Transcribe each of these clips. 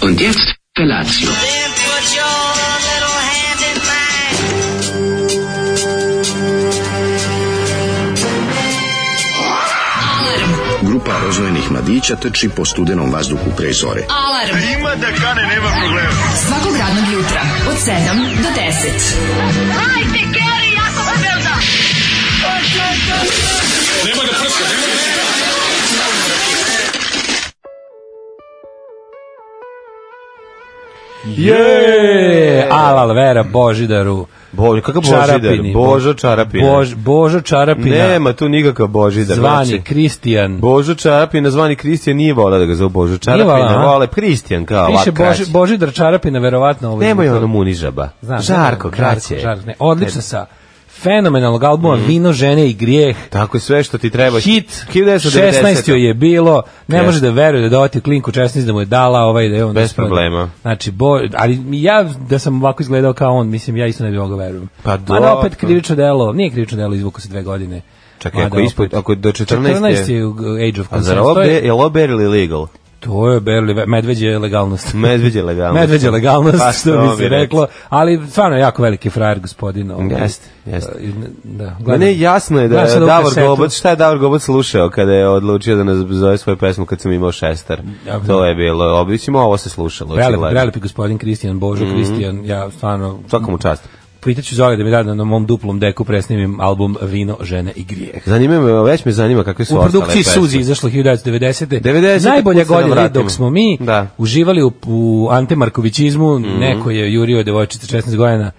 Und jetzt Felatio. Then put your little hand in mine. Grupa roznojenih mladića trči po studenom vazduhu pre zore. Alarm. Ima da kane, nema problema. Svakog radnog jutra, od 7 do 10. Je, Alal Vera Božidaru. Bože, kakav Božidar? Božo Čarapina. Bož, Božo Čarapina. Nema tu nikakav Božidar. Zvani znači, Kristijan. Božo Čarapina, zvani Kristijan, nije volao da ga zove Božo volao, Čarapina, a? vole Kristijan kao Piše ovak kraće. Boži, Božidar Čarapina, verovatno. Ovaj Nemoj ono munižaba. Znam, žarko, ne, kraće. Mhm. Žarko, žarko, ne. Odlično sa fenomenalnog albuma Vino, žene i grijeh. Tako je sve što ti treba. Hit, 1990. 16. joj je bilo, ne Jeste. može da veruje da dovati klinku 16 da mu je dala ovaj da je on. Bez uspeo da- problema. Znači, bo, ali ja da sam ovako izgledao kao on, mislim, ja isto ne bih mogao verujem. Pa Ali dobro. opet krivično delo, nije krivično delo, izvuku se dve godine. Čekaj, ako Mada ispod- opet- ako do 14 je- 14 je u- age of A zar consent, to ovo je- be- je li ovo barely legal? To je berli, medveđe legalnost. Medveđe legalnost. Medveđe legalnost, Pa što bi mi se reci. reklo, ali stvarno je jako veliki frajer gospodin. ovaj. Jeste, jeste. I ne- Da, Ma gledam. ne, jasno je da Gledam je sad ovu Davor kasetu. Gobac, šta je Davor Gobac slušao kada je odlučio da nas zove svoju pesmu kad sam imao šestar? Ja, To je bilo, obično ovo se slušalo. Prelep, očigledno. prelepi gospodin Kristijan, Božo Mhm. Kristijan, ja stvarno... Svaka mu čast. Pitaću Zoli da mi da na mom duplom deku presnimim album Vino, žene i grijeh. Zanima me, već me zanima kakve su U ostale produkciji pesme. Suzi izašlo 1990. 90-te, Najbolja kud se godina navratimo. dok smo mi Da. Mhm. uživali u, u antemarkovićizmu, neko je jurio devojčice 16 godina.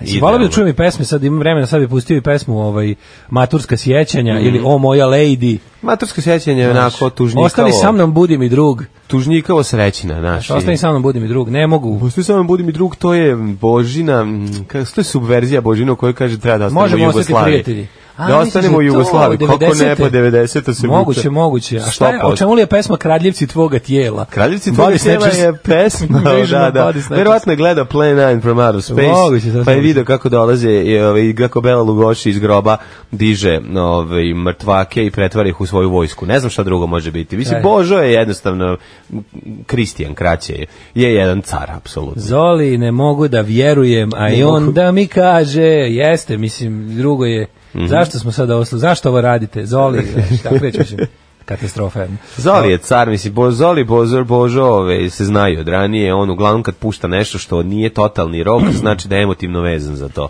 Mislim, Idealno. volao bih da čujem i pesme, sad imam vremena, sad bih pustio i pesmu ovaj, Maturska sjećanja Mhm. ili O moja lady. Matursko sjećanje je onako tužnikavo. Ostani sa mnom, budi mi drug. Tužnikavo srećina, znaš. Ostani sa mnom, budi mi drug. Ne mogu. Pusti sa mnom, budi mi drug, to je Božina, mm, ka- to je subverzija Božina u kojoj kaže treba da ostanemo Možemo u ostati Jugoslaviji. prijatelji. A, da misliš da ostanemo u je to Jugoslaviji, kako ne, 90-te? pa 90 se Moguće, vuče. moguće. A šta je, o 100%. čemu li je pesma Kradljivci tvoga tijela? Kraljevci tvoga Body sjema Snatchers. je pesma, Invasion da, of da. Body Snatchers. Verovatno je gledao Play 9 from Outer Moguće, Space, sasvim pa je moguće. video kako dolaze i ovaj, kako Bela Lugoši iz groba diže ovaj, mrtvake i pretvara ih u svoju vojsku. Ne znam šta drugo može biti. Mislim, E. Božo je jednostavno, m, Kristijan kraće je, je jedan car, apsolutno. Zoli, ne mogu da vjerujem, a i on da mi kaže, jeste, mislim, drugo je, Mhm. zašto smo sad ovo, slu- zašto ovo radite, Zoli, znaš, tako reći, mislim, katastrofa. jedna. Zoli je car, mislim, Bo, Zoli, Bozor, Božo, ove, se znaju od ranije, on uglavnom kad pušta nešto što nije totalni rok, znači da je emotivno vezan za to.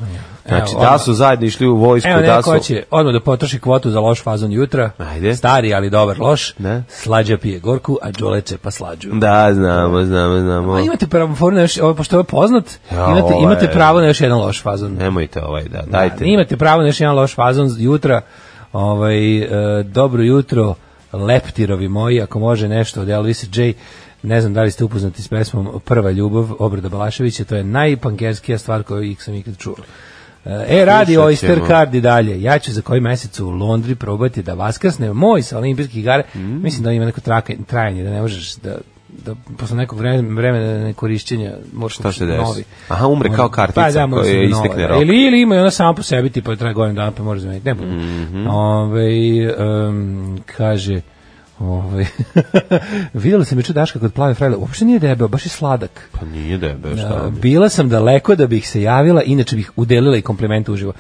Znači, Evo, da ono- su zajedno išli u vojsku, Evo da su... neko će odmah da potroši kvotu za loš fazon jutra, Ajde. stari ali dobar loš, Ne. slađa pije gorku, a džole pa slađu. Da, znamo, znamo, znamo. A imate pravo na još, ovo, pošto je ovo poznat, Ja, imate, ovo je- imate pravo na još jedan loš fazon. Nemojte ovaj, da, dajte. Da, imate pravo na još jedan loš fazon z- jutra. Ovaj, e, dobro jutro, leptirovi moji, ako može nešto od Elvisa J. Ne znam da li ste upoznati s pesmom Prva ljubav Obrada Balaševića, to je najpankerskija stvar koju ih sam ikad čuo. E, radi Slušat Oyster ćemo. Card i dalje. Ja ću za koji mesec u Londri probati da vaskrsne moj sa olimpijskih igara. Mm. Mislim da ima neko traka- trajanje, da ne možeš da da posle nekog vremena, vremena nekorišćenja moraš Šta Pa se novi. desi? Aha, umre kao kartica pa, da, moraš kojoj da nova, istekne da. rok. Ili ili ima i ona sama po sebi, tipa traje godinu dana, pa može zameniti, ne bude. Mhm. Ovaj, em, kaže, ovaj, videla sam juče Daška kod plave frajle, uopšte nije debel, baš je sladak. Pa nije da je, be, šta Da, vam je. bila sam daleko da bih se javila, inače bih udelila i komplimente uživo.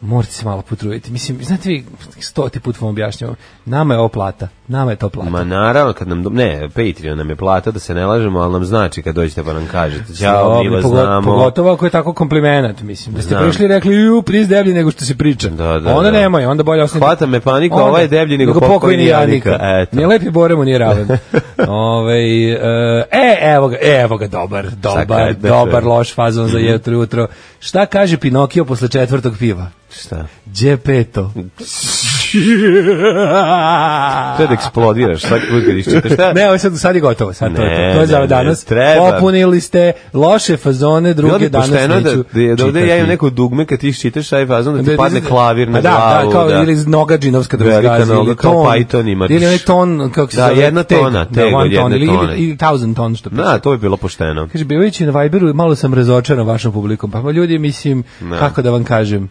Morate se malo potruditi. Mislim, znate vi, stoti put vam objašnjavam, nama je ovo plata, nama je to plata. Ma naravno, kad nam, do- ne, Patreon nam je plata, da se ne lažemo, ali nam znači kad dođete pa nam kažete. Ćao, Dobro, mi vas pogo- znamo. Pogotovo ako je tako komplimenat, mislim. Da ste Znam. prišli i rekli, ju, pris deblji nego što se priča. Da, da, onda da. nemoj, onda bolje ostavite. Hvata me panika, ovaj je deblji nego pokojni Jadnika. Eto. Nije lepi boremu, nije raven. Ovaj, e, e, evo ga, e, evo ga, dobar, dobar, Sad kad Mhm. da dobar, čujem. loš fazon za jutro, jutro. Šta kaže Pinokio posle četvrtog piva? Šta? Džepeto. Sad eksplodiraš, svaki put kad iščitaš. Šta? Ne, ovo je sad, sad je gotovo, sad to je Ne, to. To je ne, za ne, danas. treba. Popunili ste loše fazone, Bilo druge bi danas pošteno da, neću da, da ovde ja imam čitati. neko dugme kad ti iščitaš taj fazon da ti padne izgleda- klavir na Pa da, glavu. Da, kao ili iz noga džinovska da vas Velika gazi, noga, ili kao ton. Python imaš. Ili onaj ton, uh, kako se Da, zove? jedna da, tona, teg od one ton, jedne ili, tone. ili, ili thousand ton što piše. Da, to bi bilo pošteno. pa Kaže, bivajući na Viberu, malo sam razočaran vašom publikom. Pa ma, ljudi, mislim, kako da vam kažem,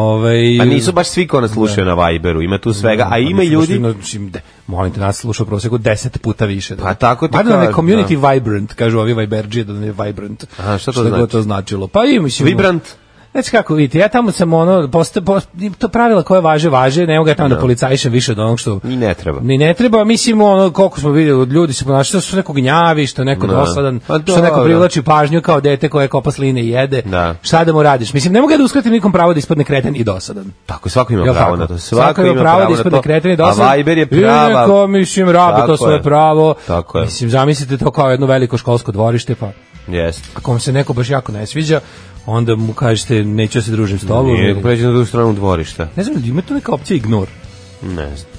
Ovaj Pa nisu baš svi ko nas slušaju na Viberu, ima tu svega, a ima pa Mislim, ljudi... slušaj, znači, de- molim te, nas sluša u proseku 10 puta više. Da. Pa tako ti Mada nam je kažem, community vibrant, kažu ovi Viberđije da nam je vibrant. A, šta to god znači? to značilo. Pa i mislim... Vibrant? Znači kako vidite, ja tamo sam ono, posta, posta, to pravila koje važe, važe, ne mogu ja tamo da policajšem više od onog što... Ni ne treba. Ni ne treba, mislim ono, koliko smo vidjeli od ljudi se ponašaju, što su neko gnjavi, što neko Da. dosadan, Pa što neko dobro. privlači pažnju kao dete koje kopa sline i jede. Da. Šta da mu radiš? Mislim, ne mogu ja da uskratim nikom pravo da ispadne kreten i dosadan. Tako, svako ima Jel pravo tako? na to. Svako ima pravo da na ispadne to, kreten i A dosadan. Viber je I prava... neko, mislim, rabe Tako to svoje je. pravo. Tako je. Mislim, zamislite to kao jedno veliko školsko dvorište, pa Jeste. ako vam se neko baš jako ne sviđa, onda mu kažete, neću ja se družim s tobom. Nije pređe na drugu stranu dvorišta. Ne znam, ima tu neka opcija ignor. Ne znam.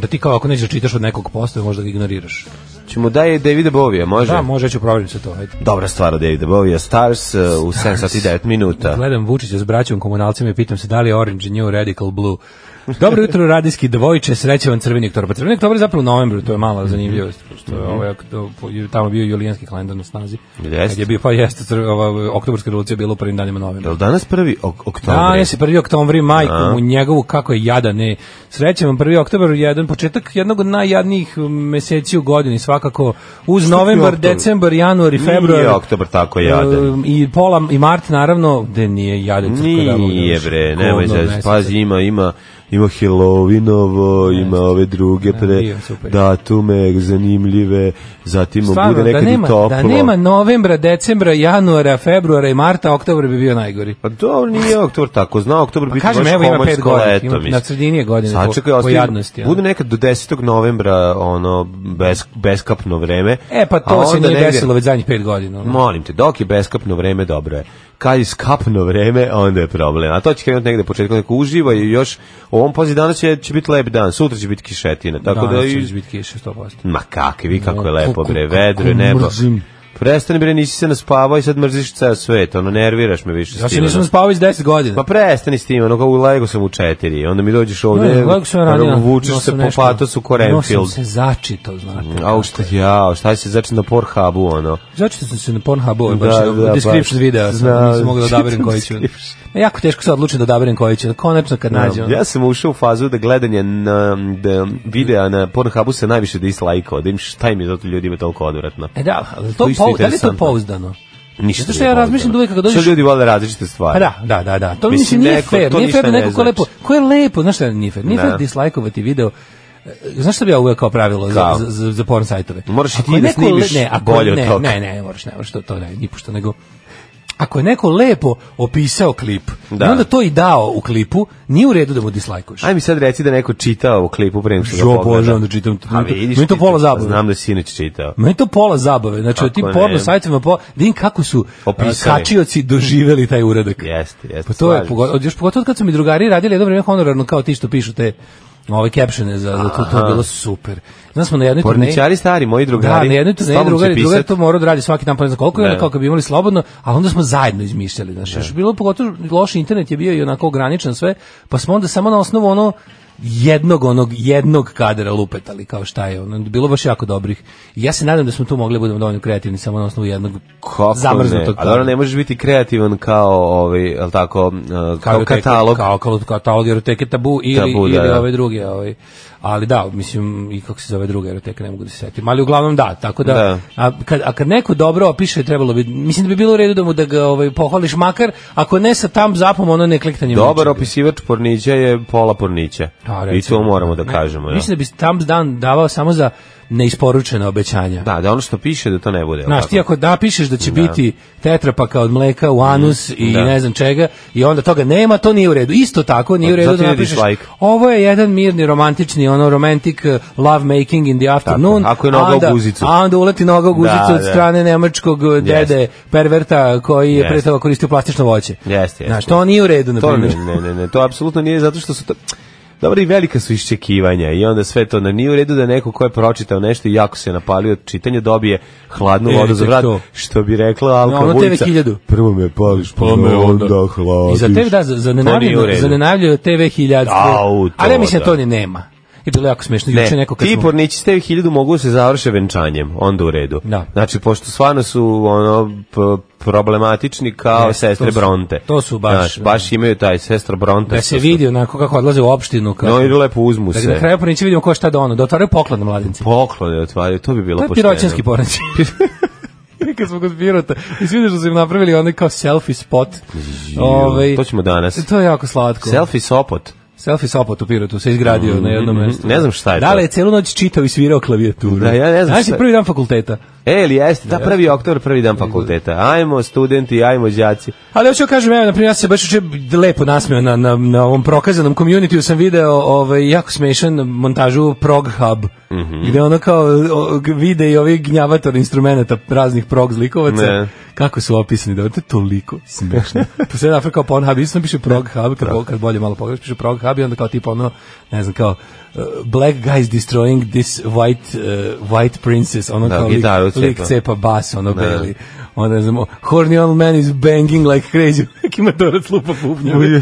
Da ti kao ako nećeš da čitaš od nekog posta, možda ga ignoriraš. Ćemo da je Davida Bovija, može? Da, može, ja ću provjeriti se to. Ajde. Dobra stvar od Davida Bovija, Stars, eh, u 7 sati i 9 minuta. Gledam Vučića s braćom komunalcima i pitam se da li je Orange New Radical Blue. Dobro jutro, radijski dvojče, sreće vam crveni oktobar. Pa crveni oktobar je zapravo u novembru, to je mala zanimljivost. Što je, ovaj, to- je tamo bio julijanski kalendar na snazi. Jeste. Kad je bio, pa jeste, cr- ova, oktobarska revolucija bila u prvim danima novembra. Jel danas prvi ok oktober? Danas je prvi oktobar, majku mu njegovu kako je jadan. E, srećan vam prvi oktobar, jedan početak jednog od najjadnijih meseci u godini, svakako uz novembar, oktobar? decembar, januar i februar. Nije oktobar tako E, jadan. I pola i mart naravno, gde nije jadan crkva Nije bre, nemoj se, pazi, ima, ima, ima Halloweenovo, ima ove druge pre bio, super. datume zanimljive, zatim Stvarno, bude da nekad i nema, toplo. da nema novembra, decembra, januara, februara i marta, oktobar bi bio najgori. Pa Pa dobro, nije oktobar tako, zna oktobar biti baš Kažem, evo ima pet komarsko godina, leto. ima- mislim. na sredini je godine po- Sačekaj, po ostavi- jadnosti, ono. Bude nekad do 10. novembra, ono, bes, beskapno vreme. E pa a to se onda nije negde- desilo već zadnjih pet godina. ono. Molim te, dok je beskapno vreme, dobro je. Kad je skapno vreme, onda je problem. A to će krenuti negde početkom, neko uživa i još, u ovom pozi danas će, će biti lep dan, sutra će biti kišetina, tako da... Danas će i- već biti kiše 100%. Ma kakvi, vi kako je No, lepo, kako- bre, kako vedro je nebo. mrzim. Prestani bre, nisi se naspavao i sad mrziš ceo svet, ono, nerviraš me više. Ja se Stivano. nisam spavao iz 10 godina. Pa prestani s tim, ono kao u Lego sam u četiri, onda mi dođeš ovde, Ne, Lego sam ja ono, radio, vučeš nosio se sam po nešto. patosu Nosio Korenfield. sam se začito, znate. Au šta ja, šta si začin na Pornhubu, ono. Začito sam se na Pornhubu, ovaj Da, baš da, da, description baš. videa, sam, Znam, nisam mogao da odaberem čitam koji ću. description. E, Jako teško se odlučim da odaberem koji ću, konačno kad nađem. Ja sam ušao u fazu da gledanje na, da videa na Pornhubu se najviše dislajkao, da im šta im je zato ljudima toliko odvratno. E da, ali to To isto pou, da li je to interesantno. pouzdano? Ništa Zato što nije ja razmišljam da povezano. uvek kada dođeš- Što ljudi vole različite Pa stvari. da, da, da, da. To Mislim, mislim, nije neko- fair, to nije ništa fair da ne neko ko znači. lepo, ko je lepo, znaš šta nije fair? Nije fair Da. dislajkovati video E, Znaš šta bi ja uvek kao pravilo za, Kao? za, za, za porn sajtove? Moraš i Ako ti je da neko snimiš le- ne, ako je- bolje od ne, toga. Ne, ne, moraš, ne moraš, to, to ne, nipošto, nego ako je neko lepo opisao klip Da. i onda to i dao u klipu, nije u redu da mu dislajkuješ. Aj mi sad reci da neko čita u klipu pre nego što ga Jo, pogleda. Bože, onda čitam to. A Meni to- Pa vidiš meni to ti, pola zabave. Znam da si inače čitao. Meni je to pola zabave, znači o tim Kako porno ne? sajtovima, pola, da vidim kako su Opisali. Opisali. kačioci doživeli taj uradak. Jeste, jeste. Pa to je slažem se. pogotovo, još pogotovo od kad su mi drugari radili jedno vreme honorarno kao ti što pišu te ove captione za, za to, to je bilo super. Znaš smo na jednoj turneji, Porničari stari, moji da, drugari. na jednoj turneji stalno drugari, će drugar pisat. to morao da radi svaki dan, pa ne znam koliko, i onda Da. kao kad bi imali slobodno, ali onda smo zajedno izmišljali, znaš, još je bilo pogotovo loš internet je bio i onako ograničen sve, pa smo onda samo na osnovu ono jednog onog jednog kadra lupetali kao šta je ono bilo baš jako dobrih I ja se nadam da smo tu mogli da budemo dovoljno kreativni samo na osnovu jednog Kako zamrznutog ne? A dobro, ne možeš biti kreativan kao, ovaj, jel tako, eh, kao katalog. kao kao katalog eroteke tabu ili Tabu, da, ili da. ove druge ovaj ali da mislim i kako se zove druga eroteka ne mogu da se setim ali uglavnom da tako da, Da. A, kad, a kad neko dobro opiše trebalo bi mislim da bi bilo u redu da mu da ga ovaj pohvališ makar ako ne sa tam zapom ono ne kliktanjem Dobar ničega. opisivač pornića je pola pornića. Da, I recimo. to moramo da kažemo. Ja. mislim da bi tam dan davao samo za neisporučena obećanja Da, da ono što piše da to ne bude. jel Znaš, tako? ti ako napišeš da će biti tetrapaka od mleka u anus i Mhm, da. ne znam čega, i onda toga nema, to nije u redu. Isto tako nije u redu Zato da je napišeš. dislike. Ovo je jedan mirni, romantični, ono, romantic eh, love making in the afternoon. Tako je. Ako je noga u a onda- guzicu. A onda uleti noga u guzicu Da, od da. strane nemačkog eh, dede perverta koji je Jeste. pre toga koristio plastično voće. Jeste, jeste. Znaš, to nije u redu, na To primjer. ne, ne, ne, ne, to apsolutno nije zato što su to... Dobro, i velika su iščekivanja i onda sve to na nije u redu da neko ko je pročitao nešto i jako se napalio od čitanja dobije hladnu E, vodu za tek vrat, to. što bi rekla Alka ono TV Vujica. 1000. Prvo me pališ, pa me onda hladiš. I za TV, da, za, za To nije u nenavljeno, redu. za nenavljeno TV 1000. Au, to ali ja mislim da da. to ni nema. I bilo je jako smešno. Ne, Juče neko kad ti smo... pornići ste hiljadu mogu da se završe venčanjem, onda u redu. Da. Znači, pošto stvarno su ono p- problematični kao Jeste, sestre to su- Bronte. to su baš, Znaš, baš imaju taj sestra Bronte. Da što se su- vidi onako kako odlaze u opštinu. Kao, No i lepo uzmu da na se. kraju pornići vidimo ko šta da ono. Da otvaraju poklad na mladinci. Poklone otvaraju, to bi bilo To je pošteno. piroćanski pornići. kad smo kod Pirota, i svi vidiš da su im napravili onaj kao selfie spot. Žiju, to ćemo danas. ovaj- To je jako slatko. Selfie sopot. Selfie sopot u Pirotu se izgradio na jednom mestu. Mm, Ne znam šta je Da to. li je celu noć čitao i svirao klavijaturu? Da, ja ne znam Znaš, šta je. prvi dan fakulteta. E, ili jeste, da, prvi oktober, prvi dan fakulteta. Ajmo studenti, ajmo đaci. Ali hoću da kažem, evo, na primjer, ja sam se baš uče lepo nasmeo na, na, na ovom prokazanom communityu, sam video ovaj, jako smešan montažu Prog Hub, Mhm. gde ono kao o, g- vide i ovi gnjavator instrumenta raznih prog zlikovaca, Ne. kako su opisani, da to je toliko smešno. to se napravi kao Pornhub, isto piše Prog Hub, kad, bo- kad bolje malo pogledaš, piše Prog Hub i onda kao tipa ono, ne znam, kao uh, Black guys destroying this white, uh, white princess, ono Da, kao lik, gitaru lik cepa. cepa bas, ono beli. Onda ne znamo, horny old man is banging like crazy. Neki matorac lupa bubnjeve.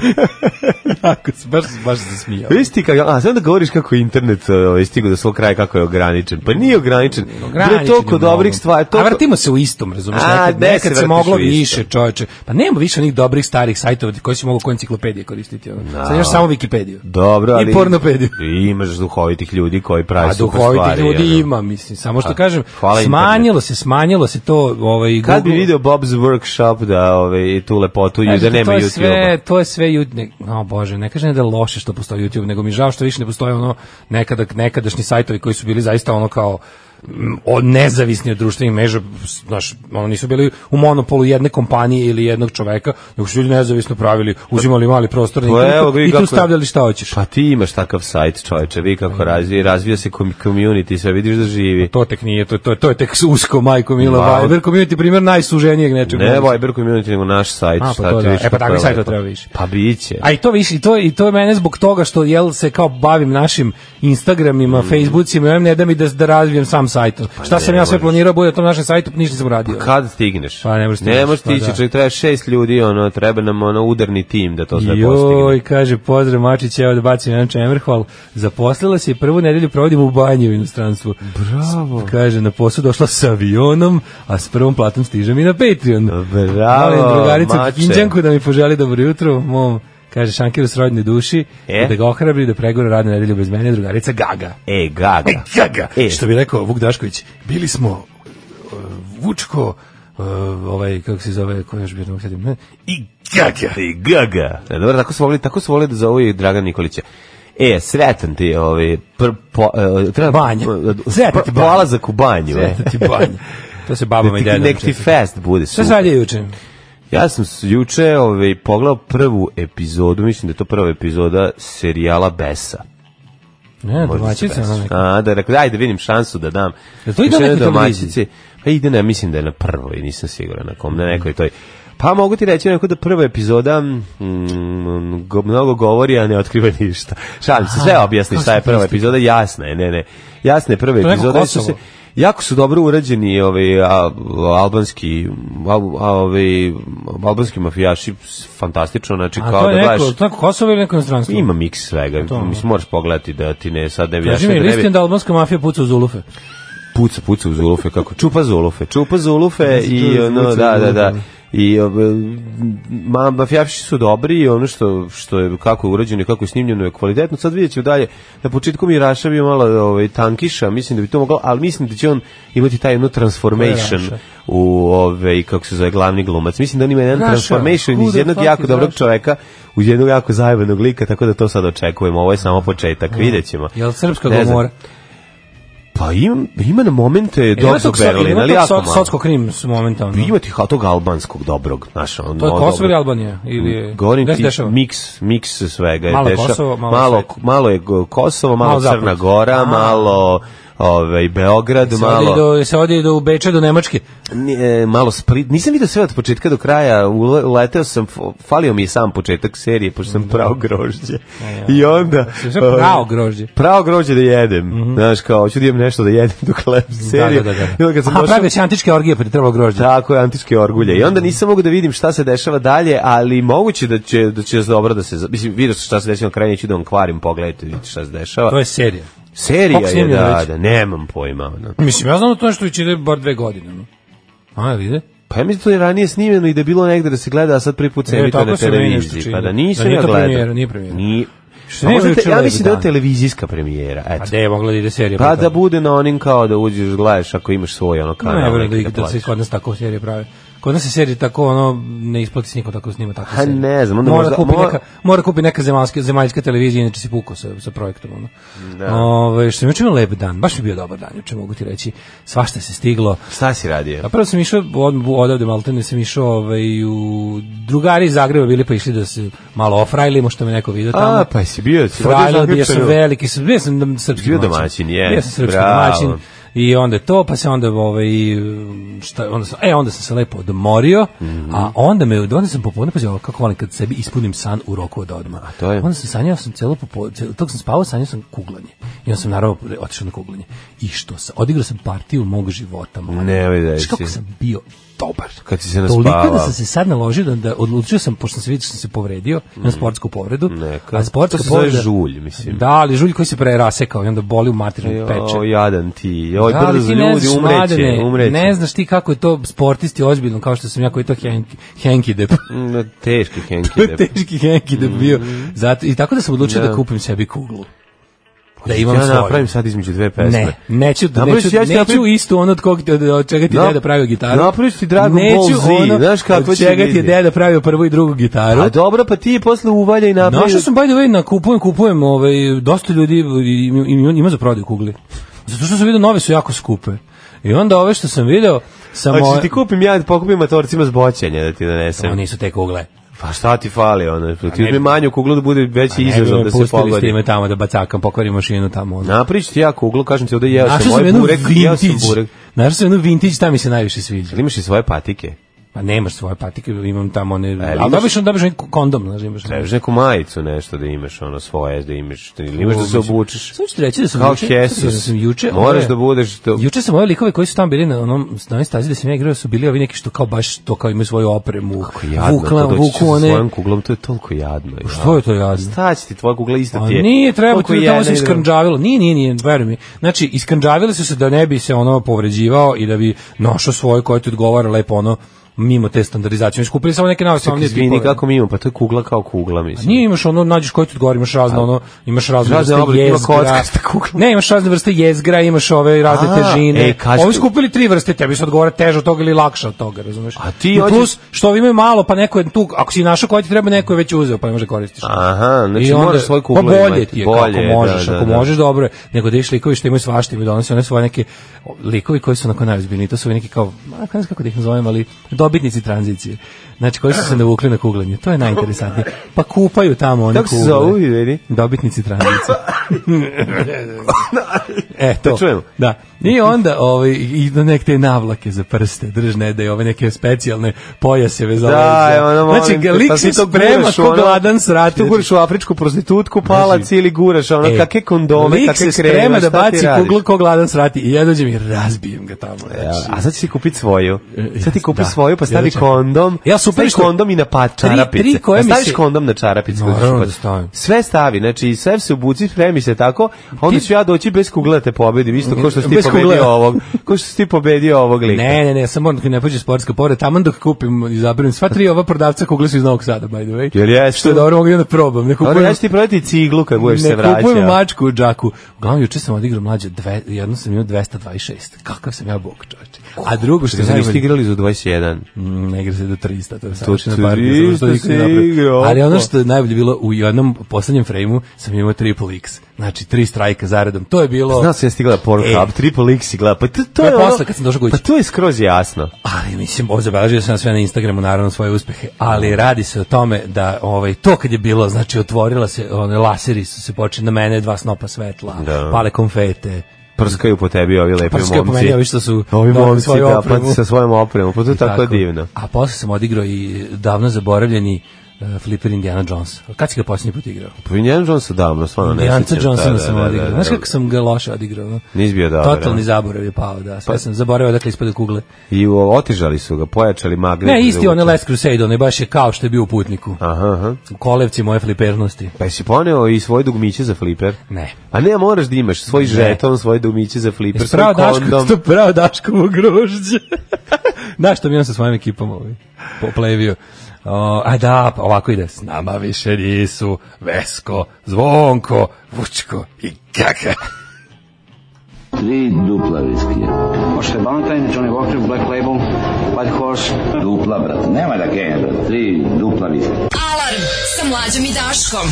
jako, se- baš, baš se smijao. Viš ti kako, a sad da govoriš kako je internet ovaj, stigo do svog kraja, kako je ograničen. Pa nije ograničen. Ograničen je Ograničen toliko je mnogo. dobrih stvari. A Toliko... vratimo se u istom, razumiješ? A, Nekad, gde se nekad se vrtiš moglo u istom? više, čoveče. Pa nema više onih dobrih starih sajtova koji si mogao ko enciklopedije koristiti. Ono. Sad imaš samo Wikipediju. Dobro, ali... I pornopediju. I imaš duhovitih ljudi koji prave A super duhovitih stvari, ljudi ono. ima, mislim. Samo što A, kažem, hvala internetu. smanjilo se, smanjilo se to. Ovaj, Kad bi Google- video Bob's Workshop da ovaj, tu lepotu i Kažete, da nema to je YouTube-a? Sve, to je sve YouTube. Ne, no, bože, ne kažem da je loše što postoji YouTube, nego mi je žao što više ne postoje ono nekada, nekadašnji sajtovi koji su bili zaista ono kao mm, o, nezavisni od društvenih mreža, s- znaš, ono nisu bili u monopolu jedne kompanije ili jednog čoveka, nego su ljudi nezavisno pravili, uzimali mali prostor na Pa internetu evo, vidi i kako tu je. stavljali šta hoćeš. Pa ti imaš takav sajt, čoveče, vi Mm. kako razvija, razvija se kom- community, sve vidiš da živi. To tek nije, to, to, to je tek usko, majko Mila, Ma, Viber community, primjer najsuženijeg nečeg. Ne Viber community, nego naš sajt. A, pa šta to ti da. više E, pa takvi kako je sajtova lepo. treba više. Pa biće. A i to više, i to, i to je mene zbog toga što jel se kao bavim našim Mm. Instagramima, Facebookima, ja ne da mi da, da razvijem sam sajt. Šta sam ne ja sve možeš. planirao bude na tom našem sajtu, pa ništa nisam radio. Kad stigneš? Pa ne možeš stići, Ne možeš pa stići, da. čovjek treba šest ljudi, ono, treba nam ono udarni tim da to sve postigne. Joj, kaže, pozdrav Mačić, evo da bacim jedan čemerhval. Zaposlila se i prvu nedelju provodim u banji u inostranstvu. Bravo. Kaže, na posao došla sa avionom, a s prvom platom stižem i na Patreon. Bravo, Molim drugaricu Mače. Kinđanku da mi poželi dobro jutro, mom kaže Šankiru s rodne duši, E? da ga ohrabri da pregore radne nedelje bez mene, drugarica Gaga. E, gaga. Gaga. E. Što bi rekao Vuk Dašković, bili smo uh, Vučko, uh, ovaj, kako se zove, ko je još bio, ne mogu sedim, ne? I gaga. I gaga. E, dobro, tako su volili, tako su volili da zovu i Dragan Nikolića. E, sretan ti, ovaj, pr, po, e, treba, Banja. Sretan ti pr- banja. polazak u banju. e. Zeta ti banja. To se babama i Nek ti- dedama. Nek ti često. fest bude. Šta super. se radio juče? Ja sam s- juče ovaj, pogledao prvu epizodu, mislim da je to prva epizoda serijala Besa. Ne, Možda se domaćica. ono, Besa. ona neka. A, da rekao, ajde vidim šansu da dam. Jel to ide Juče na na nekoj domaćici- Pa ide, ne, mislim da je na prvoj, nisam siguran na kom, na nekoj toj. Pa mogu ti reći onako da prva epizoda mm, go, mnogo govori, a ne otkriva ništa. Šalim se, sve objasni šta je prva epizoda, jasna je, ne, ne. Jasna je prva To je neko epizoda. jer su Kosovo. se- Jako su dobro urađeni ovaj a, albanski al, a, ovaj albanski mafijaši s- fantastično znači A kao to da je gledaš neko, to je neko Kosovo ili neko inostranstvo? ima miks svega To, mislim moraš pogledati da ti ne sad ne bi Kaži ja mi, sad ne bi- listin da albanska mafija puca u Zulufe. puca puca u zulufe kako čupa zulufe čupa zulufe i čupa ono zulufe, da da da da. i ob- ma mafijaši su dobri i ono što što je kako je urađeno i kako je snimljeno je kvalitetno sad vidjet ćemo dalje na početku mi je Raša bio malo ovaj tankiša mislim da bi to moglo ali mislim da će on imati taj jedno transformation Ko je Raša? u ovaj kako se zove glavni glumac mislim da on ima jedan Raša, transformation who iz the jednog fuck jako is dobrog Raša? čoveka u jednog jako zajebanog lika tako da to sad očekujemo ovo je samo početak vidjet ćemo Jel srpska Ne znam. gomora? Pa ima, ima na momente Dogs of Berlin, ali jako malo. Sotsko krim s momentom. Ima ti ha- tog albanskog dobrog, znaš, on To je on Kosovo dobro. Mm, ili Albanija? Ili je, Govorim gde se ti dešava? miks, miks svega je Malo je deša- Kosovo, malo malo, svet. malo je go- Kosovo, malo, Malo zapad. Crna Gora, A. malo ovaj Beograd, Se ode i malo do, se ode i do Beča, do Nemačke. ni- e, malo Split. Nisam vidio sve od početka do kraja. ule- Uleteo sam, f- falio mi je sam početak serije pošto sam pravo grožđe. I onda Sve pravo e, grožđe. Pravo grođe da jedem. Znaš, kao, hoću da imam nešto da jedem dok lep seriju. Da, da, da, da. I onda kad sam A došao... pravi se antičke orgije, pa ti trebalo grožđe. Tako je, antičke orgulje. I onda nisam mogu da vidim šta se dešava dalje, ali moguće da će, da će dobro da se... Mislim, vidio sam šta se dešava na kraju, neću da vam kvarim, pogledajte, vidite šta se dešava. To je serija. Serija Koliko je, snimljeno da, već? da, nemam pojma. ono. Mislim, ja znam da to nešto već ide bar dve godine. No. A, vide? Pa ja mislim da to je ranije snimljeno i da je bilo negde da se gleda, a sad prvi put se E, emituje tako na se meni nešto televiziji. čini. Pa da Da nisam nije ja to gledao. premijera, nije premijera. Ni- Što A nije možda te- juče ja Levi mislim da je dan? televizijska premijera. A Eto. gde je mogla da ide serija? Pa pre toga? da bude na onim kao da uđeš, gledaš ako imaš svoj ono Ne, ne kanal. verujem Pa da, neki ih- da se plaćaš. kod nas tako serije prave. Kod nas se serije tako, ono, ne isplati se niko tako da snima tako Ha, serije. ne znam, onda mora možda- Kupi mo- neka, mora kupi neka zemaljska, zemaljska televizija, inače si pukao sa, sa projektom. Ono. Da. Ove, što mi je juče bio lep dan, baš mi je bio dobar dan, juče mogu ti reći. Svašta se stiglo. Šta si radio? A Pa prvo sam išao od, odavde maltene sam išao ovaj, u drugari iz Zagreba bili pa išli da se malo ofrajlimo što me neko vidio tamo. A, pa si bio... si Frajla otišao na bio sam Grčanu. veliki, sam, bio sam dom- srpski Bio domaćin. domaćin, je, Bio sam srpski bravo. domaćin. I onda je to, pa se onda ovaj šta onda sam, e onda sam se lepo odmorio, Mhm. a onda me onda sam popodne pa kako volim kad sebi ispunim san u roku od odma. A to je? Onda sam sanjao sam celo popodne, tog sam spavao, sanjao sam kuglanje. I onda sam naravno otišao na kuglanje. I što sam, odigrao sam partiju mog života. mladen. Nemoj da Znaš kako ovaj, si. sam bio dobar. Kad si se Toliko naspavao. da sam se sad naložio da, da odlučio sam, pošto sam se vidio da sam se povredio, na sportsku povredu, Mm. Neka. a sportska To se zove povreda- žulj, mislim. Da, ali žulj koji se prerasekao i onda boli u materinu peče. O, jadan ti. Oj, Da, ali brzo ti ne ljudi, znaš, umreće, Mladene, umreće. Ne znaš ti kako je to sportisti ozbiljno, kao što sam ja koji je to henki, henkidep. Mm, Teški Henki. To je teški henkidep bio. Zato, I tako da sam odlučio Mm. Da. da, kupim sebi kuglu. Da imam ja svoju. napravim sad između dve pesme. Ne, neću, Napraviš, neću, ja ću neću napraviti- istu ono od, kog, ti- od, od čega ti Nap- deda pravio gitaru. napraviš ti Dragon Ball neću Z, ono znaš kako od će čega ti je biti. deda pravio prvu i drugu gitaru. A dobro, pa ti je posle uvalja i napravi. Našao sam by the way na kupujem, kupujem, ovaj dosta ljudi im- im- ima za prodaju kugle. Zato što sam video nove su jako skupe. I onda ove što sam video samo Hoćeš ti kupim ja, da pokupim matorcima zboćenja da ti donesem. Samo nisu te kugle. Pa šta ti fali, ono? Ti uzmi manju kuglu da bude veći Ne bi izazov me da se pustili ste pogodi. me tamo da bacakam, pokvarim mašinu tamo. Ono. Naprič ti ja kuglu, kažem ti ovde jeo sam Našao sam moj jednu burek, jeo sam vintage. burek. Našao sam jednu vintage, ta mi se najviše sviđa. Jel imaš i svoje patike? Pa nemaš svoje patike, imam tamo one... ali ali Pa, imaš- dobiš, dobiš onaj kondom, znaš, imaš. Trebaš neku majicu nešto da imaš, ono svoje, da imaš, ili imaš da se obučeš. Samo ću ti reći da sam Kao juče, Hesus. da sam juče, Moraš ove- da budeš... To... Juče sam ove likove koji su tamo bili na onom na onoj stazi da sam ja igrao su bili ovi neki što kao baš to kao imaju svoju opremu. Kako jadno, vukla, to doći vuku sa one. svojom kuglom, to je toliko jadno. Što je to jadno? Šta će ti tvoja kugla isto A ti je? nije, treba Koliko ti jedna tamo se i druga. iskrnđavilo. Nije, nije, nije, veruj mi. Znači, iskrnđavili su se da ne bi se ono povređivao i da bi našao svoje koje ti odgovara lepo ono mimo te standardizacije. Mi skupili samo neke najosnovnije Izvini, tipove. kako mi imamo, pa to je kugla kao kugla, mislim. Nije imaš ono nađeš koji ti odgovara, imaš razno ono, imaš razne, Razne vrste oblike, ima jezgra. kockasta kugla. Ne, imaš razne vrste jezgra, imaš ove razne A, težine. ej, kaži Ovi ti- skupili tri vrste, tebi se odgovara teže od toga ili lakše od toga, razumeš? A ti I hoćeš- plus što ovi imaju malo, pa neko je tu, ako si našao koji ti treba, neko je već uzeo, pa ne može da koristiš. Aha, znači I onda- moraš svoj pa kuglu bolje imati, ti je bolje, da, kako možeš, da, ako da. možeš dobro je, nego da iš likovi što imaju svašta imaju donose one svoje neke likovi koji su onako najozbiljniji, to su ovi neki kao, ma, ne znam kako da ih nazovem, ali dobitnici tranzicije. Znači, koji su se navukli na kuglanje, to je najinteresantnije. Pa kupaju tamo one Kako se kugle. zovu, vidi? Dobitnici tranzicije. e, to. Da čujemo. Da. I onda ovaj, i do neke te navlake za prste, držne, da je ove neke specijalne pojaseve za Da, leđa. evo, ono, molim Znači, te, ga lik pa se ti to sprema guraš u ko ono- gladan Ti srati. guraš u afričku prostitutku, palac ili guraš ono, E, kakve kondome, lik kakve se kreme, sprema da šta ti baci radiš? kuglu ko gladan srati i ja dođem i razbijem ga tamo. Ja, Znači, e, A sad će si kupiti svoju. Sad ti kupi da. svoju, pa stavi Jedva čekam. kondom. Ja super stavi što- kondom i na pa čarapice. tri koje Pa mi staviš se- kondom na čarapice. Naravno kada ćeš da pa- stavim. Sve stavi, znači sve se obuci, spremi se tako, a onda ću ja doći bez kugle da te pobedim, isto ko što si ti Bez pobedio kugle. ovog. Ko što si ti pobedio ovog lika. Ne, ne, ne, samo moram dok mi ne pođe sportska povreda, taman dok kupim i zabiram sva tri ova prodavca kugle su iz Novog Sada, by the way. Jel jesu? Što je dobro, mogu i onda probam. Ne Dobro, kupujem, ja ću ti prodati ciglu kad budeš se ne vraćao. kupujem mačku u džaku. Uglavnom, juče sam odigrao mlađe, dve, jedno sam imao 226. Kakav sam ja bog, čoveče. A drugo što je Znači, niste najbolje, igrali za 21. Mm, ne igra se do 300, to je savršena 300 partija. zato što niko nije se napravio. igra, opa. Ali ono što je najbolje bilo, u jednom poslednjem frejmu sam imao triple X. Znači, tri strajka zaredom. To je bilo... Znao sam ja stigla Pornhub, e. Triple X si gleda, pa to, to, je ono- posle kad sam došao kući. Pa to je skroz jasno. ali mislim ovo zabeležio sam sve na Instagramu naravno svoje uspehe ali radi se o tome da ovaj to kad je bilo ono, znači otvorila se one laseri su se počeli na mene dva snopa svetla Da. pale konfete prskaju po tebi ovi lepi Prskaju momci. po meni ovi što su Pa Ovi dobili momci, svoju da, opremu. pa sa svojom opremom. Pa to je tako, divno. A posle sam odigrao i davno zaboravljeni uh, Flipper Indiana Jones. Kad si ga posljednji put igrao? Pa Indiana Jonesa davno, stvarno ne Janca sjećam. Johnsona Da, sam da, da, odigrao. da, Znaš da. kako sam ga loše odigrao? no? Nisi bio dobar, Pa- Totalni a? zaborav je pao, da. Sve sam zaboravio dakle ispod kugle. I u- otežali su ga, pojačali magnet. Ne, za isti uče. onaj Last Crusade, onaj baš je kao što je bio u putniku. Aha, aha. U kolevci moje flipernosti. Pa jesi poneo i svoje dugmiće za fliper? Ne. A ne, moraš da imaš svoj žeton, svoje dugmiće za fliper, Jesi svoj pravo Daško, kondom. to pravo Daškovo grožđe. Znaš što mi on sa svojim ekipom ovaj, poplevio. O, a da, pa ovako ide. S nama više nisu Vesko, Zvonko, Vučko i Kaka. Tri dupla viskija. Možete Valentine, Johnny Walker, Black Label, White Horse. Dupla, brate. Nema da kenja, brate. Tri dupla viskija. Alarm sa mlađom i Daškom.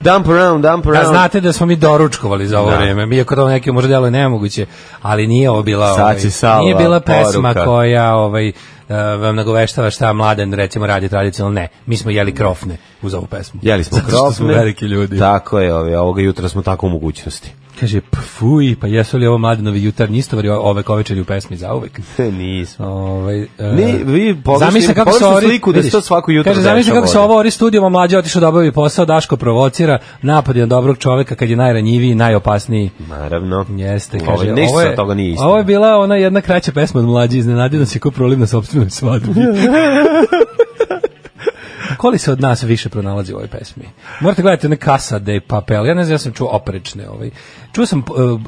Dump around, dump Da around. znate da smo mi doručkovali za ovo Da. vreme. Mi ako to neke možda delo nemoguće, ali nije ovo bila Sad ovaj, će Salva nije bila pesma poruka. koja ovaj eh, vam nagoveštava šta mladen recimo radi tradicionalno ne. Mi smo jeli krofne uz ovu pesmu. Jeli smo Zato što smo krofne. veliki ljudi. Tako je, ovaj, ovoga jutra smo tako u mogućnosti. Kaže, pfuj, pa jesu li ovo mladenovi jutarnji istovari o- ove kovečeri u pesmi za uvek? Nismo. Ovaj, e, Ne, vi pogrešni- zamišljam kako se pogrešnu Ori- sliku da se vidiš, to svako jutro Kaže, zamišljam dešava kako se ovde. ovo Ori studijom mlađe otišao da obavi posao, Daško provocira, napad je na dobrog čoveka kad je najranjiviji i najopasniji. Naravno. Jeste, Ovaj, kaže, ništa ovo je, od toga nije istina. ovo je bila ona jedna kraća pesma od mlađe, iznenadio nas je ko proliv na sobstvenoj svadbi. Koli se od nas više pronalazi u ovoj pesmi? Morate gledati one kasa de papel, ja ne znam, ja sam čuo oprečne. Ovaj. Čuo sam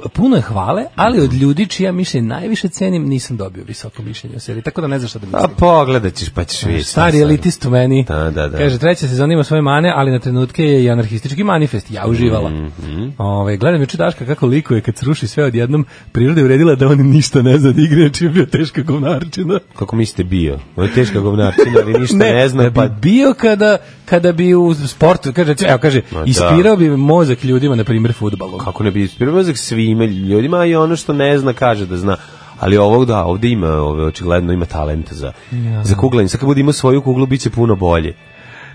e, puno je hvale, ali od ljudi čija mišljenje najviše cenim nisam dobio visoko mišljenje o seriji, tako da ne znam šta da A mislim. pogledat ćeš pa ćeš vidjeti. šta Stari sad. elitist u meni. Da, da, da. Kaže, treća sezona ima svoje mane, ali na trenutke je i anarhistički manifest. Ja uživala. Mhm. Ove, gledam juče Daška kako likuje kad sruši sve odjednom. Priroda je uredila da on ništa ne zna da igra, čim je bio teška govnarčina. Kako mislite bio? On je teška govnarčina, ali ništa Pa ne, da zna, bi pa bio kada, kada bi u sportu, kaže, evo, kaže, Ma da. ispirao bi mozak ljudima, na primjer, futbalom. kako ne bi ispirio mozak svima ljudima a i ono što ne zna kaže da zna ali ovog da, ovde ima, ove, očigledno ima talenta za, za kuglanje. Sad kad bude imao svoju kuglu, bit će puno bolje.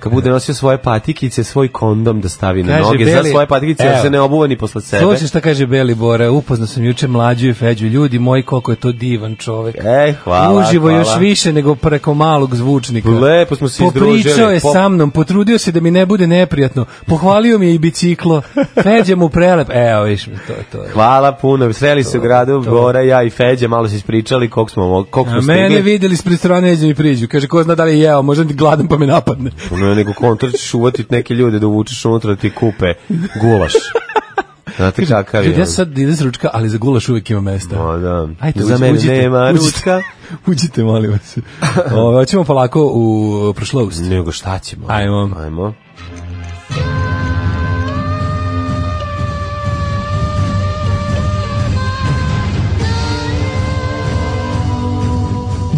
Kad bude nosio svoje patikice, svoj kondom da stavi na Kaže, noge, za Beli- svoje patikice, da Evo. se ne obuva ni posle sebe. Slušaj šta kaže Beli Bora, upoznao sam juče mlađu i Feđu, ljudi moji koliko je to divan čovek. E, hvala, Uživo hvala. još više nego preko malog zvučnika. Lepo smo se izdružili. Popričao je Po- sa mnom, potrudio se da mi ne bude neprijatno. Pohvalio mi je i biciklo. Feđa mu prelep. Evo, viš mi, to je to. Je. Hvala puno, sreli se u gradu, to. Bora, ja i Feđa, malo se ispričali koliko smo, mo- koliko A smo mene stigli. videli spred strane, neđe mi priđu. Kaže, ko zna da li je jeo, možda ti gladan pa me napadne. Ono, nego kontra ćeš uvatit neke ljude da uvučeš unutra da ti kupe gulaš. Znate kakav je. Ljudi, ja sad idem s ručka, ali za gulaš uvijek ima mesta. O, da. Ajde, za uđi- mene uđite, nema uđite. ručka. Uđite, molim vas. Ove, hoćemo polako u prošlost. Nego šta ćemo? Ajmo. Ajmo.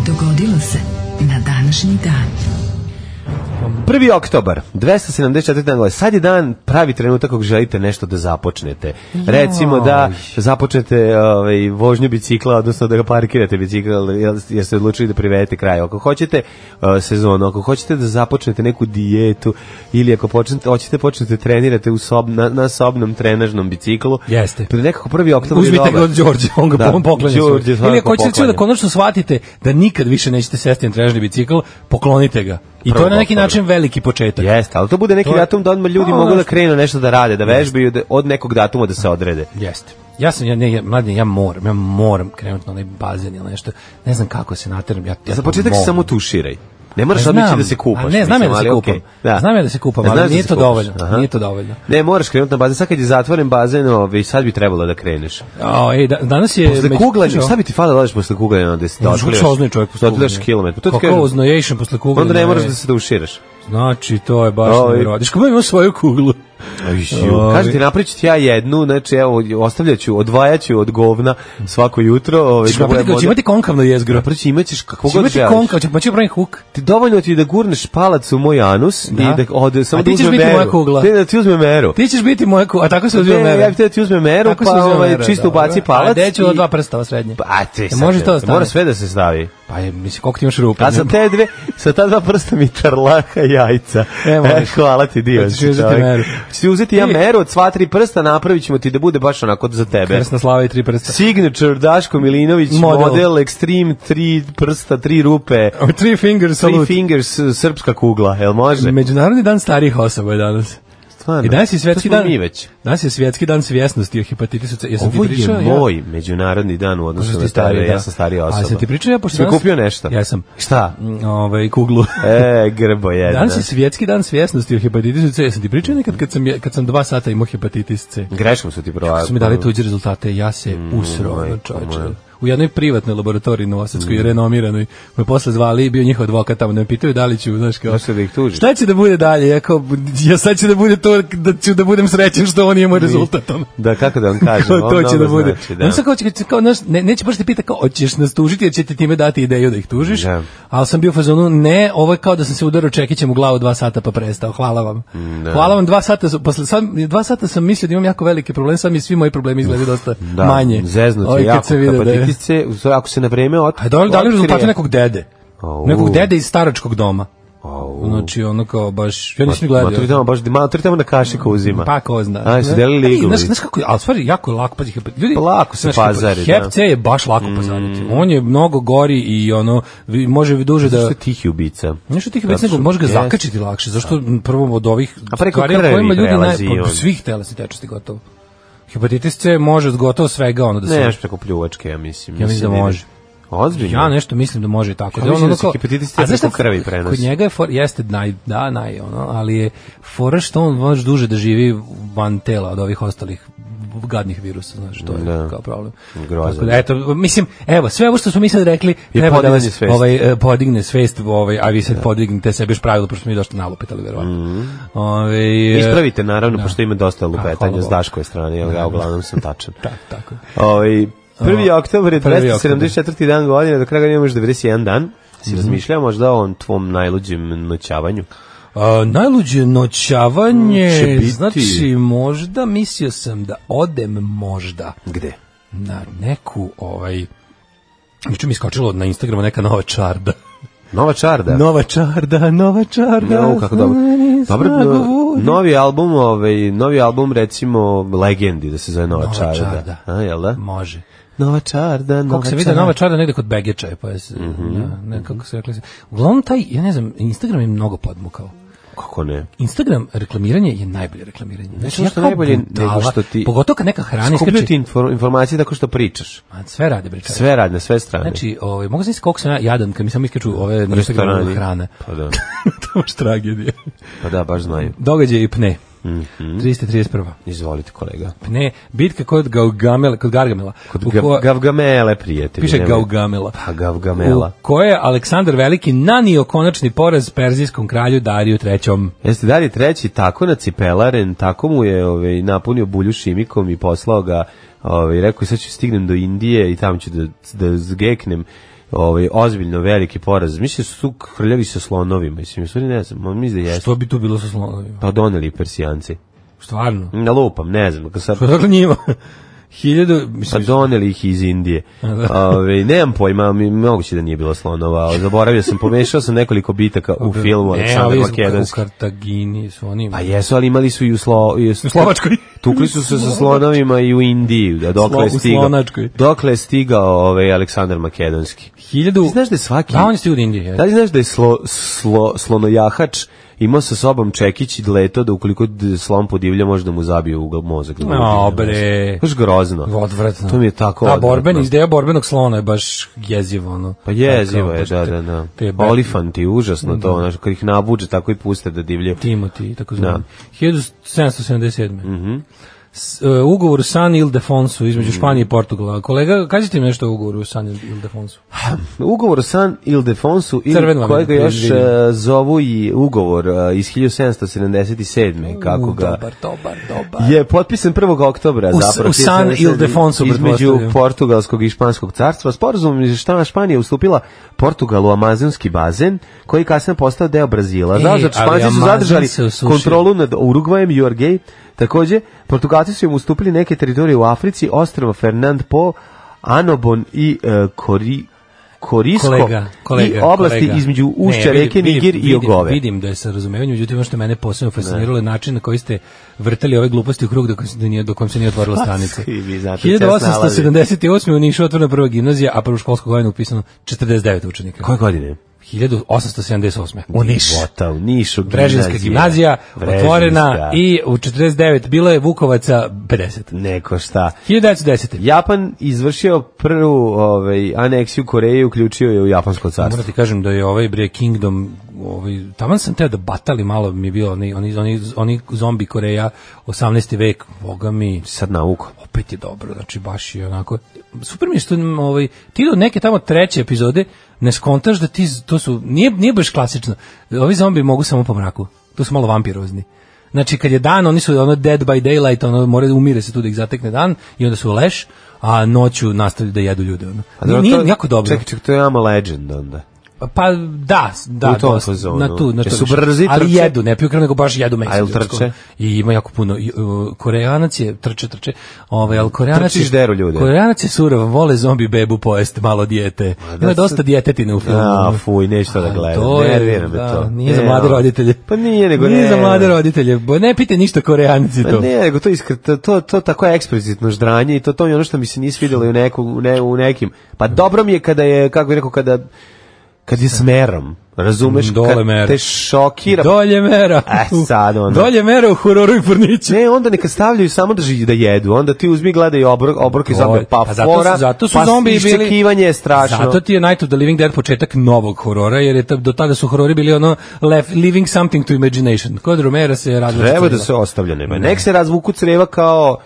Dogodilo se na današnji dan. 1. oktobar, 274. dan godine. Sad je dan, pravi trenutak ako želite nešto da započnete. Recimo da započnete ovaj, vožnju bicikla, odnosno da ga parkirate bicikl, jer, jer ste odlučili da privedete kraj. Ako hoćete eh, sezonu, ako hoćete da započnete neku dijetu ili ako počnete, hoćete počnete trenirate u sob, na, na sobnom trenažnom biciklu. Jeste. Pre nekako 1. oktobar je Uzmite dobar. ga od Đorđe, on ga Da, da, poklanja. Đorđe Đorđe, Ili svakako ako hoćete recimo da poklanja. konačno shvatite da nikad više nećete sesti na trežni bicikl, poklonite ga. I to je na Prvo neki poklon. način veliki početak. Jeste, ali to bude neki To je- datum da odmah ljudi Pa, mogu ono da što- krenu nešto da rade, da vežbaju da, od nekog datuma da se odrede. Jeste. Ja sam, ja, ne, ja, mladine, ja moram, ja moram krenuti na onaj bazen ili nešto. Ne znam kako se nateram. Ja, ja to Za početak se moram. samo tuširaj. Ne moraš Pa znam, odmići da se kupaš. a ne, znam ja da mislim, se ali kupam. okej, da. Znam ja da se kupam, A ali znaš da nije se to kupaš, dovoljno, aha. nije to dovoljno. Ne, moraš krenuti na bazen. Sad kad je zatvoren bazen, ovaj, sad bi trebalo da E, kreneš. A, ej, da, danas je... Posle kuglanja, šta bi ti falo da odeš posle kuglanja? Onda si Da, oznoj čovjek posle Pa Odlaš kuglanja. kilometar. Pa To ti Kako kažem. oznojation posle kuglanja? Onda ne moraš je- da Ovaj, se duširaš. Znači, to je baš Oj. nevjerojatno. Daško, imam svoju kuglu. Ovi. Kaži ti, napričit ću ja jednu, znači evo, ostavljaću, odvajaću od govna svako jutro. Ovaj, Ćeš napraviti Znači, kao- će imati konkavno jezgro. Napriči, imaćeš kako Će god imati želiš. konkav, će, pa će pravim huk. Ti dovoljno ti je da gurneš palac u moj anus da. i da ode samo A ti da ćeš uzme biti meru. moja kugla. Ne, da ti uzme meru. Ti ćeš biti moja kugla, a tako se uzio Ne, mene. ja bih te da ti uzme meru, Tako se pa uzima ovaj, mera, čisto dobro. ubaci palac. A gde ću i- od dva prsta ovo srednje? Pa, a ti E, sad, može to ne, ostaviti? Mora sve da se stavi. Pa je, mislim, koliko ti imaš rupa? A sa te dve, sa ta dva prsta mi tarlaka jajca. E, može. hvala ti, divan Hoćeš si uzeti čovjek. meru. svi uzeti ja meru od sva tri prsta, napravit ćemo ti da bude baš onako za tebe. Krsna slava i tri prsta. Signature Daško Milinović, Model. model, Extreme, tri prsta, tri rupe, Tri finger three salute. fingers, srpska kugla, jel može? Međunarodni dan starih osoba je danas. Stvarno. I danas je To svetski smo dan. Mi već. Danas je svjetski dan svjesnosti o hepatitisu C. Jesam ti Ovo pričao je ja? moj međunarodni dan u Možda odnosu ti na starije, stariji, da. ja sam starija osoba. A sam ti pričao ja pošto Jesi mi danas- kupio nešto? Ja sam. Šta? Mm, Ovaj, kuglu. E, grbo jedna. Danas je svjetski dan svjesnosti o hepatitisu C. Jesam ti pričao nekad kad sam, je- kad sam dva sata imao hepatitis C? Greškom su ti provali. Su mi dali tuđe rezultate, ja se usro, ono, čoveče. Mm, moja. Mm. U jednoj privatnoj laboratoriji Novosadskoj, renomiranoj, me posle zvali, bio njihov advokat tamo, da me pitaju da li ću, znaš kao... Zašto da ih tužiš? Šta će da bude dalje? Ja, kao, ja sad će da bude to, da ću da budem srećen što on je moj rezultat. ono. Da, kako da vam kažem, Kao, on to će mnogo da bude. znači, da. da. On sad kao, će, kao, znaš, ne, neće baš te pita kao, hoćeš nas tužiti jer će ti time dati ideju da ih tužiš, Da. ali sam bio u fazonu, ne, ovo je kao da sam se udarao čekićem u glavu dva sata pa prestao, hvala vam. Mm, Hvala vam, dva sata, su- posle, sad, dva sata sam mislio da imam jako velike probleme, sad mi svi moji problemi izgledaju dosta da, manje. Zeznut Ovaj, je kad jako se vide da je- hepatitis C, u stvari, ako se na vreme ot... A da li, da li otkrije- rezultate nekog dede? Au. Nekog dede iz staračkog doma. Au. Znači, ono kao baš, ja nisam ni Ma, to bi gledao. tamo baš, ma, to bi tamo na kašiku uzima. Pa ko zna. A, su delili E, iglovi. Znaš, znaš kako, je- ali stvari jako je lako, pazi, hepat- ljudi, Pa lako se znaš, hepat- pazari, Hep da. Mm. C je baš lako pazariti. On je mnogo gori i ono, vi- može vi duže da... Zašto je tihi ubica? Nešto tih Zato već nego što- može ga Jeste. zakačiti lakše. Zašto m, prvo od ovih A preko stvari na krvi kojima ljudi naj prelazi pa, on. svih telesnih tečnosti gotovo. Hepatitis C može od gotovo svega ono da se Ne, nešto preko pljuvačke, ja mislim. Ja mislim da ne- može. Ozbiljno? Ja nešto mislim da može i tako. Ja je mislim da ono se kao- hepatitis C A znaš šta, preko krvi prenosi. Kod njega je for, jeste naj, da, naj, ono, ali je fora što on može duže da živi van tela od ovih ostalih gadnih virusa, znaš, to je Da. kao problem. Grozno. Tako da, eto, mislim, evo, sve ovo što smo mi sad rekli, treba da podizanje vas svesti. ovaj, e, podigne svest, ovaj, a vi sad podignite sebi još pravilo, pošto smo mi došli nalupetali, verovatno. Mhm. Ovaj, e, Ispravite, naravno, pošto ima dosta hvala lupetanja Bogu. s Daškove strane, jer ja uglavnom sam tačan. Da, tako. je. Ovaj 1. oktobar je Prvi oktobar. 274. dan godine, do kraja godine imaš 91 dan. Mhm. Si razmišljao možda o on tvom najluđem noćavanju? A, najluđe Mm, Će noćavanje, biti. znači možda, mislio sam da odem možda Gde? na neku ovaj Juče mi je iskočilo na Instagramu neka nova čarda. Nova Čarda. Nova čarda, nova čarda. Jo, kako dobro. stvari Dobro, snagu no- vodi. novi album, ovaj, novi album recimo Legendi, da se zove Nova, Nova Čarda. Čarda. A, jel da? Može. Nova Čarda, Nova Kako se vidi nova čarda negde kod Begeča je, pa je, se- Mhm. ja, ne, kako se rekli. Uglavnom taj, ja ne znam, Instagram je mnogo podmukao. Kako ne? Instagram reklamiranje je najbolje reklamiranje. Znači, ono što kao najbolje nego budala, što ti- Pogotovo kad neka hrana Skupljaju ti iskače. infor- informacije tako što pričaš. Ma, sve rade, bre, čarda. Sve radne, sve strane. Znači, ovaj, mogu znaći koliko sam ja jadan kad mi samo iskaču ove na Instagramu Restorani. hrane. Pa da, to je baš tragedija. pa da, baš znaju. Događaj i pne. Mhm. 331. Izvolite kolega. Pne, bitka kod Gaugamela, kod Gargamela. Kod u gav, ko- Gavgamele, prijatelji. Piše nemoj- Gaugamela. Pa Gavgamela. U koje je Aleksandar Veliki nanio konačni poraz perzijskom kralju Dariju III. Jeste dalje treći tako na cipelaren, tako mu je ovaj, napunio bulju šimikom i poslao ga, ovaj, rekao je sad ću stignem do Indije i tamo ću da, da zgeknem ovaj, ozbiljno veliki poraz. Mislim da su tu hrljavi sa slonovima, mislim, u stvari ne znam, ali mislim da jesu. Što bi tu bilo sa slonovima? Pa doneli persijanci. Stvarno. Na lupam, ne znam, kad sad... Pa dakle njima. Hiljadu, Pa mislim, doneli ih iz Indije. Ove, nemam pojma, mi- moguće da nije bilo slonova, ali zaboravio sam, pomešao sam nekoliko bitaka u filmu ne, Pa, Aleksandar ali su u Makedonski. Kartagini su oni. Pa jesu, ali imali su i u, slo, i u slo- Slovačkoj. Tukli su se sa slonovima i u Indiji, da dokle je Slo- u stigao. Slonačkoj. Dokle je stigao ovaj Aleksandar Makedonski. Hiljadu... Ti znaš da je svaki... Da, on je stigao od Indije. je. Da li znaš da je slo, slo, slonojahač imao sa sobom čekić i leto da ukoliko d- slon podivlja može da mu zabije u mozak. Da mu A, ubije mozak. bre. Baš grozno. Odvratno. To mi je tako Da, odvratno. borben, ideja borbenog slona je baš jezivo, ono. Pa jezivo je, Tako, da, baš Mhm. te- da, da. Te Olifanti, užasno to, znaš, kad ih nabuđe, tako i puste da divljaju. Timothy, i tako zvani. Da. Mhm. 1777. S, e, ugovor u San Ildefonsu između Španije i Portugala. Kolega, kažite mi nešto o ugovoru u San Ildefonsu. Ugovor o San Ildefonsu, Crveno ili vam kojega je, još vidim. e, zovu i ugovor e, iz 1777. kako U, ga... Dobar, dobar, dobar. Je potpisan 1. oktobra U s- zapravo, u San 1777, Ildefonsu, između pretpostavljam. Portugalskog i Španskog carstva. Sporazum je šta Španija ustupila Portugalu Amazonski bazen, koji je kasnije postao deo Brazila. E, Zato ali Španci su Amazon zadržali se osušio. kontrolu nad Urugvajem i Jorgej. Takođe, Portugalci su im ustupili neke teritorije u Africi, ostrava Fernand Po, Anobon i e, Kori, Korisko kolega, kolega, i oblasti kolega. između ušća Ne, vidim, reke vidim, Niger i vidim, Ogove. Vidim da je sa razumevanjem, međutim ono što je mene posebno fasciniralo je način na koji ste vrtali ove gluposti u krug dok, se nije, dok vam se nije otvorila stanica. Pa, svi vi znate, cest 1878. u Nišu otvorena prva gimnazija, a prvu školsku godinu upisano 49 učenika. Koje godine? 1878. U Nišu. Života u Nišu. Brežinska gimnazija, Brežinska. otvorena i u 49 bilo je Vukovaca 50. Neko šta. 1910. Japan izvršio prvu ovaj, aneksiju Koreje i uključio je u Japansko carstvo. Moram ti kažem da je ovaj bre Kingdom ovaj taman sam teo da batali malo mi je bio oni oni oni, oni zombi Koreja 18. vek boga mi Sad nauku. opet je dobro znači baš je onako super mi je što mm, ovaj ti do neke tamo treće epizode ne skontaš da ti z- to su nije nije baš klasično ovi zombi mogu samo po mraku to su malo vampirozni Znači kad je dan, oni su ono dead by daylight, ono mora umire se tu da ih zatekne dan i onda su leš, a noću nastavljaju da jedu ljude. Ono. A Nije, dobro, nije to- jako dobro. Čekaj, čekaj, to je ama legend onda. Pa da, da, U tom dosta, fazonu. na tu, na to. Jesu više. brzi, ali trče? jedu, ne piju krv, nego baš jedu A jel meksičko. trče? I ima jako puno i, uh, Koreanac je trče, trče. Ovaj al Koreanac Trčiš je- deru ljude. Koreanac je surov, vole zombi bebu pojesti malo dijete. Ima da dosta se- dijetetine u filmu. A, fuj, neću to da A, gledam. to je, Nervira me da, to. Nije za Ne, mlade ono. roditelje. Pa nije, nego Nije ne, za mlade ono. roditelje. Bo ne pite ništa Koreanci Pa to. ne, nego to iskr, to, to, to tako je eksplicitno ždranje i to to je ono što mi se nije svidjelo i u, neku, u ne, u nekim. Pa dobro mi je kada je, kako bih rekao, kada, kad je s merom, razumeš? Mm, dole Kad mer. Te šokira. Dolje mera. E, sad ono. Dolje mera u hororu i furniću. Ne, onda neka stavljaju samo da ži- da jedu. Onda ti uzmi gledaj obrok, obrok iz zombi, pa zato su- fora, zato su pa zombi bili iščekivanje je strašno. Zato ti je Night of the Living Dead početak novog horora, jer je ta- do tada su horori bili ono left, living something to imagination. Kod Romera se razvlači. Treba da crila. se ostavlja nema. Nek se razvuku creva kao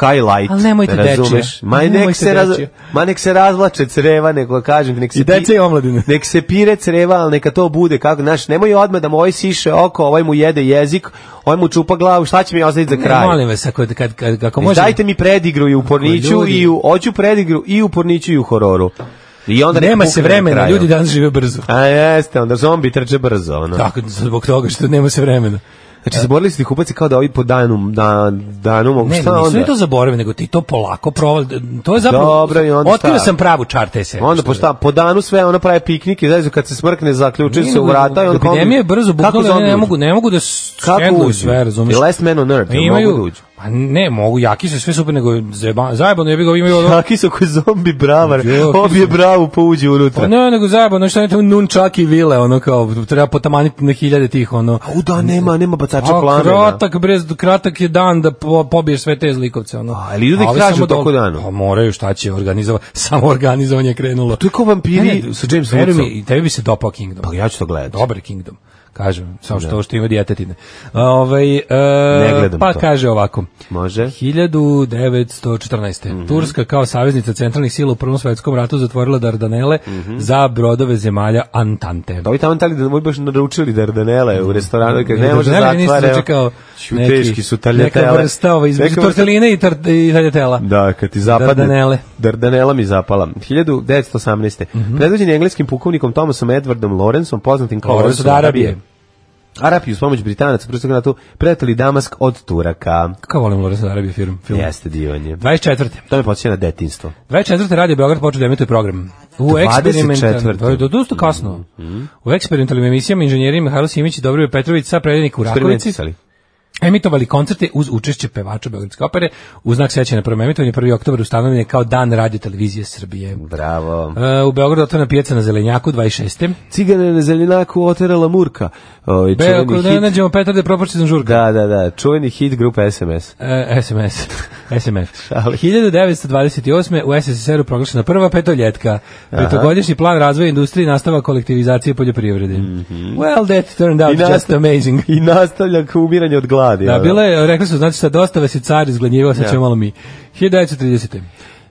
highlight. Ali nemojte razumeš? dečije. Ma Nemojte nek, se raz, dečije. ma nek se razvlače creva, neko kažem, nek se I dece i omladine. Nek se pire creva, ali neka to bude kako, znaš, nemoj odmah da mu ovaj siše oko, ovaj mu jede jezik, ovaj mu čupa glavu, šta će mi ostaviti za kraj? Molim vas, ako, kad, kad, ako Može... Pa može... Dajte mi predigru i u porniću ljudi- i u oću predigru i u porniću i u hororu. I onda neka Nema pukne se na vremena, kraju. ljudi danas žive brzo. A jeste, onda zombi trče brzo, ono. Tako, zbog toga što nema se vremena. Znači, zaborili ste kupaci kao da ovi po danu, da, danu mogu, Ne, šta ne, nisu onda? ni to zaboravili, nego ti to polako provali. To je zapravo... Dobro, i onda Otkrio šta? sam pravu čar te serije. Onda što po je. šta, po danu sve ona pravi piknike, znači kad se smrkne zaključuju Nije, se u nego vrata i on epidemija je brzo bukvalno zombi ne, uđu? mogu ne mogu da Kako skenduju uđu? sve, razumeš? I Last Man on Earth, jel imaju, mogu da uđu? Pa ne, mogu, jaki su sve super, nego zajeba- zajebano je bi ga imaju ono, Taki su koji zombi bravar, Jo, kako obje bravu pa uđe Pa unutra. ne, nego zajebano, što je tamo nunčaki vile, ono kao, treba potamaniti na hiljade tih, ono. U da, nema, nema bacača A plamena. kratak, brez, kratak je dan da po, pobiješ sve te zlikovce, ono. A, ali ljudi A ovi kažu samo u toku dol- dana. Pa moraju, šta će organizovati, samo organizovanje je krenulo. To je kao vampiri sa James veruj mi, Woodsom. i tebi bi se dopao Kingdom. Pa ja ću to gledati. Dobar Kingdom, kažem, samo što, što ima dijetetine. Ovaj, e, Ne gledam pa to. kaže ovako. Može. 1914. Mhm. Turska kao saveznica centralnih sila u Prvom svetskom ratu zatvorila Dardanele Mhm. za brodove zemalja Antante. Da ovi tamo tali da moji baš naručili dardanele u restoranu, kad ne može Dardanele nisu zatvara. evo. zvuče kao Ću, neki- Teški su taljatele. Neka vrsta ovaj, između Neka vrsta- torteline i, tar, i taljatela. Da, kad ti zapadne. Dardanele. Mhm. Dardanela mi zapala. 1918. Predvođen je engleskim pukovnikom Thomasom Edwardom Lawrenceom, poznatim kao Lawrence od Arabije. Arapi uz pomoć Britanaca u Prvom ratu pretali Damask od Turaka. Kako volim Lorenzo Darabije film? film. Jeste divan je. 24. To me podsjeća na detinstvo. 24. Radio Beograd počeo da emituje program. U 24.. eksperimentalnim, do dosta kasno. Mhm. U eksperimentalnim emisijama inženjeri Mihajlo Simić i Dobroje Petrović sa predjednik u Rakovici Eksperimentisali. emitovali koncerte uz učešće pevača Beogradske opere u znak sećanja na prvom emitovanju 1. oktober ustanovljen je kao dan radio televizije Srbije. Bravo. E, u Beogradu otvorena pijaca na Zelenjaku 26. Cigane na zeljenaku oterala Murka. O, i Be, čuveni ako ne hit- nađemo Petar da je proporčen žurka. Da, da, da. Čuveni hit grupe SMS. E, SMS. SMF. 1928. u SSSR-u proglašena prva petoljetka. Petogodišnji plan razvoja industrije i nastava kolektivizacije poljoprivrede. Well, that turned out I nasta- just amazing. I nastavlja ka umiranje od gladi. Da, ono. bilo je, rekli su, znači sad dosta vas je car izgladnjivao, sad ćemo malo mi. 1930.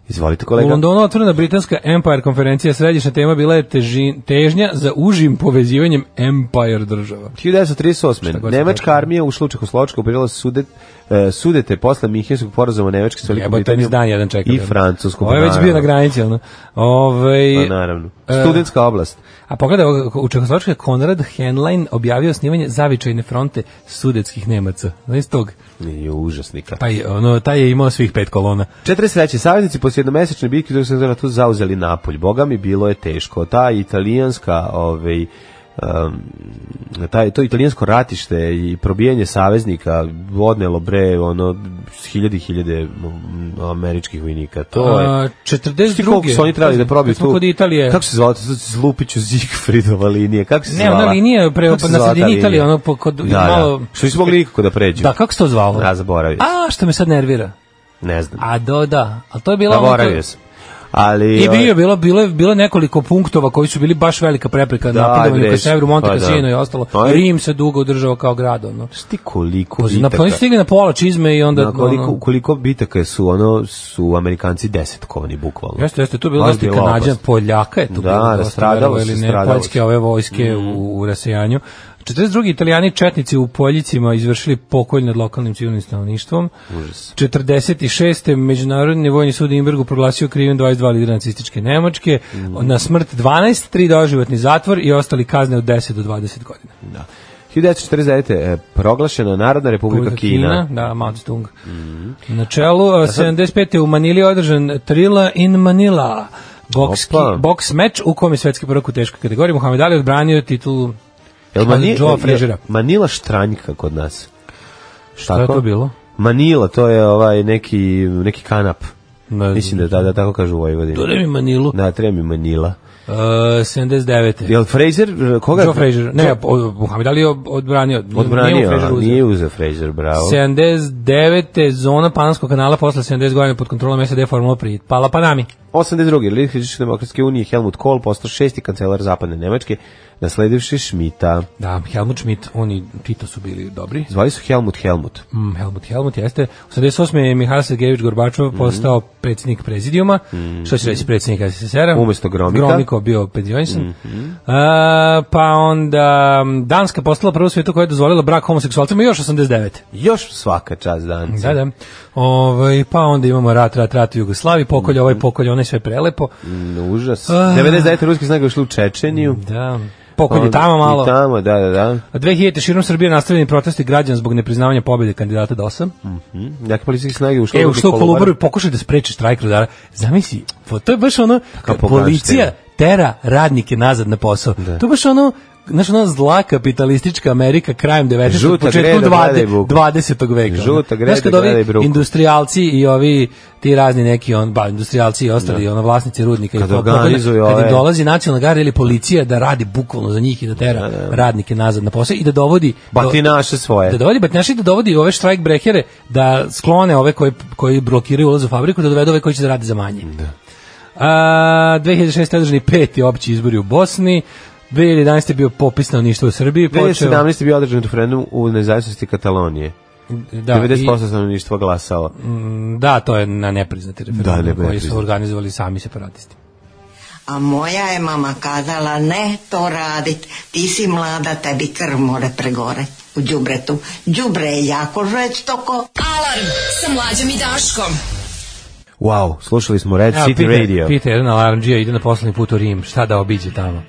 Izvolite U kolega. Londonu otvorena britanska Empire konferencija, središnja tema bila je teži- težnja za užim povezivanjem Empire država. 1938. god Nemačka se armija ušla u Čehoslovačku, obrila sudet, e, sudete posle Minhenskog porazuma Nemačke s Velikom Jebo, to mi Britanijom dan jedan čekam. i Francuskom. Ovo je već naravno. bio na granici, ono. Ovaj, Pa, naravno. E, Studentska oblast. A pogledaj, ovoga, u Čehoslovačkoj je Konrad Henlein objavio snimanje zavičajne fronte sudetskih Nemaca. Znaš tog? Je užasnika. Pa je, ono, taj je imao svih pet kolona. 43. Saveznici po Posle jednomesečne bitke dok sam tu zauzeli Napolj. Boga mi bilo je teško. Ta italijanska, ovaj um, taj, to italijansko ratište i probijanje saveznika odnelo bre ono hiljade i hiljade mm, američkih vojnika. To je A, Znaš ti koliko 42. su oni trebali da probiju Kad smo tu? Kod Italije. Kako se zvala? To se Zlupiću Zigfridova linija. Kako se Ne, zvala? ona linija pre- Kako se pa na zvala ta sredini linija? Italije, ono, po- kod- da, da. malo- Što nisu mogli nikako da pređu. Da, kako se to zvalo? Ja zaboravio. sam. A, što me sad nervira. Ne znam. A do, da. A to je bilo... ono Zaboravio to- sam. Ali, I ovaj, bio, bilo, bilo, je- bilo je nekoliko punktova koji su bili baš velika prepreka Da, da, napredovanju bre, ka severu, Monte pa da. Cassino i ostalo. Pa i- Rim se dugo održao kao grad, ono. znaš ti koliko Na, pa bitaka- oni su stigli na pola čizme i onda... na koliko, ono, koliko bitaka su, ono, su Amerikanci desetkovani, bukvalno. Jeste, jeste, tu je bilo Baš dosta i bilo Kanadjan, opasno. Poljaka je tu Da, bilo dosta, rastradalo verovali se, ili ne, stradalo poljske se. Mm. ove vojske u, u rasejanju. 42. italijani četnici u Poljicima izvršili pokolj nad lokalnim civilnim stanovništvom. Užas. 46. Međunarodni vojni sud u Imbergu proglasio krivim 22 lidera nacističke Nemačke. Mm. Na smrt 12, 3 doživotni zatvor i ostali kazne od 10 do 20 godina. Da. 1949. je e, proglašena Narodna republika Kina. Da, Mao Zedong. Na čelu, a, 75. u Manili je održan Trila in Manila. Bokski, Opa. boks meč u kom je svetski prvak u teškoj kategoriji. Muhammed Ali odbranio titulu Jel od Mani- Joe jel- Frežera. Manila štranjka kod nas. Šta je Tako? to bilo? Manila, to je ovaj neki, neki kanap. Ne Mislim da, da, da tako kažu u Vojvodini. Dure mi Manilu. Da, treba mi Manila. E, 79. Jel Fraser, koga? Joe Frazier. Ne, o- Muhammed Ali je ob- odbranio. Nije mu Odbranio, Frazier a, uzeo. nije uzeo Fraser, bravo. 79. zona Panamskog kanala posle 70 godina pod kontrolom SAD Formula pri Pala Panami. 82. Lidl Hrvatske demokratske unije Helmut Kohl postao šesti kancelar zapadne Nemačke, nasledivši Šmita. Da, Helmut Schmidt, oni Tito su bili dobri. Zvali su Helmut Helmut. Mm, Helmut Helmut jeste. U 78. je Mihajl Sergejević Gorbačov Mhm. postao predsjednik prezidijuma, što će reći predsjednik SSR-a. Umesto Gromika. Mhm. Gromiko bio penzionisan. A, pa onda m, Danska postala prvo svijetu koja je dozvolila brak homoseksualcima još 89. Još svaka čast danci. Da, da. Ovaj, pa onda imamo rat, rat, rat u Jugoslaviji, pokolj, Mhm. ovaj pokolj, onaj sve prelepo. Mm, Užas. 99. ruske snage ušli u Čečeniju. Ono, Da. Pokolj Ah. je tamo malo. Pa I tamo, da, da, da. A 2000. širom Srbije nastavljeni protesti građana zbog nepriznavanja pobjede kandidata DOS-a. Mm. Jake policijske snage ušli E, u što u Kolubaru i pokušaj da spreči štrajk rudara. Zamisli, po- to je baš ono, kad pogažete. policija tera radnike nazad na posao. To je baš ono, znaš, ona zla kapitalistička Amerika krajem 19. Žuta početkom greda, gledaj 20. buku. 20. veka. ono. Žuta greda, Znaš, kad ovi gledaj bruku. industrijalci i ovi ti razni neki on ba industrijalci i ostali ono vlasnici rudnika Kad i po- pogleda- organizuju kad im ove- dolazi nacionalna garda ili policija da radi bukvalno za njih i da tera radnike nazad na posao i da dovodi do- Batinaše Pa svoje. da dovodi batnjaši da dovodi ove strike breakere da sklone ove koji, koji blokiraju ulaz u fabriku da dovedu ove koji će da rade za manje. Da. A, 2006. održani peti opći izbori u Bosni, 2011. je bio popis na u Srbiji, počeo... 2017. je bio održan referendum u nezavisnosti Katalonije. Da, Da, 90% i- stanovništva glasalo. da, to je na nepriznati Da, referendum nepriznati. koji su organizovali sami separatisti. A moja je mama kazala ne to radit, ti si mlada, tebi krv more pregore u đubretu. Đubre je jako žestoko. Alarm sa mlađom i Daškom. Wow, slušali smo Red City Peter, Radio. Peter, jedan alarmđija ide na poslednji put u Rim, šta da obiđe tamo?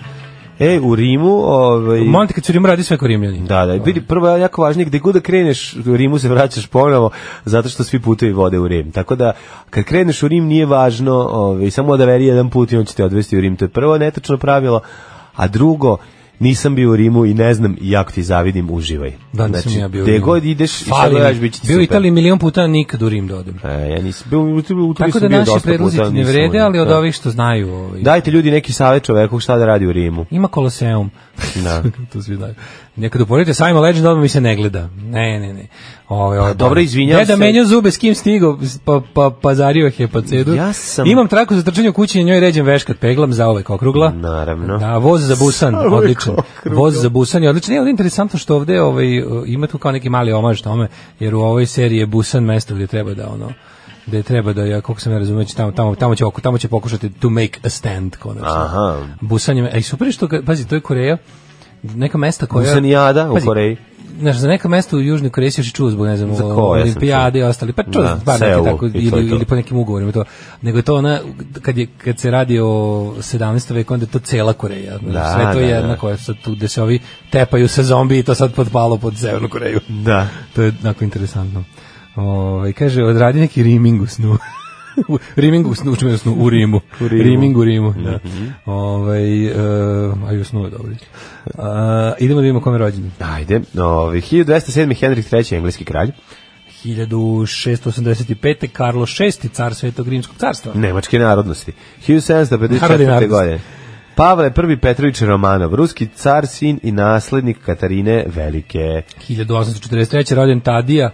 E, u Rimu, ovaj... Monte kad su u Rimu radi sve ko Rimljani. Da, da, vidi, prvo je jako važnije, gde god da kreneš, u Rimu se vraćaš ponovo, zato što svi putevi vode u Rim. Tako da, kad kreneš u Rim nije važno, ovaj, samo da veri jedan put i on će te odvesti u Rim. To je prvo netačno pravilo, a drugo, nisam bio u Rimu i ne znam, i jako ti zavidim, uživaj. Da, nisam ja bio. u znači, Gde Rimu. god ideš, i šta Fali mi. gledaš, bit će ti Bio u super. Italiji milion puta, a nikad u Rim da odem. E, ja nisam bio, u Italiji Tako da sam bio naši dosta predlozi puta, ti ne nisam vrede, u- ali od da. ovih što znaju. Ovaj. Dajte ljudi neki savjet čoveku šta da radi u Rimu. Ima Koloseum. Da. to svi znaju. Nekad uporedite sajma Legend, odmah mi se ne gleda. Ne, ne, ne. Ove, ove, dobro, izvinjavam Deda se. menjao zube, s kim stigo, pa, pa, pazario hepacedu. Ja sam- Imam traku za trčanje u kući i njoj ređem veš kad peglam za ove okrugla. Naravno. Da, voz za busan, Za uvek odličan. okrugla. Voz za busan je odličan. Je ali je interesantno što ovde ovaj, ima tu kao neki mali omaž tome, jer u ovoj seriji je busan mesto gde treba da ono da treba da ja koliko sam ja razumeo će tamo tamo tamo će oko tamo će pokušati to make a stand konačno. Aha. Busanjem, ej super je što ga- pazi to je Koreja. Neka mesta koja Busanijada u Pazi, Koreji. Znaš, za neka mesta u Južnoj Koreji se još i čuo zbog, ne znam, Za koje o- sam olimpijade i čuo? ostali, pa čuo Da, da, bar neki Seul tako, i to i ili, to. ili po nekim ugovorima i to. Nego je to ona, kad, je, kad se radi o 17. veku, onda je to cela Koreja. Znaš, Da, sve to je da, jedna da. koja sad tu, gde se ovi tepaju sa zombi i to sad podpalo pod Severnu Koreju. Da. Ovaj, To je jednako interesantno. Ove, kaže, odradi neki riming u snu. u Rimingu, snu- učme u snu, u Rimu. U Rimu. Mhm. Riming u Rimu, da. Ovaj, uh, a i u snu je dobro. Uh, idemo da vidimo kome je rođen. Ajde, ovi, 1207. Henrik III. engleski kralj, 1685. Karlo VI, car Svetog Rimskog carstva. nemačke narodnosti, Narodni 1754. narodnost. godine. Pavle I. Petrović Romanov, ruski car, sin i naslednik Katarine Velike. 1843. rođen Tadija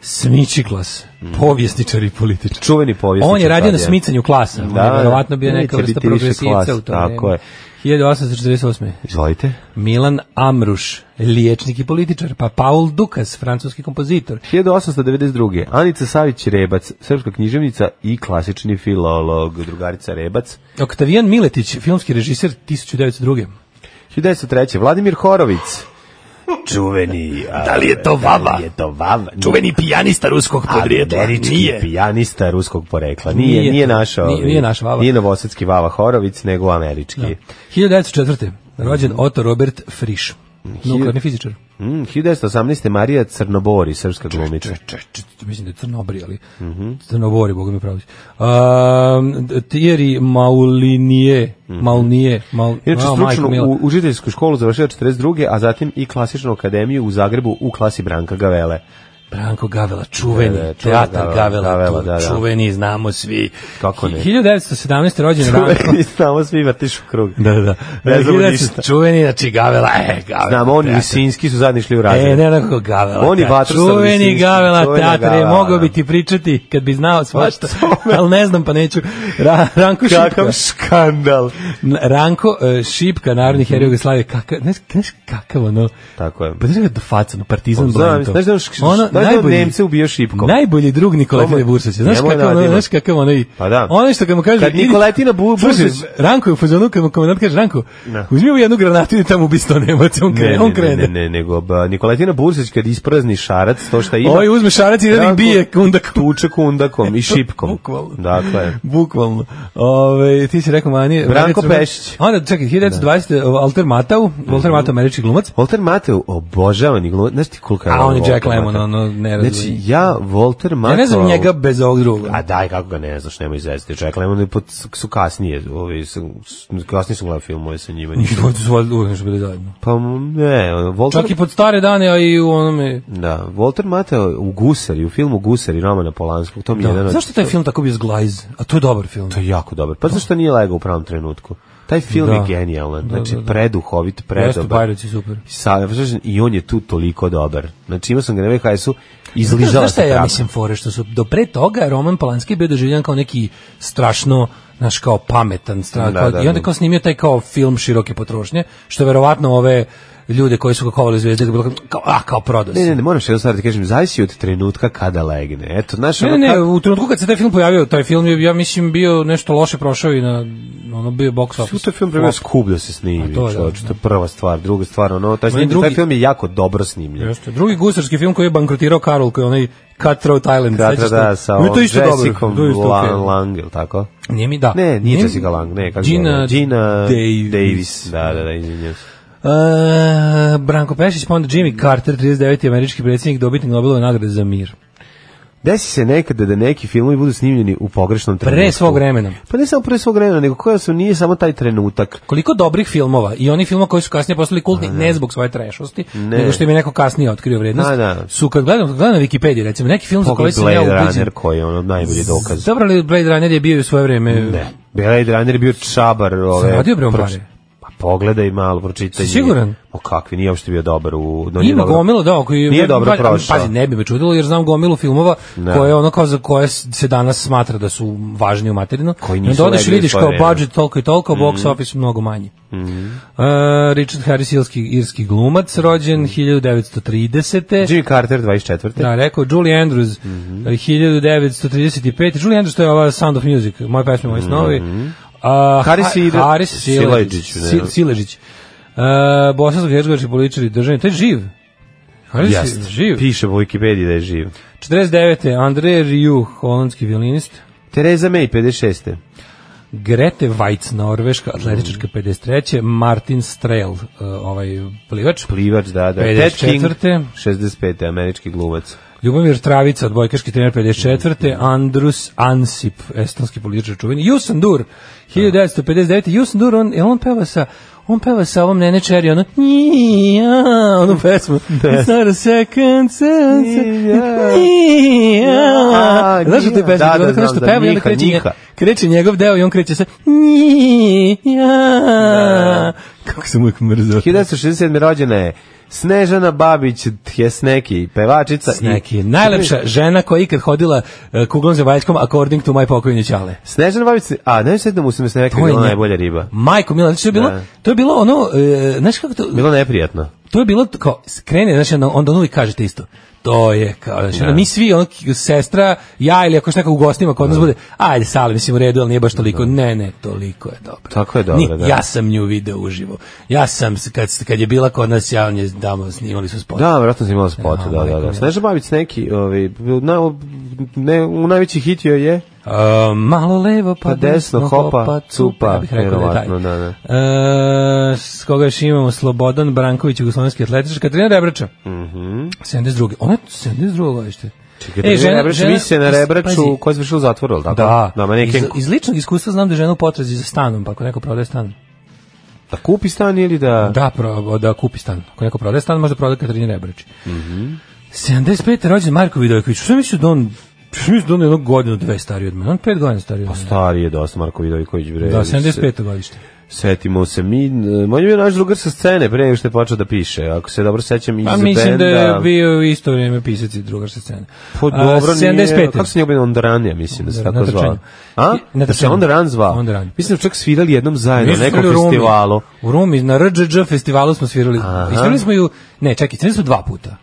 Smičiklas, povjesničar i političar. Čuveni povijest. On je radio na smicanju klasa, da, on je verovatno bio neka vrsta progresivca u to Tako je. vreme. 1848. Izvolite. Milan Amruš, liječnik i političar, pa Paul Dukas, francuski kompozitor. 1892. Anica Savić Rebac, srpska književnica i klasični filolog, drugarica Rebac. Oktavijan Miletić, filmski režiser 1902. 1903. Vladimir Horovic. Čuveni. Da li je to vava? Da li je to vava? Čuveni pijanista ruskog američki pijanista ruskog porekla. Nije, nije, Pa, Nije to. naša, Nije- nije naš Vava. Nije novosadski Vava Horovic, nego američki. 1904. rođen Mhm. Otto Robert Frisch, nuklearni fizičar. Mm, 1918. Marija Crnobori, srpska glumica. Če, če, če, mislim da je Crnobri, ali Mhm. Crnobori, boga mi pravi. Um, Thierry Maulinije, Maulinije, Maul, Mhm. Inače, a, majko stručno mila. u učiteljsku školu završila 42. a zatim i klasičnu akademiju u Zagrebu u klasi Branka Gavele. Branko Gavela, čuveni, Da, da, čuveni teatar Gavela, Gavela, Gavela, tu, da, da. čuveni, znamo svi. Kako ne? 1917. rođen Branko. Čuveni, samo svi vrtiš u krug. Da, da, da. Ne znamo 1900 ništa. Čuveni, znači Gavela, e, Gavela. Znam, on i teatar. Sinski su zadnji šli u razred. E, ne onako Gavela. Oni teatar. Vatroslav Čuveni Lisinski, Gavela čuvena teatar je Gavela, mogao da. bi ti pričati kad bi znao svašta, ali ne znam pa neću. Ra, Ranko Šipka. Kakav skandal. N- Ranko e, Šipka, narodni heroj Jugoslavije, kakav, znaš, znaš kakav ono, Tako je. pa znaš kada faca, no, partizan Znam, Blanto. znaš da on š- znaš da on Nemce ubio šipkom. Najbolji drug Nikoletine Tome- Bursać, znaš Nemoj kakav, ono, nadimak. znaš kakav ono i, Pa da. ono što kad mu kaže, Kad idi- Nikolatina Bu- Slušaj, Bursać- Ranko je u fazonu, kad mu komandant kaže, Ranko, uzmi ovu jednu granatu i tamo ubi sto Nemaca, on krene, Ne, on ne, ne, krene. ne, ne, nego ba, Nikolatina Bursić kad isprazni šarac, to šta ima, Ovaj uzme šarac i da ih Ranko- bije kunda tuče kundakom i šipkom. E, Bukvalno. Dakle, Bukvalno. Ove, ti si rekao manje... Branko Manje- Pešić. Mhm. Onda, čekaj, 1920. Alter Matau, Walter Matau, američki glumac. Walter Mateu obožava ni glumac, znaš ti kolika je A on je Walter Jack Lemmon, Matthau? ono, ne Znači, razumije. ja Walter Mateu... Ja ne znam njega bez ovog druga. A daj, kako ga ne znaš, nemoj izvesti. Jack Lemmon je pod, su kasnije, ovi, su, kasnije su gledali filmove sa njima. Njih dvojica su valjda uvijek nešto bili zajedno. Pa ne, ono, Walter... Čak i pod stare dane, a i u onome... Da, Walter Mateo u Gusari, u filmu Gusari Romana Polanskog, to mi je jedan Da. od... Zašto taj film tako bio zglajz? A to je dobar film. To je jako dobar. Pa zašto nije legao u pravom trenutku? Taj film Da. je genijalan, znači da, da. preduhovit, Jeste, pa- predobar. Pirates je super. Sa, I on je tu toliko dobar. Znači imao sam ga na VHS-u, izližala Znaš šta se je, ja trava. mislim fore što su do pre toga Roman Polanski je bio doživljen kao neki strašno naš kao pametan strah Da, kao, da, i onda da. kao snimio taj kao film široke potrošnje što je verovatno ove ljude koji su ga kovali zvezde bilo kao, kao a kao prodos. Ne, ne, ne, moram što jednu stvar da ti kažem, zavisi od trenutka kada legne. Eto, znaš, Ne, ono ne, ne, kako- u trenutku kad se taj film pojavio, taj film je, ja mislim, bio nešto loše prošao i na, ono, bio je box Svi u office. taj film prema skup da se A snimi, to je, da, čovječ, da. to je prva stvar, druga stvar, ono, taj, Ima i snim, taj drugi- film je jako dobro snimljen. Jeste. Drugi gusarski film koji je bankrotirao Karol, koji je onaj Cutthroat Island. Da, da, sećaš da, se? sa Bio je ovom to isto dobro, Jessicom to je isto Lang- okej. Lang, ili tako? Nije mi, da. Ne, nije mi- Jessica Lang, ne, kako se Gina, zove? Gina Davis. Da, da, da, izvinjam se. E, Branko Pešić, pa onda Jimmy Carter, 39. američki predsjednik, dobitnik Nobelove nagrade za mir. Desi se nekada da neki filmovi budu snimljeni u pogrešnom trenutku. Pre svog vremena. Pa ne samo pre svog vremena, nego koja su nije samo taj trenutak. Koliko dobrih filmova i oni filmova koji su kasnije postali kultni, ne zbog svoje trešosti, Ne. nego što im je neko kasnije otkrio vrednost, Da, da. su kad gledam, kad gledam na Wikipediji, recimo, neki film za koji Pogled sam ja Blade ubeđen. Runner koji je ono najbolji dokaz. Dobro li Blade Runner je bio i u svoje vreme? Ne. Blade Runner je bio čabar. Ove, radio bre on proč- pare? Pa pogledaj malo, pročitaj. Si siguran? O kakvi, nije uopšte bio dobar u... No, nije Ima dobro- gomilu, da, koji Nije dobro ali, prošao. Pazi, ne bi me čudilo jer znam gomilu filmova koje ono kao za koje se danas smatra da su važni u materinu. Koji I nisu onda odeš i legli Mhm. vidiš svoje kao vreme. budžet toliko i toliko, box office mnogo manji. Mhm. E, Richard Harris, ilski, irski glumac, rođen Mhm. 1930. Jimmy Carter, 24. Da, rekao Julie Andrews, Mhm. eh, 1935. Julie Andrews to je ova Sound of Music, moje pesme, moji snovi. A, Mhm. Haris Ha- Ide- Haris Silajdžić, Silajdžić. ne. Si- Silajdžić. E, Bosansko-hercegovački političar i državni, to je živ. Haris je Jeste. živ. Piše u Wikipediji da je živ. 49. André Rieu, holandski violinist. Tereza May, 56. Grete Weitz, norveška, Mhm. atletička 53. Martin Strel, uh, ovaj plivač. Plivač, da, da. Ted King, 54. 65. američki glumac. Ljubomir Travica, odbojkaški trener 54. Andrus Ansip, estonski političar čuveni. Jusan Dur, 1959. Jusan Dur, on, jel on peva sa on peva sa ovom Nene Cherry, ono nija, onu pesmu. It's not a second sense. Nija. Znaš što te pesmu? Da, da, Ono znam, nešto da, peva i onda Njiha, kreće, nje- Njiha. kreće njegov deo i on kreće sa nija. Kako sam uvijek mrzao. 1967. rođena je Snežana Babić, Tjesneki, pevačica. i- Sneki. Najlepša žena koja je ikad hodila e, kuglom zemaljskom according to my pokojni ćale. Snežana Babić, a ne znam da mu se mi Sneki To je bila nje- najbolja riba. Majko Mila, znači to je bilo, Da. to je bilo ono, e, znaš kako to, Bilo neprijatno. to je bilo t- kao, skrene, znači onda, onda on uvijek kažete isto, to je kao, znači, ono, mi svi, ono, k- sestra, ja ili ako što neka u gostima kod nas bude, ajde, sale, mislim, u redu, ali nije baš toliko, ne, ne, toliko je dobro. Tako je dobro, Ni- da. Ja sam nju video uživo. Ja sam, s- kad, kad je bila kod nas, ja on je, damo, snimali su spot. Da, vjerojatno sam imala spot, Ja, da, da, majko da. mila. Snežana Babić Sneki, ovaj, na, ne, u najveći hit joj je E, malo levo, pa, Pa desno, hopa, cupa, ja bih rekao da je taj. verovatno, da, da. E, s koga još imamo? Slobodan Branković, jugoslovenski atletičar, Katarina Rebrača. Mm 72. Ona je 72. godište. Mhm. Čekaj, e, žena, Rebrač, misija na pazi, Rebraču, koja je završila u zatvoru, ali tako? Da, Da, ma neken, iz, iz ličnog iskustva znam da je žena u potrazi za stanom, pa ako neko prodaje stan. da kupi stan ili da... Da, pro, da kupi stan. Ako neko prodaje stan, može prodaje Katarini Rebrač. Mm Mhm. 75. rođen Marko Vidojković. Što misliš da on, što misliš da on je jednog godinu, dve stariji od mene? On pet godina Pa stariji od mene. Stari je dosta Marko Vidojković, bre. Da, 75. godište. Setimo se mi, on je bio naš drugar sa scene pre nego što je počeo da piše, ako se dobro sećam iz Pa benda. mislim da je bio u isto vrijeme pisac i drugar sa scene. Po A, dobro nije, 75. Kako se njegov bio Ondaranija, mislim da se Da, tako na zvao. trčanju. A? I- na Da se trčanju. Ondaran zvao. Ondaran. Mislim da su čak svirali jednom zajedno Mi na smo nekom svirali u Rumi. festivalu. U Rumi, na Rđđ festivalu smo svirali. Aha. I svirali smo ju, ne, čekaj, svirali smo dva puta.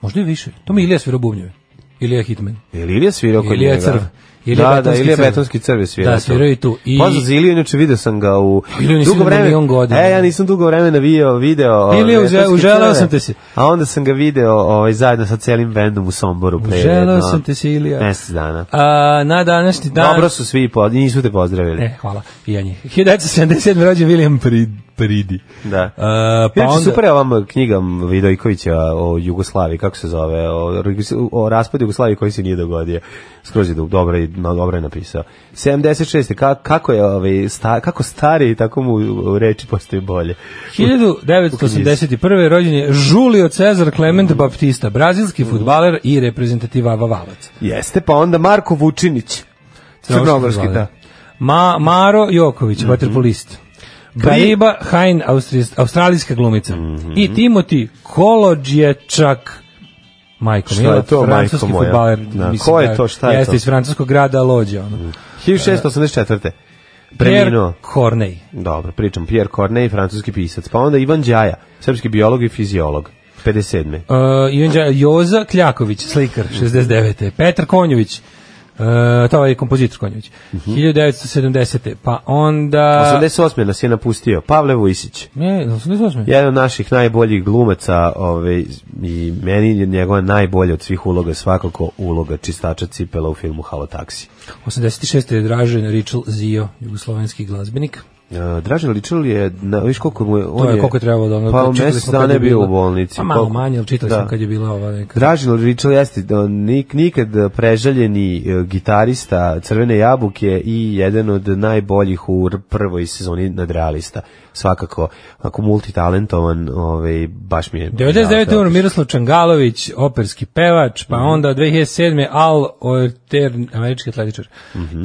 Možda i više. To mi je Ilija svirao bubnjeve. Ilija Hitman. Ili Ilija svirao kod Ilija njega. je crv. Ilija Da, je da, betonski Ilija crv. Betonski crv je svirao. Da, svirao je tu. I... I- Pa Pozdrav za Iliju, inače video sam ga u... Iliju nisam dugo vidio vreme- milion godina. E, ja nisam dugo vremena video, video Ilija, ove, uže- Betonski uželeo crve. sam te se. A onda sam ga video ovaj, zajedno sa celim bendom u Somboru. pre Uželeo jedno sam te se, Ilija. Mesec dana. A, na današnji dan... Dobro su svi, pod, nisu te pozdravili. E, hvala. I ja njih. 1977. rođen William Prid, Pridi. Da. A, Pa pa onda... super je ovam knjigam Vidojkovića o Jugoslaviji, kako se zove, o, o raspadu Jugoslavije koji se nije dogodio. Skroz je do- dobro, i- no, dobro je napisao. 76. Ka, kako je ovaj, sta, kako stari, tako mu u reči postoji bolje. 1981. rođen je Julio Cezar Clement Mm. Baptista, brazilski futbaler i reprezentativa Vavalac. Jeste, pa onda Marko Vučinić. Crnogorski, da. Ma, Maro Joković, Mm-hmm. vaterpolist. Kariba Hain, austrijs- australijska glumica. Mm-hmm. I Timothy Kolodječak, majko Šta mila, je to, francuski majko moja? futbaler. Da, ko je to, šta je jeste to? iz francuskog grada Lođa. Ono. 1684. Preminuo. Pierre Corneille. Dobro, pričam Pierre Corneille, francuski pisac. Pa onda Ivan Đaja, srpski biolog i fiziolog. 57. Uh, Ivan Đa- Joza Kljaković, slikar, 69. Petar Konjović, uh, to je kompozitor Konjović, Mhm. 1970. Pa onda... 88. nas je napustio Pavle Vujsić. Ne, 88. jedan od naših najboljih glumaca ovaj, i meni je njegova najbolja od svih uloga svakako uloga čistača cipela u filmu Halo taksi. 86. je Dražen Ričel Zio, jugoslovenski glazbenik. E, Dražen Ličil je, na, viš koliko mu je... On To je koliko je trebalo da ono... Pa u čitali mesec smo kad dana je bio bila- u bolnici. Pa malo Koliko- manje, ali čitali Da. sam kad je bila ova neka... Dražen Ličil jeste da, nik, nikad prežaljeni e, gitarista Crvene jabuke i jedan od najboljih u r- prvoj sezoni nadrealista. Svakako, ako multitalentovan, ovaj, baš mi je... 99. umro Miroslav Čangalović, operski pevač, Mhm. pa onda 2007. Al Ortern, američki atletičar.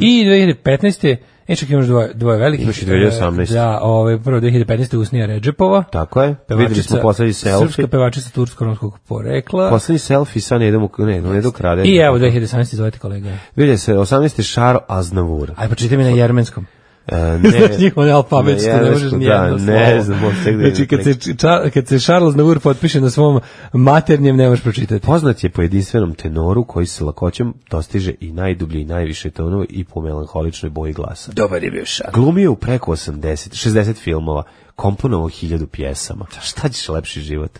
I 2015. E, čak imaš dvoje, dvoje velikih. Mhm. e, Imaš i 2018.. Da, ove, prvo 2015. Usnija Ređepova. Tako je, videli smo poslednji selfie. Srpska pevačica tursko-romskog porekla. Poslednji selfie sa Nedom, ne, Nedom Kraden. I evo 2017. izvolite kolega. Vidje se, 18. Šaro Aznavur. Aj, pročitaj mi na jermenskom. E, Znaš njihov alfabet, što ne možeš da, ni jedno slovo. Ne znam, možda tek da Znači, kad se, ča, kad se Charles Navour potpiše na svom maternjem, ne možeš pročitati. Poznat je po jedinstvenom tenoru koji se lakoćem dostiže i najdublji i najviše tonova i po melanholičnoj boji glasa. Dobar je bio Charles. Glumio u preko 80, 60 filmova, komponovao 1000 pjesama. Šta ćeš lepši život?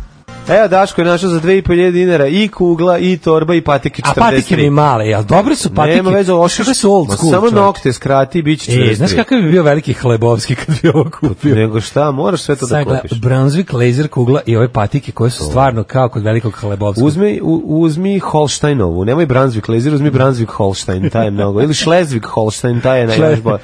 Evo Daško je našao za 2500 dinara i kugla i torba i patike 43. A patike mi male, jel? Dobre su patike. Nema veze, loše Kakve su old Ma, school. Samo čovječe? nokte skrati i bit će 43. E, znaš kakav bi bio veliki hlebovski kad bi ovo kupio? Nego šta, moraš sve to da Sad gleda, kupiš. Brunswick laser kugla i ove patike koje su stvarno kao kod velikog hlebovskog. Uzmi, u, uzmi Holsteinovu, nemoj Brunswick Lezer, uzmi Brunswick Holstein, taj je mnogo. Ili Schleswig Holstein, taj je najbolji.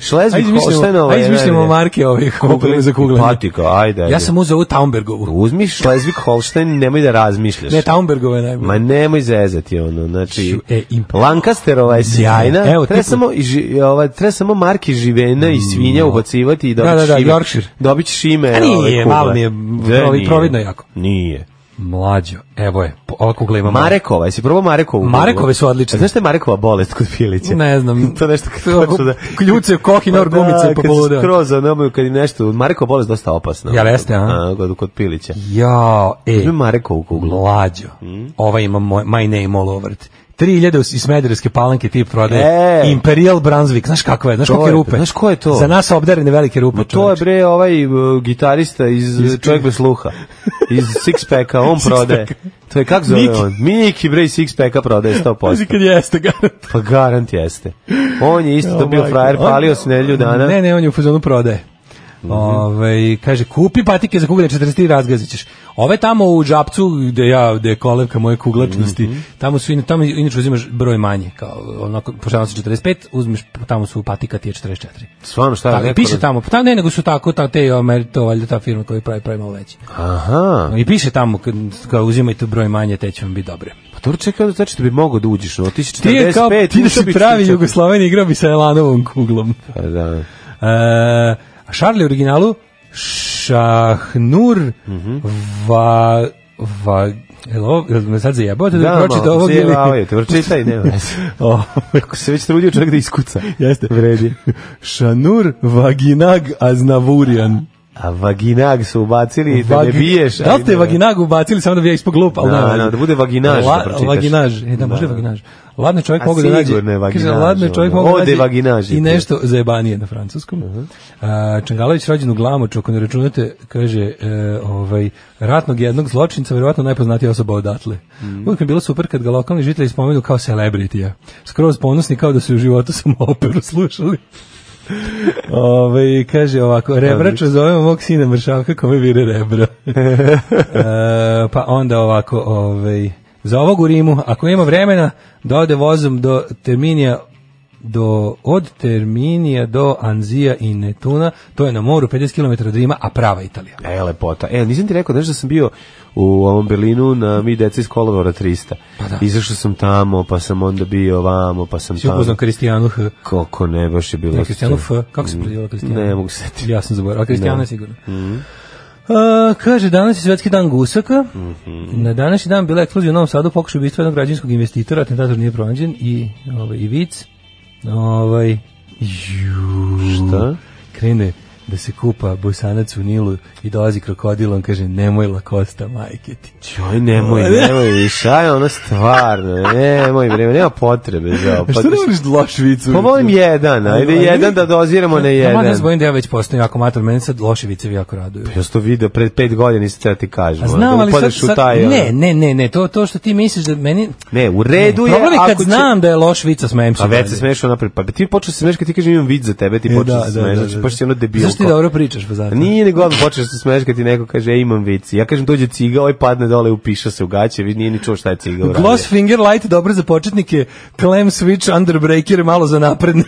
Schleswig Holsteinova Ajde je izmislimo najbolje. marke ovih kugli za kuglanje. Patika, ajde, ajde. Ja sam uzeo ovu Taumbergovu. Uzmi Schleswig Holstein, nemoj da razmišljaš. Ne, Taumbergova je najbolja. Ma nemoj zezati ono, znači Šu, e, imp- Lancasterova je sjajna. Evo, Evo, treba tipu- samo i ži, ova treba samo marki živena i svinja ubacivati i Mm. dobićeš da, da, ime. Yorkshire. Dobićeš ime. A nije, ove kugle. malo mi je Da, provi- nije. providno jako. Nije. Mlađo, evo je, po- ova kugla ima Marekova, jesi probao Marekovu? kuglu? Marekove su odlične. A Znaš šta je Marekova bolest kod pilića? Ne znam. to je nešto kad hoću da... Kljuce, kohinor, Pa da, gumice i kad se poboludeo. Skroz, ono, kad je nešto... Marekova bolest dosta opasna. Jel jeste, a? kod, kod pilića. Jao, e. Uzmi Marekovu kuglu. Mlađo. Mm. Ova Ovaj ima moj, my name all over. it. 3000 iz Smederevske palanke tip prodaje. E. Imperial Brunswick, znaš kakva je, znaš To kakve je, rupe. znaš ko je to? Za nas obdarene velike rupe. Ma to je čoveče. bre ovaj uh, gitarista iz, Iz- iz Čovjek bez sluha. Iz Sixpacka, on prodaje. To je kako zove Miki. on? Miki bre iz Sixpacka prodaje Pazi 100%. kad jeste, garant. Pa garant jeste. On je isto O, to bio majko. frajer, palio se nedelju dana. Ne, ne, on je u fazonu prodaje. Mhm. Ovaj kaže, kupi patike za kuglanje 43 razgazit ćeš. Ove tamo u džapcu gde ja, gde je kolevka moje kuglačnosti, Mhm. tamo su, in- tamo inače uzimaš broj manje, kao onako, pošto se 45, uzmeš, tamo su patika ti je 44. Stvarno šta je? Tako, neko piše raz- tamo, pa tamo ne, nego su tako, ta, te, Amer- to valjda ta firma koja pravi, pravi malo veće. Aha. Pa I piše tamo, kad, kad uzimajte broj manje, te će vam biti dobre. Pa to čekaj, znači da bi mogao da uđeš. No, ti si 45, Ti je kao, ti da ušao si bi pravi 44. Jugosloven igrao bi sa Elanovom kuglom. Pa da. E, a Charlie u originalu Šahnur va, va, Elo, jel me sad zajebao da, da Da, pročite ovog ili... zjebavaju te, pročitaj, nema veze. O, Ako se već trudio čovjek da iskuca. jeste. Vredi. Šanur Vaginag Aznavurian. A vaginag su ubacili da ne Vagi- biješ. Da li ali ste ne. vaginagu ubacili samo da bi ja ispao glup, ali Da, nema veze. da, da bude vaginaž da pročitaš. Vaginaž, e, da, može Da. vaginaž. Ladno je čovjek A mogu da nađe. sigurno je vaginaž, Kaže, ladno je čovjek ono. mogu da Ode nađe vaginaž i je. nešto zajebanije na francuskom. Uh Čangalović rođen u Glamoču, ako ne računate, kaže, e, ovaj, ratnog jednog zločinca, verovatno najpoznatija osoba odatle. Mhm. Uvijek mi je bilo super kad ga lokalni žitelji spomenu kao celebritija. Skroz ponosni kao da su u životu samo operu slušali. Ove, kaže ovako, rebrača zovemo mog sina mršavka kome vire rebra. E, pa onda ovako, ovaj, za ovog u Rimu, ako ima vremena, da ode vozom do Terminija do, od Terminija do Anzija i Netuna, to je na moru 50 km od Rima, a prava Italija. E, lepota. E, nisam ti rekao, znaš da sam bio u ovom Berlinu na Mi deca iz Kolovora 300. Pa da. Izašao sam tamo, pa sam onda bio ovamo, pa sam Si tamo. upoznao Kristijanu H. Koliko ne, baš je bilo... Ne, Kristijanu F. Kako se predjela Kristijanu? Ne mogu se setiti. Ja sam zaboravio, a Kristijana je sigurno. Mhm. A, kaže, danas je svetski dan gusaka. Mhm. Na današnji dan bila je eksplozija u Novom Sadu, pokušaj ubistva jednog građanskog investitora, atentator nije pronađen i, ovaj, i vic. Ovaj, ju, Šta? krene da se kupa bosanac u Nilu i dolazi krokodil, on kaže, nemoj lakosta, majke ti. Joj, nemoj, nemoj, više, aj ono stvarno, nemoj, vreme, nema potrebe za E, ovo. Pa, voliš loš vicu? pa volim jedan, ajde Ali- jedan da doziramo na Ja jedan. ne zbojim da ja već postavim jako mator, meni sad loši vicevi jako raduju. Pa Ja sam to video pred pet godina, nisam treba ti kažem. A ono, znam, da ali sad, upadaš u sad taj, ono. ne, ne, ne, ne, to, to što ti misliš da meni... Ne, u redu je. Problem je kad ako će- znam da je loš vica, smejem se. Pa već se dalje. smeješ napred. Pa ti počneš se smeješ kad ti kažem imam vid za tebe, ti E, počneš se smeješ. Znači, baš si ono debilko. Zašto ti dobro pričaš, pa zato? Nije nego odmah počneš se smeješ kad ti neko kaže, ej, imam vici. Ja kažem, dođe ciga, ovaj padne dole, upiša se u gaće, vidi, nije ni čuo šta je ciga uradio. Gloss Finger Light dobro za početnike, Clam Switch Underbreaker malo za napredne.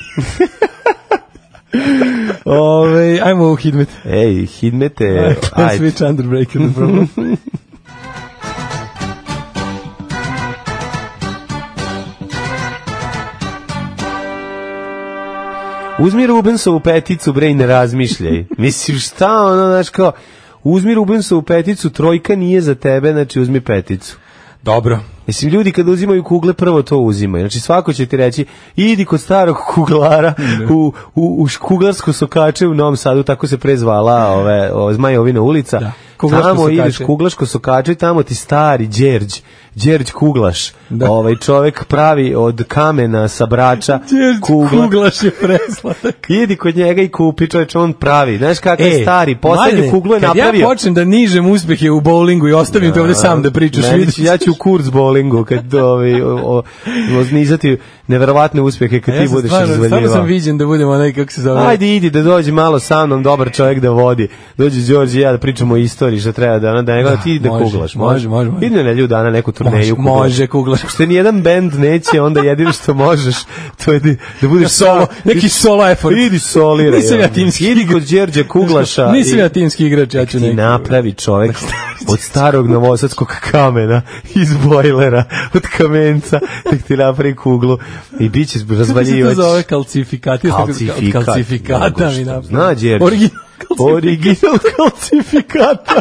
Ove, ajmo u Hidmet. Ej, hidmete, Clam E, ajde. Switch Underbreaker. da probam. Uzmi Rubensovu peticu, bre, i ne razmišljaj. Mislim, šta ono, znaš, kao, uzmi Rubensovu peticu, trojka nije za tebe, znači uzmi peticu. Dobro. Mislim, ljudi kad uzimaju kugle, prvo to uzimaju. Znači, svako će ti reći, idi kod starog kuglara u, u, u š- kuglarsko sokače u Novom Sadu, tako se prezvala ove, ove Zmajovina ulica. Da, kuglaško tamo sokače. ideš kuglaško sokače, tamo ti stari Đerđ, Đerđ Kuglaš, Da. ovaj čovek pravi od kamena sa brača kugla. Kuglaš je preslatak. Idi kod njega i kupi, čoveč, on pravi. Znaš kakav je stari, poslednju E, Mladene, kuglu je Kad napravio. ja počnem da nižem uspehe u bowlingu i ostavim te ovde sam da pričaš, Meni vidiš. ću- ja ću u kurz bowlingu kad ovaj o, o, oznizati neverovatne uspehe kad Ja ti sam budeš stvarno- Stvarno sam ono- razvaljivao. viđen da budem onaj, kako se zove. Ajde idi da dođe malo sa mnom dobar čovjek da vodi. Dođe Đorđe i ja da pričamo o istoriji, šta treba da da nego da ti da može, kuglaš. može, može, može. Idi na ljudi dana neku Može, turneju. kuglaš. može, kuglaš. Što nijedan bend neće, onda jedino što možeš, to je da, da budeš Solo, sam. neki solo effort. Idi soliraj. Nisam ja ono. timski Idi kod Đerđe Kuglaša. Nisam i- ja timski igrač, ja ću ti neki. napravi čovek od starog novosadskog kamena iz bojlera, od kamenca nek ti napravi kuglu i bit će Kako se to razvaljivač zove kalcifikat? Ja sam rekao, Kalcifikat. od Kalcifikata Nego mi što. napravi. Zna, Đerđe. Original kalcifikat. original kalcifikata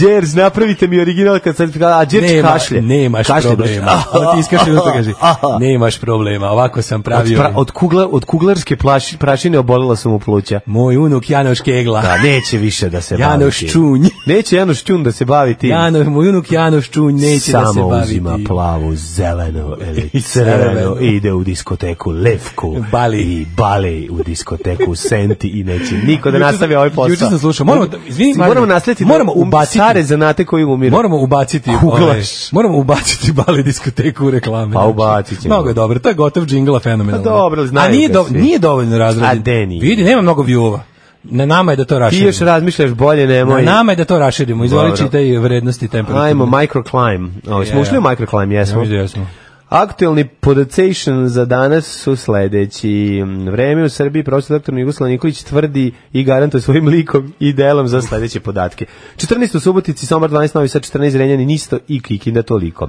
Đerz, napravite mi original kalcifikata a Đerz Nema, kašlje nemaš Kašlje, problema. baš. Ovo ti iskašlje to kaže. Nemaš problema, ovako sam od, pravio. pra, od, kugla, od kuglarske plaši, prašine obolela sam u pluća Moj unuk Janoš Kegla. da neće više da se bavi Janoš tim. Čunj. neće Janoš Čun da se bavi tim Jano, moj unuk Janoš Čunj neće Samo da se bavi. uzima tim. plavu, zelenu ili I crvenu crvenu. i ide u diskoteku Levku Bali. i Bali u diskoteku Senti i neće niko da nastavi ovaj posao. Juče sam slušao, moramo da- izvini, moramo Marino, naslediti moramo da um- ubaciti- stare zanate koji umiru. Moramo ubaciti Kuglaš. ovaj, moramo ubaciti bali diskoteku u reklame. Pa ubacit ćemo. Mnogo je dobro, to je gotov džingla fenomenalno. Pa dobro, ali znaju A nije, ga do, svi. nije dovoljno razrađen. A de nije. Vidi, nema mnogo view-ova. Na nama je da to Ti raširimo. još razmišljaš bolje Na nemoj. nama je da to raširimo. Izvoli Dobro. čitaj vrednosti temperature. Ajmo microclimb. Ovo, smo Je. ušli u microclimb, Ja jesmo. mislim da jesmo. Aktualni podactation za danas su sledeći. Vreme u Srbiji profesor dr. Jugoslav Nikolić tvrdi i garantuje svojim likom i delom za sledeće podatke. 14 u Subotici, Somar 12, Novi Sad 14, Renjanin isto i Kikinda toliko.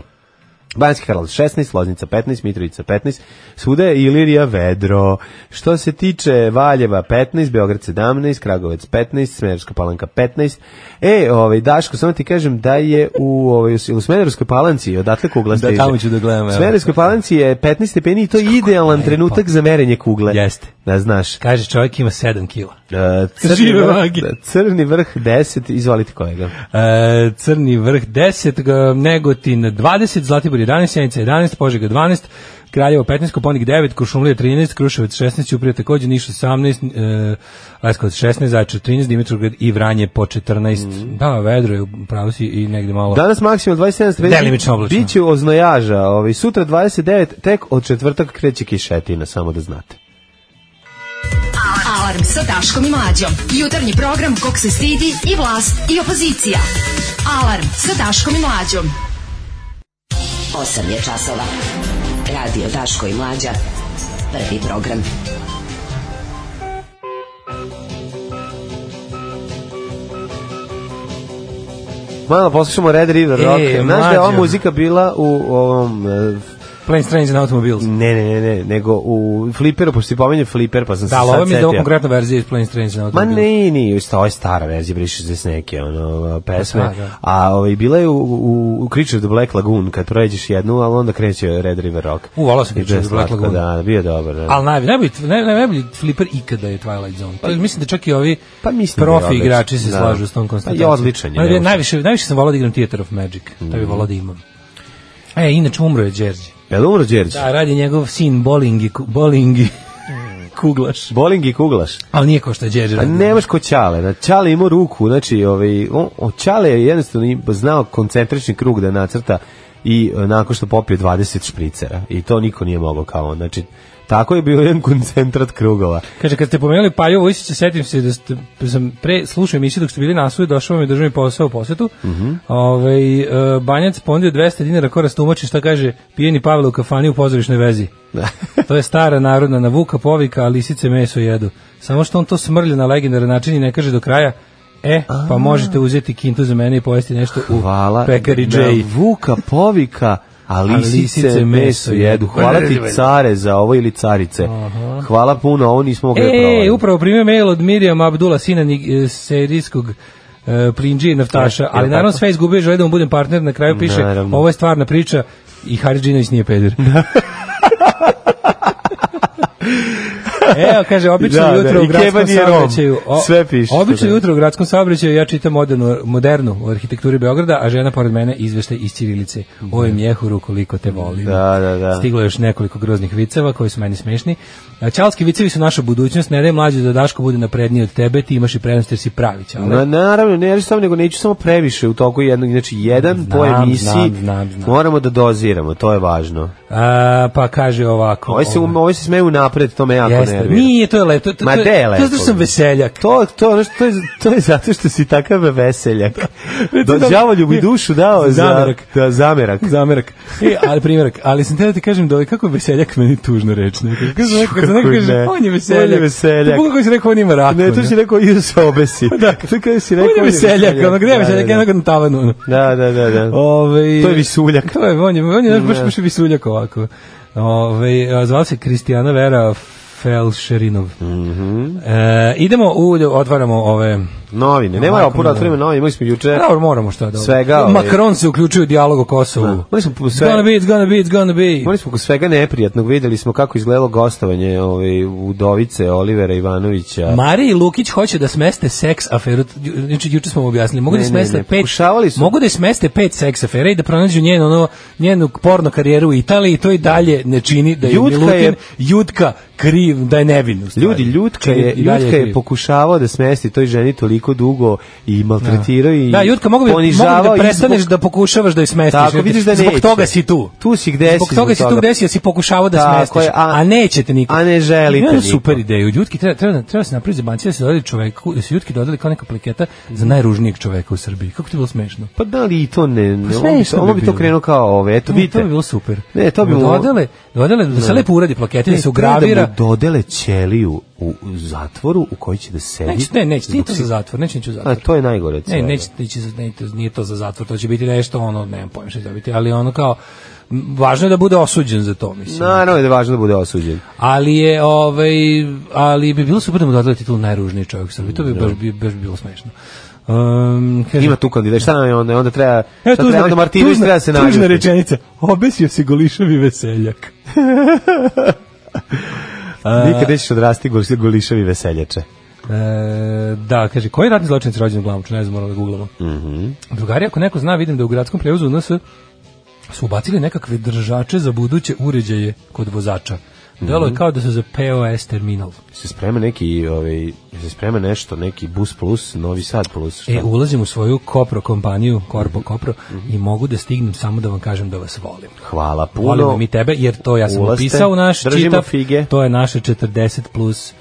Banjski Karlovac 16, Loznica 15, Mitrovica 15, svuda je Ilirija vedro. Što se tiče Valjeva 15, Beograd 17, Kragovec 15, Smederska palanka 15. E, ovaj, Daško, samo ti kažem da je u, ovaj, u Smederskoj palanci, odatle kugla stiže. tamo ću da gledam, evo. Smederskoj palanci je 15 stepeni i to je idealan trenutak za merenje kugle. Jeste. Da znaš. Kaže čovjek ima 7 kila. E, Žive vrh, vage. crni vrh 10, izvolite kojega. E, Crni vrh 10, g- Negotin 20, Zlatibor 11, Sjenica 11, Požega 12, Kraljevo 15, Koponik 9, Kuršumlija 13, Kruševac 16, Uprije takođe, Niš 18, e, Leskovac 16, Zaječar 13, Dimitrovgrad i Vranje po 14. Mhm. Da, vedro je, u pravu si i negde malo. Danas maksimalno 27 stepeni. Delimično oblačno. Biće oznojaža, ovaj sutra 29, tek od četvrtak kreće kišetina, samo da znate. Alarm sa Daškom i Mlađom. Jutarnji program kog se stidi i vlast i opozicija. Alarm sa Daškom i Mlađom. 8 je časova. Radio Daško i Mlađa. Prvi program. Malo poslušamo Red River E, Rock. Znaš da je ova mlađo. muzika bila u ovom e, Planes, Trains and Automobiles. ne, ne, ne, ne, nego u Flipperu, pošto si pomenuo Flipper, pa sam se Da, ali sad ovo mi je da ovo setio. konkretna verzija iz Planes, Trains and Ma Automobiles. ne, ni, isto, ovo je stara verzija, briše se s neke ono, pesme, Pa Da, da. a ovaj, bila je u, u, u Creature of the Black Lagoon, kad prođeš jednu, ali onda kreće Red River Rock. U, volao sam Creature of the Black Slatko, Lagoon. Da, bio je dobar. Da. Ali najbolji, najbolji, naj- naj- najbolji flipper ikada je Twilight Zone. Pa, mislim da čak i ovi Pa mislim da je profi odličan, igrači se da. slažu s tom konstatacijom. Pa je odličan je, Ono, ne može. najviše, najviše sam volao da igram Theater of Magic. Mm. To bi volao da imam. E, inače umro je Đerđe. Jel umro Đerđe? Da, radi njegov sin Bolingi, ku- Bolingi kuglaš. Boling i kuglaš. Ali nije kao što je Đerđe. Pa radio. nemaš ko Ćale, na Ćale imao ruku, znači ovaj, on, on Ćale je jednostavno im- znao koncentrični krug da nacrta i e, nakon što popio 20 špricera i to niko nije mogao kao on, znači tako je bio jedan koncentrat krugova. Kaže, kad ste pomenuli Paju Vojsića, setim se da ste, sam pre slušao emisiju dok ste bili na sudu, došao vam je državni posao u posetu. Mm e, banjac ponudio 200 dinara ko rastumači šta kaže pijeni Pavle u kafani u pozorišnoj vezi. to je stara narodna navuka, povika, a lisice meso jedu. Samo što on to smrlja na legendaran način i ne kaže do kraja, e, pa možete uzeti kintu za mene i pojesti nešto u Hvala. pekari na J. Vuka povika, a lisice meso jedu. Hvala ti care za ovo ili carice. Hvala puno, ovo nismo mogli da E, provali. upravo primio mail od Mirjam Abdula, sina ni- e, serijskog e, Plinđi i Naftaša, E, ali jel naravno tako? sve izgubio, žele da mu budem partner, na kraju piše, Naravno. ovo je stvarna priča i Haridžinović nije peder. Evo, E, kaže, obično Da, da, jutro u i Keba gradskom nije Rom. saobraćaju... o- Sve piše, Obično da. jutro u gradskom saobraćaju ja čitam modernu, modernu u arhitekturi Beograda, a žena pored mene izvešte iz Ćirilice. Oj, mjehuru, koliko te volim. Da, da, da. Stiglo je još nekoliko groznih viceva koji su meni smešni. A, Čalski vicevi su naša budućnost. Ne daj mlađe da Daško bude napredniji od tebe, ti imaš i prednost jer si pravi čale. Na, naravno, ne, ja samo nego neću samo previše u toku jednog, znači jedan po Znam, emisiji znam, znam, znam. moramo da doziramo, to je važno. A, pa kaže ovako. Ovo Ovaj se, ovo- ovo se smeju napred, to me jako Jeste, nervira. nije, to je lepo. To, to, Ma to, de je lepo. To je zato što sam veseljak. To, to, ono što- to, je, to je zato što si takav veseljak. Do, đavolju mi dušu dao za, Zamerak. Da, zamerak. Zamerak. E, ali primjerak, ali sam te da ti kažem da ovaj kako je veseljak meni tužno reći. nekako. Kako se neko- kad se neko Kako kaže, ne. on je veseljak. On je veseljak. To kako si rekao, on ima raku. Ne, to si rekao i da se obesi. Da. To kao si on rekao je veseljak, ono gde je veseljak, Da, jednog na tavanu. ono. da, da. da, da, da. Ovaj- To je visuljak. To je, on je, on je baš, baš visuljak ovako. Ove, a, zvala se Kristijana Vera Felšerinov. Mhm. e, idemo u, otvaramo ove... Novine, nema Ovako, ja puno da. otvorimo novine, imali smo juče. Dobro, moramo šta da... E, Svega, ovaj- Macron se uključuje u dijalog o Kosovu. Da. Imali smo It's gonna sve, be, it's gonna be, it's gonna be. Imali smo oko svega neprijatnog, videli smo kako izgledalo gostovanje ovaj, Udovice, Olivera Ivanovića. Mari i Lukić hoće da smeste seks aferu. Ju- Juče juče smo mu objasnili. Mogu da Ne, ne, smeste ne, pet. pokušavali su. Mogu da smeste pet seks afera i da pronađu njenu ono njenu porno karijeru u Italiji i to i dalje ne čini da je Jutka Milutin je- Jutka kriv, da je nevin. u stvari. Ljudi, Ljutka Čini je, i dalje Ljutka je kriv. pokušavao da smesti toj ženi toliko dugo i maltretirao i Da, Jutka, mogu bi, mogu bi da i prestaneš zbog- da pokušavaš da je smestiš. Tako, jer ti- vidiš da Zbog neće. toga si tu. Tu si gde si Zbog toga si tu gde si, jer si pokušavao da Tako smestiš. je, a, a- nećete niko. a ne želite Ima niko. super ideju. Jutki treba, treba, treba se napraviti zebancija da se dodali čoveku, da se Jutki dodali kao neka pliketa za najružnijeg čoveka u Srbiji. Kako ti je bilo smešno? Pa da li i to ne, ne on bi, smešno ono bi bi to bilo. krenuo kao ove, eto Ne, vidite. E, to bi bilo super. Ne, to bi Mu bilo- Dodale, dodale, da se Ne. lepo uradi plakete, da se Ne, treba ugravira. Da mu dodele ćeliju u u zatvoru u kojoj će da sedi. Neće, ne, neće, nije Zbog to si- za zatvor, neće, neće za A zatvor. to je najgore. od Ne, svega. neće, neće, za- ne, to- nije to za zatvor, to će biti nešto ono, nemam pojma što će to biti, ali ono kao, m, važno je da bude osuđen za to, mislim. Naravno da je važno da bude osuđen. Ali je, ovaj, ali bi bilo super da mu dodali titul najružniji čovjek u Srbiji, to bi baš, bi, baš bilo smešno. Um, kaže, Ima tu kandidat. Šta nam je onda? Onda treba, Evo, šta treba, onda Martinović treba da se nađe. tužna rečenica, obesio se golišavi veseljak. Nikad nećeš odrasti gol- golišavi veseljače. E, da, kaže, koji ratni zločinac je rođen u Glamoču? Ne znam, moramo da googlamo. Mhm. Drugari, ako neko zna, vidim da u gradskom prevozu nas su ubacili nekakve držače za buduće uređaje kod vozača. Delo Mhm. je kao da su za POS terminal. Se sprema neki, ovaj, se sprema nešto, neki bus plus, novi sad plus. šta? Mhm. E, ulazim u svoju Kopro kompaniju, Korpo Kopro, i mogu da stignem samo da vam kažem da vas volim. Hvala puno. Volimo mi tebe, jer to ja sam Ulazite, upisao u naš držimo čitav, fige. Mhm. to je naše 40 plus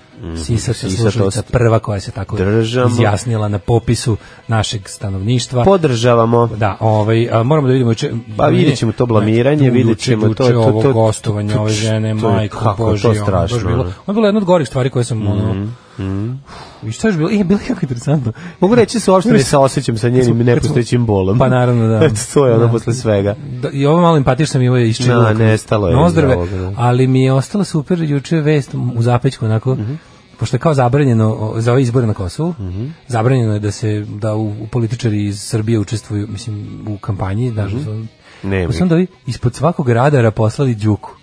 Sisavska sisatost. slušalica, prva koja se tako Držamo. izjasnila na popisu našeg stanovništva. Podržavamo. Da, ovaj, a, moramo da vidimo juče. Pa vidjet ćemo to blamiranje, Ne, tu vidjet ćemo juče- to- juče to- ovo to- to- gostovanje to- ove žene, to je- majko, kako je to Božje, ono, baš strašno, bilo- ono. Mhm, Ono je bilo jedna od gorih stvari koje sam, ono, uf, i šta je još bilo? E, bilo je jako interesantno. Mogu reći se uopšte ne saosećam sa njenim nepostojećim bolom. Pa naravno, da. Eto, to je ono Da. posle svega. Da, I ovo malo empatije što sam imao je iščeo. Da, nestalo je iz Nozdrave, ovoga, da. ali mi je ostala super juče vest u zapećku onako. Mhm. pošto je kao zabranjeno o, za ove izbore na Kosovu, zabranjeno je da se da u, u političari iz Srbije učestvuju, mislim, u kampanji, Mhm. znaš, mm Nema Pa su onda ovi ispod svakog radara poslali Đuku.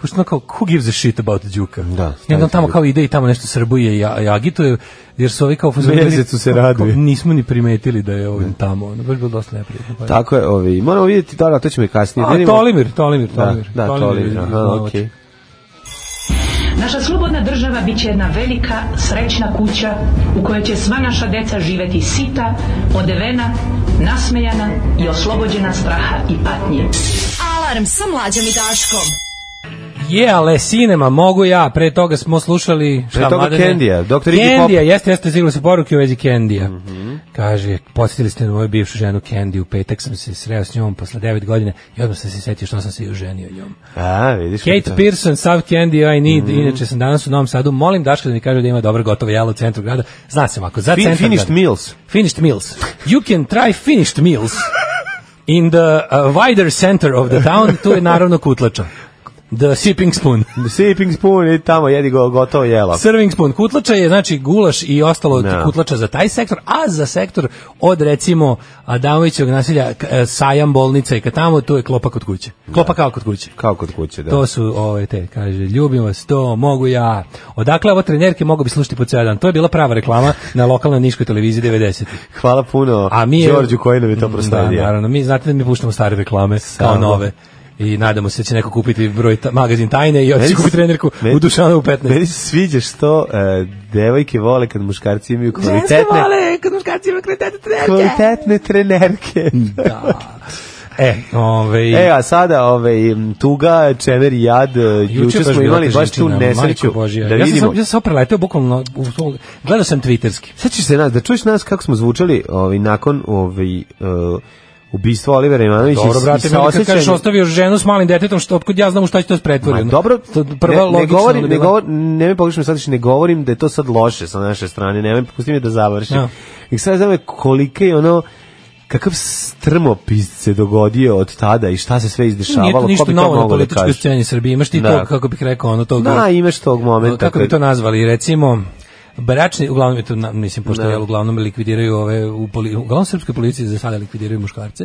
Pošto ono kao, who gives a shit about Đuka? Da, I onda on stavite tamo Đuku. kao ide i tamo nešto srbuje i, a- i agituje, jer su ovi kao... Mesecu se raduje. Nismo ni primetili da je ovim tamo. Ono, baš bilo dosta neprijatno. Pa- Tako je, ovi, moramo vidjeti, da, da, to ćemo i kasnije. a, vidimo. Tolimir, Tolimir, Da, Tolimir. da, Tolimir, aha, Novač. okej. Naša slobodna država bit će jedna velika, srećna kuća u kojoj će sva naša deca živeti sita, odevena, nasmejana i oslobođena straha i patnje. Alarm sa mlađom i Daškom. Je, ale sinema, mogu ja. Pre toga smo slušali... Šta, Pre toga Mladene? Kendija, Dr. Iggy Pop. Mhm. Kendija, jeste, jeste, stigli su poruke u vezi Kendija. Kaže, podsjetili ste na moju bivšu ženu Kendiju, u petak sam se sreo s njom posle 9 godina i odmah sam se setio što sam se i oženio njom. A, vidiš. Kate kako- Pearson, South Candy, I Need, Mhm. inače sam danas u Novom Sadu, molim Daška da mi kaže da ima dobro gotovo jelo u centru grada. Zna se ovako, za Fin- centar finished grada. meals. Finished meals. You can try finished meals in the uh, wider center of the town, tu je naravno kutlača. The Sipping Spoon. Sipping spoon i tamo jedi go, gotovo jelo. Serving spoon kutlača je znači gulaš i ostalo od Da. kutlača za taj sektor, a za sektor od recimo Adamovićevog naselja k- e, Sajam bolnica i kad tamo to je klopa kod kuće. Klopa kao kod kuće. Kao kod kuće, da. To su ove te, kaže, ljubim vas, to mogu ja. Odakle ovo trenerke mogu bi slušati po cijel dan. To je bila prava reklama na lokalnoj niškoj televiziji 90. Hvala puno A mi je... Mm, Đorđu koji nam Pa, je to prostavio. Da, naravno. Mi znate da mi puštamo stare reklame kao Samo. nove. I nadamo se da će neko kupiti broj ta, magazin tajne i otići Meni se- kupiti trenerku meni- u Dušanovu 15. Meni se sviđa što e, devojke vole kad muškarci imaju Ženske kvalitetne, vole, kad muškarci imaju kvalitetne trenerke. kvalitetne trenerke. Da. E, ovaj... E, a sada ove, m, tuga, čever i jad, e, juče baš smo bila imali ta baš tu žensčina, nesreću. majko Božja. Da ja sam vidimo. sam, ja sam samo preleteo bukvalno, u, u, gledao sam twitterski. Sad ćeš se nas, da čuješ nas kako smo zvučali ovaj, nakon ovaj, e, ubistva Olivera Ivanovića i- Dobro, brate, i meni kad kažeš saosećanjem- ostavio ženu s malim detetom, što otkud ja znam šta će to Ma, spretvoreno. dobro, to prva ne, ne logična govorim, bi ne bila. govorim, ne mi pogrešno sad, ne govorim da je to sad loše sa naše strane, nemoj, pusti me da završim. Ja. I sad znam je kolike je ono, kakav strmopis se dogodio od tada i šta se sve izdešavalo, Nije to ko ništa bi to novo na mogao da političkoj kaže? sceni Srbije. Imaš ti Da. to, kako bih rekao, ono tog... Da, imaš tog momenta. kako bi kad- to nazvali, recimo bračni, uglavnom je to, na- mislim, pošto jel, uglavnom likvidiraju ove, u poli, uglavnom srpske policije za sada likvidiraju muškarce,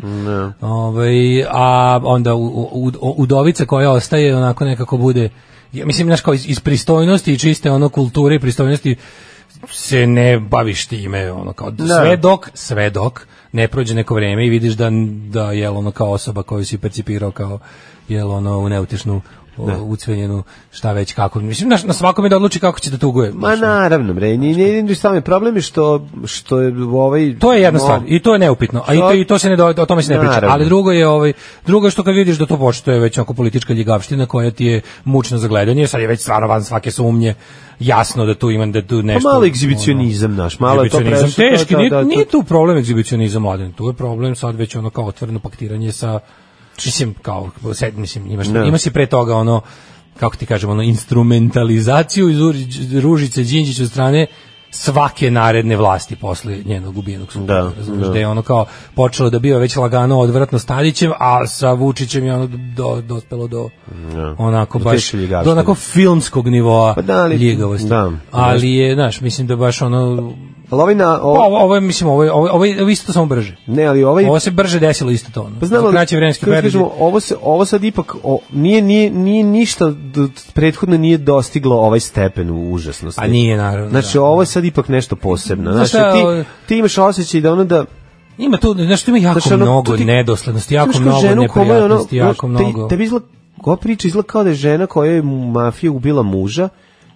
ovaj, a onda u, u, u- udovica koja ostaje onako nekako bude, ja mislim, znaš, kao iz, iz pristojnosti i čiste ono kulture i pristojnosti se ne baviš time, ono kao, sve dok, sve dok, ne prođe neko vreme i vidiš da, da jel, ono kao osoba koju si percipirao kao, jel, ono, u neutešnu o, ucveljenu, šta već kako. Mislim, na, na svakom je da odluči kako će da tuguje. Ma naravno, bre, nije, nije, nije šta mi je problem je što, što je ovaj... To je jedna mo- stvar i to je neupitno, a i to, i to se ne do, o tome se ne priča. Naravno. Ali drugo je ovaj drugo je što kad vidiš da to postoje već oko politička ljigavština koja ti je mučno za gledanje, sad je već stvarno van svake sumnje. Jasno da tu imam da Pa tu nešto. ono, malo egzibicionizam, znaš, malo je to egzibicionizam prešlo, teški, da, nije, da, to- nije tu problem egzibicionizam mladen, tu je problem sad već ono kao otvoreno paktiranje sa mislim kao sed, mislim imaš Ne. ima si pre toga ono kako ti kažemo ono instrumentalizaciju iz Ur- Ružice Đinđić od strane svake naredne vlasti posle njenog ubijenog supruga. Da, razumeš, da. da je ono kao počelo da biva već lagano odvratno s Tadićem, a sa Vučićem je ono do, dospelo do onako Do baš teške ljigavštine. do onako filmskog nivoa Pa da, ali- ljigavosti. da. ali je, znaš, mislim da baš ono Ali ovaj na... pa, Ovo, ovo, ovo je, mislim, ovo je, ovo, je- ovo, je, ovo je isto samo brže. ne, ali ovaj... Ovo se brže desilo isto to. ono. Pa znam, Za ali, kraći vremenski kako ti period. kažemo, ovo, se, ovo sad ipak o, nije, nije, nije ništa d- prethodno nije dostiglo ovaj stepen u užasnosti. A nije, naravno. Znači, da. ovo je sad ipak nešto posebno. Znaš Znači, šta, ovo- ti, ti imaš osjećaj da ono da... Ima tu, znaš, tu ima jako Znaš, ono, mnogo to ti- nedoslednosti, Znaš jako kao mnogo ženu kome je ono, neprijatnosti, jako znaš, mnogo... Te, tebi izgleda, ova priča izgleda kao da je žena koja je mafija ubila muža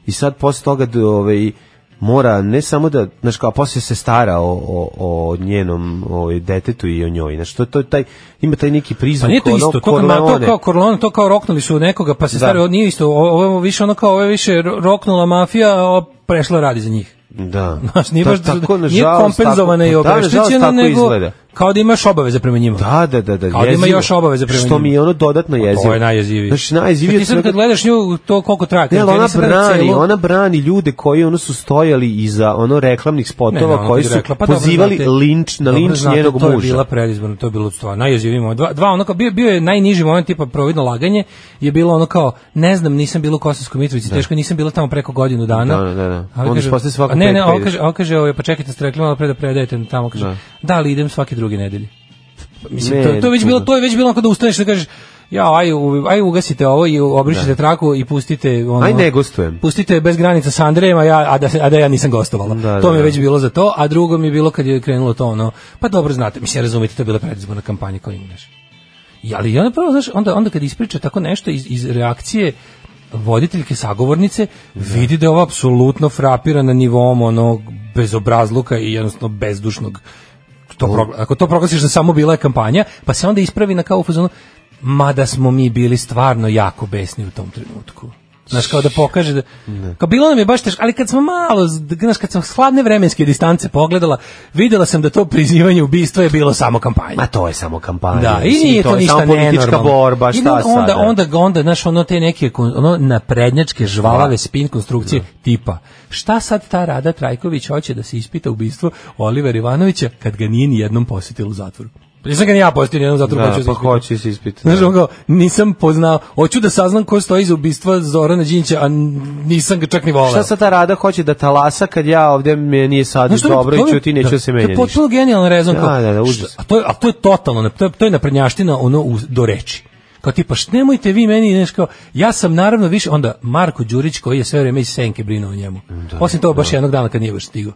i sad posle toga da, ovaj, mora ne samo da, znaš kao, posle se stara o, o, o njenom ovaj, detetu i o njoj, znaš, to, to je taj, ima taj neki Pa prizvuk, nije to ono, isto, to, kao, to Corleone. kao Corleone, to kao roknuli su nekoga, pa se Da. stari, ovo nije isto, ovo ovo je više ono kao, ovo je više ro- roknula mafija, a ovo prešla radi za njih. Da. Znaš, nije Ta- baš, tako, nije nažalost, kompenzovana tako- i da, nažalost, obeštećena, tako nego izgleda. kao da imaš obaveze prema njima. Da, da, da, da. Kao da ima jezivo. još obaveze prema Što njima. Pa mi je ono dodatno je jezivo. najjezivije. Znači, najjezivije... Sad Ti sad kad gledaš nju, to koliko traje. Ne, kad ali ona ja nisam gledao brani, celu- ona brani ljude koji ono su stojali iza ono reklamnih spotova Ne, ne, ona koji bi su rekla, pa dobro, pozivali znate- linč na dobro, linč znate, njenog To je muža. bila predizborna, to je bilo stvarno najjeziviji moment. Dva, dva ono kao, bio, bio je najniži moment tipa providno laganje, je bilo ono kao, ne znam, nisam bilo u Kosovskoj Mitrovici, teško nisam bila tamo preko godinu dana. Da, da, da, da. A Onda kaže- posle svakog a Ne, ne, petka ovo ideš. kaže, ovo kaže, ovo, pa čekajte, ste rekli malo pre da predajete tamo, kaže, da, Da. ali idem svake druge nedelje. Pa, Mislim, Ne, to, to je već ne, bilo, ne. to je već bilo onako da ustaneš i da kažeš, ja, aj, u- aj ugasite ovo i obrišite traku i pustite ono, Aj ne gostujem. pustite bez granica sa Andrejem, a, ja, a, da, se- a da ja nisam gostovala. Da, to da, mi je da. već bilo za to, a drugo mi je bilo kad je krenulo to ono, pa dobro znate, mislim, razumite, to je bila predizborna kampanja koja imaš. I, ali i onda prvo, znaš, onda, onda kad ispriča tako nešto iz, iz reakcije voditeljke sagovornice, vidi da je ovo apsolutno frapira na nivom onog bezobrazluka i jednostavno bezdušnog to progla- ako to proglasiš da samo bila je kampanja, pa se onda ispravi na kao u fazonu, mada smo mi bili stvarno jako besni u tom trenutku. Znaš, kao da pokaže da... Kao bilo nam je baš teško, ali kad smo malo, znaš, kad sam s hladne vremenske distance pogledala, videla sam da to prizivanje ubistva je bilo samo kampanja. Ma to je samo kampanja. Da, i mislim, nije to to je ništa samo politička nenormalno. borba, I šta onda, onda, sada? onda, onda, znaš, ono te neke, kon- ono naprednjačke žvalave spin konstrukcije tipa, šta sad ta Rada Trajković hoće da se ispita ubistvo Olivera Ivanovića kad ga nije ni jednom posjetila u zatvoru? Pa Nisam ga ni ja postavio ni jednom zato Da, hoću da pa ispitam. hoće se ispiti. Znaš, da. on kao, nisam poznao, hoću da saznam ko stoji iza ubistva Zorana Đinća, a n- nisam ga čak ni volao. Šta sad ta rada hoće da talasa kad ja ovde me nije sad Znaš, to mi- dobro to i mi- ćuti neću da se menja To je ništa. potpuno genijalan rezon. Da, kao, da, da, šta- užas. A to, je, a to je totalno, na- to je, to je naprednjaština ono u, do reči. Kao tipa, št, nemojte vi meni, znaš kao, ja sam naravno više, onda Marko Đurić koji je sve vreme iz Senke brinuo o njemu. Osim toga, baš jednog dana kad nije baš stigao.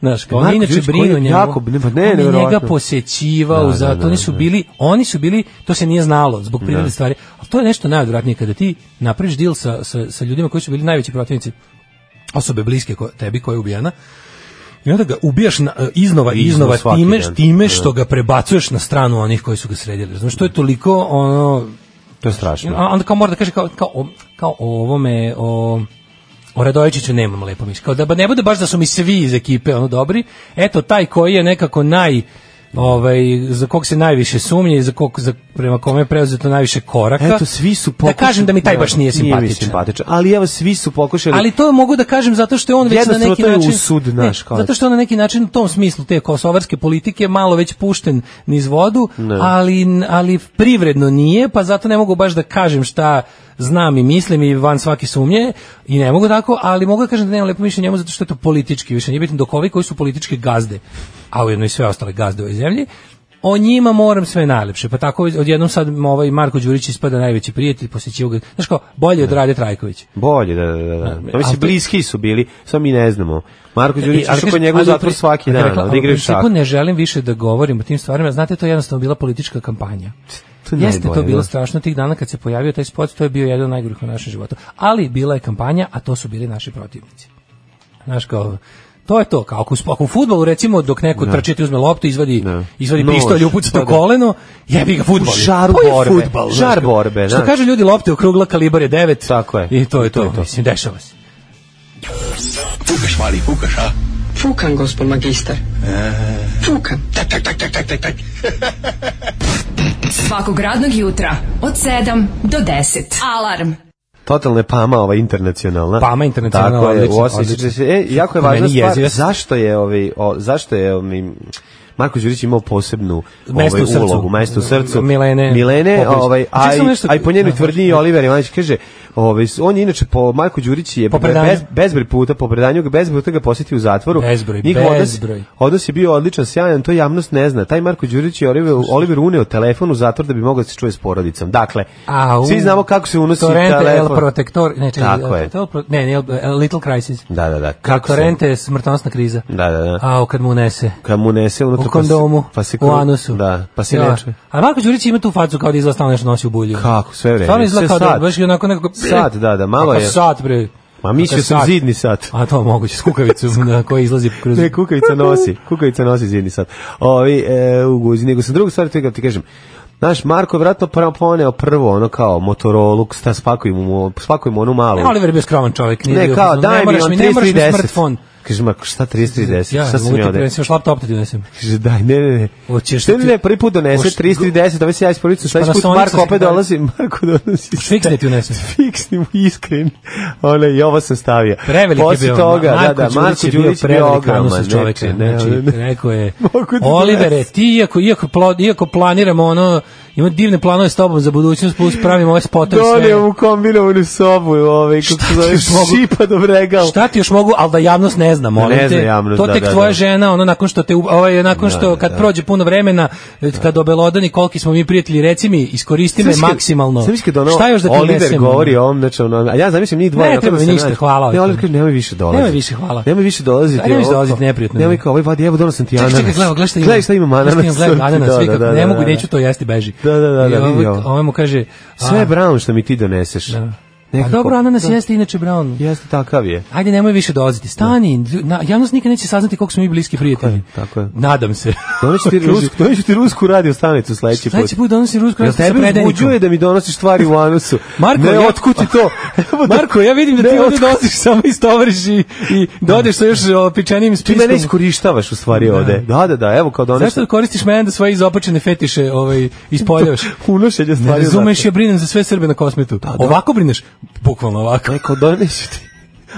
Znaš, kao, on Marko je inače Đurić koji brinuo je njemu. jako- ne, pa ne, on je njega nevjerovatno. posećivao, Da, da, zato da, oni su da. bili, oni su bili, to se nije znalo zbog prirode Da. stvari, ali to je nešto najodvratnije kada ti napraviš deal sa, sa, sa ljudima koji su bili najveći protivnici osobe bliske ko, tebi koja je ubijena, I onda ga ubijaš na, e, iznova, Iznova iznova, svaki time, dan. time što ga prebacuješ na stranu onih koji su ga sredili. Znaš, to je toliko ono... To je strašno. A onda kao mora da kaže kao, kao, o, kao o ovome, o... O Radojičiću nemam lepo mišljenje. Kao da ba- ne bude baš da su mi svi iz ekipe ono dobri. Eto taj koji je nekako naj ovaj za kog se najviše sumnje i za kog za prema kome je preuzeto najviše koraka. Eto, svi su pokušali... Da kažem da mi taj baš nije Nije mi simpatičan. simpatičan. Ali evo, svi su pokušali... Ali to mogu da kažem zato što je on već na Jednostavno neki to je način usud, znaš, kao ne, zato što je on na neki način u tom smislu te kosovarske politike malo već pušten niz vodu, Ne. ali ali privredno nije, pa zato ne mogu baš da kažem šta znam i mislim i van svake sumnje i ne mogu tako, ali mogu da kažem da nemam lepo mišljenje o njemu zato što je to politički više. Nije bitno dok ovi koji su političke gazde, a ujedno i sve ostale gazde u ovoj zemlji, o njima moram sve najlepše. Pa tako odjednom sad ovaj Marko Đurić ispada najveći prijatelj, posjećio ga. Znaš kao, bolje od Rade Trajkovića. Bolje, da, da, da. da. Pa Ali mislim, to- bliski su bili, samo mi ne znamo. Marko I- Đurić E, ali išao kažem, kod njegov ali zatvor pri- svaki ali dan, rekla, da ali u igraju šak. principu ne želim više da govorim o tim stvarima. Znate, to je jednostavno bila politička kampanja. To je Jeste Pa najbolje, to bilo da. strašno tih dana kad se pojavio taj spot, to je bio jedan od najgorih u našem životu. Ali bila je kampanja, a to su bili naši protivnici. Znaš kao, to je to, kao ako, u sp- ako u fudbalu recimo dok neko trči ti uzme loptu, izvadi, Da. izvadi Nož, pištolj, upuca pa to da. koleno, jebi ga fudbal. U žaru to je borbe, fudbal, znaš žar kao. borbe, Što da. kažu ljudi, lopte okrugla, kalibar je 9. Tako je. I to je to, mislim, dešava se. Fukan, gospod magistar. Fukan. Svakog radnog jutra od 7 do 10. Alarm. Totalno je Pama ova internacionalna. Pama internacionalna, Tako je, u odlično, 840. E, odlično. jako je Kako važna meni stvar, jeziva. zašto je, ovaj, o, zašto je ovaj, Marko Đurić imao posebnu ovaj, Mesto u srcu. ulogu, mesto u srcu. Milene Milene, Popović. ovaj, A čak aj, sam nešto- aj po njenoj da, tvrdnji da. Oliver Ivanić kaže, ovaj, on je inače po Marko Đurić je Po predanju. bez, bezbroj puta, po predanju ga bezbroj puta ga posjeti u zatvoru. Bezbroj, Njihov odnos- bezbroj. Odnos je bio odličan, sjajan, to javnost ne zna. Taj Marko Đurić je Oliver, Oliver uneo telefon u zatvor da bi mogao da se čuje s porodicom. Dakle, Au. svi znamo kako se unosi Torrente, telefon. El Protector, ne, čekaj, Tako El je. Protector, ne, ne, El- El Little Crisis. Da, da, da. Kako se- Torrente je smrtonosna kriza. Da, da, da. A, kad mu unese. Kad mu nese unutra U kondomu, pa se, u kru- anusu. Da, pa se Ja. neče. A Marko Đurić ima tu facu kao da izgleda stalno nešto nosi u bulju. Kako, sve vreme. Stvarno izgleda kao Sve da, sad. baš je onako nekako... Sad, da, da, malo Kakav je. Sat, bre. Ma mislio Kakav sam zidni sat. Dakle, A to moguće, s kukavicom na koji izlazi kroz... Ne, kukavica nosi, kukavica nosi zidni sad. Ovi, e, u guzi, nego sam drugu stvar, to je kad ti kažem, Znaš, Marko je vratno prvo poneo prvo, ono kao Motorola, sta spakujemo, mu- spakujemo onu malu. Ne, Oliver je bio skroman čovjek. nije ne, bio kao, fazon, daj ne mi moraš on Ne moraš mi 3310. smartfon. Kaže, Marko, šta 3310? Ja, šta si mogu mi ti ovde? prinesem, još laptop da ti donesem. Kaže, daj, ne, ne, ne. Hoćeš Ne, da Pa ne, ti- ne, prvi put donese Hoš- 330, ovaj se ja isporučujem, sledeći put Panasonic Marko sa- opet dolazi, Marko donosi. Fiksne ti unesem. Fiksni mu iskren. Ono, i ovo sam stavio. Prevelik je Posle bio. toga, Ma- da, da, Marko Đurić je bio prevelik ogroman. anus od čoveka. ne, ne, Znači, ne, ne. rekao je, Mogu ti Olivere, donesti." ti iako, iako, plo- iako planiramo ono, ima divne planove s tobom za budućnost, plus pravimo ove spotove i sve. Donio mu kombinovanu sobu, ovaj, kako se ti zove, još mogu- šipa do bregal. Šta ti još mogu, ali da javnost ne zna, molim Ne zna te. javnost, to da, tek da, tvoja da. žena, ono nakon što te u- ovaj nakon što kad prođe puno vremena, eh, kad obelodani koliki smo mi prijatelji, reci mi, iskoristi me Znaš kad- maksimalno. znaš kad ono, Šta još da ti Oliver unesem? govori o ovom, znači ono, a ja zamislim njih dvoje. Ne, onako treba da mi se ništa, nađu. hvala. Ne, Oliver kaže, nemoj više dolaziti. Nemoj više, hvala. Nemoj više dolaziti. Da, nemoj više ovo, dolaziti, neprijatno mi je. Nemoj kao, ovaj vadi, evo donosim ti Čekaj, ananas. čekaj, gledaj, gledaj šta ima. Gledaj šta imam ananas. Gledaj šta imam, gledaj ananas, Da, svi da, kako- da, ne da, mogu, da. neću to jesti, beži. Da, da, da, I da, ovaj- vidi ovo. ovaj mu kaže, a, Sve je brown što mi ti doneseš. Da. A Nekako- dobro, ananas Da. jeste inače brown. Jeste takav je. Ajde, nemoj više dolaziti. Stani, lju- na, javnost nikad neće saznati koliko smo mi bliski prijatelji. je, tako je. Nadam se. Doneću ti rusku, doneću ti rusku radio stanicu sledeći put. Sledeći put donosim rusku Jel rastu sa tebe predajnikom. uzbuđuje da mi donosiš stvari u anusu? Marko, ne, ja- otkud ti to? Evo da- Marko, ja vidim da Ne, ti ovde otkud- dolaziš samo istovariš i, i dodeš sa još o, pičenim Ti mene spiskom. iskorištavaš u stvari ovde. Da, da, da, evo kao donesem. Zašto koristiš mene da svoje izopačene fetiše ovaj, ispoljavaš? unošenje Ne stvari. u razumeš, ja brinem za sve Srbe na kosmetu. Ovako brineš? Bukvalno ovako. Rekao, donesu ti.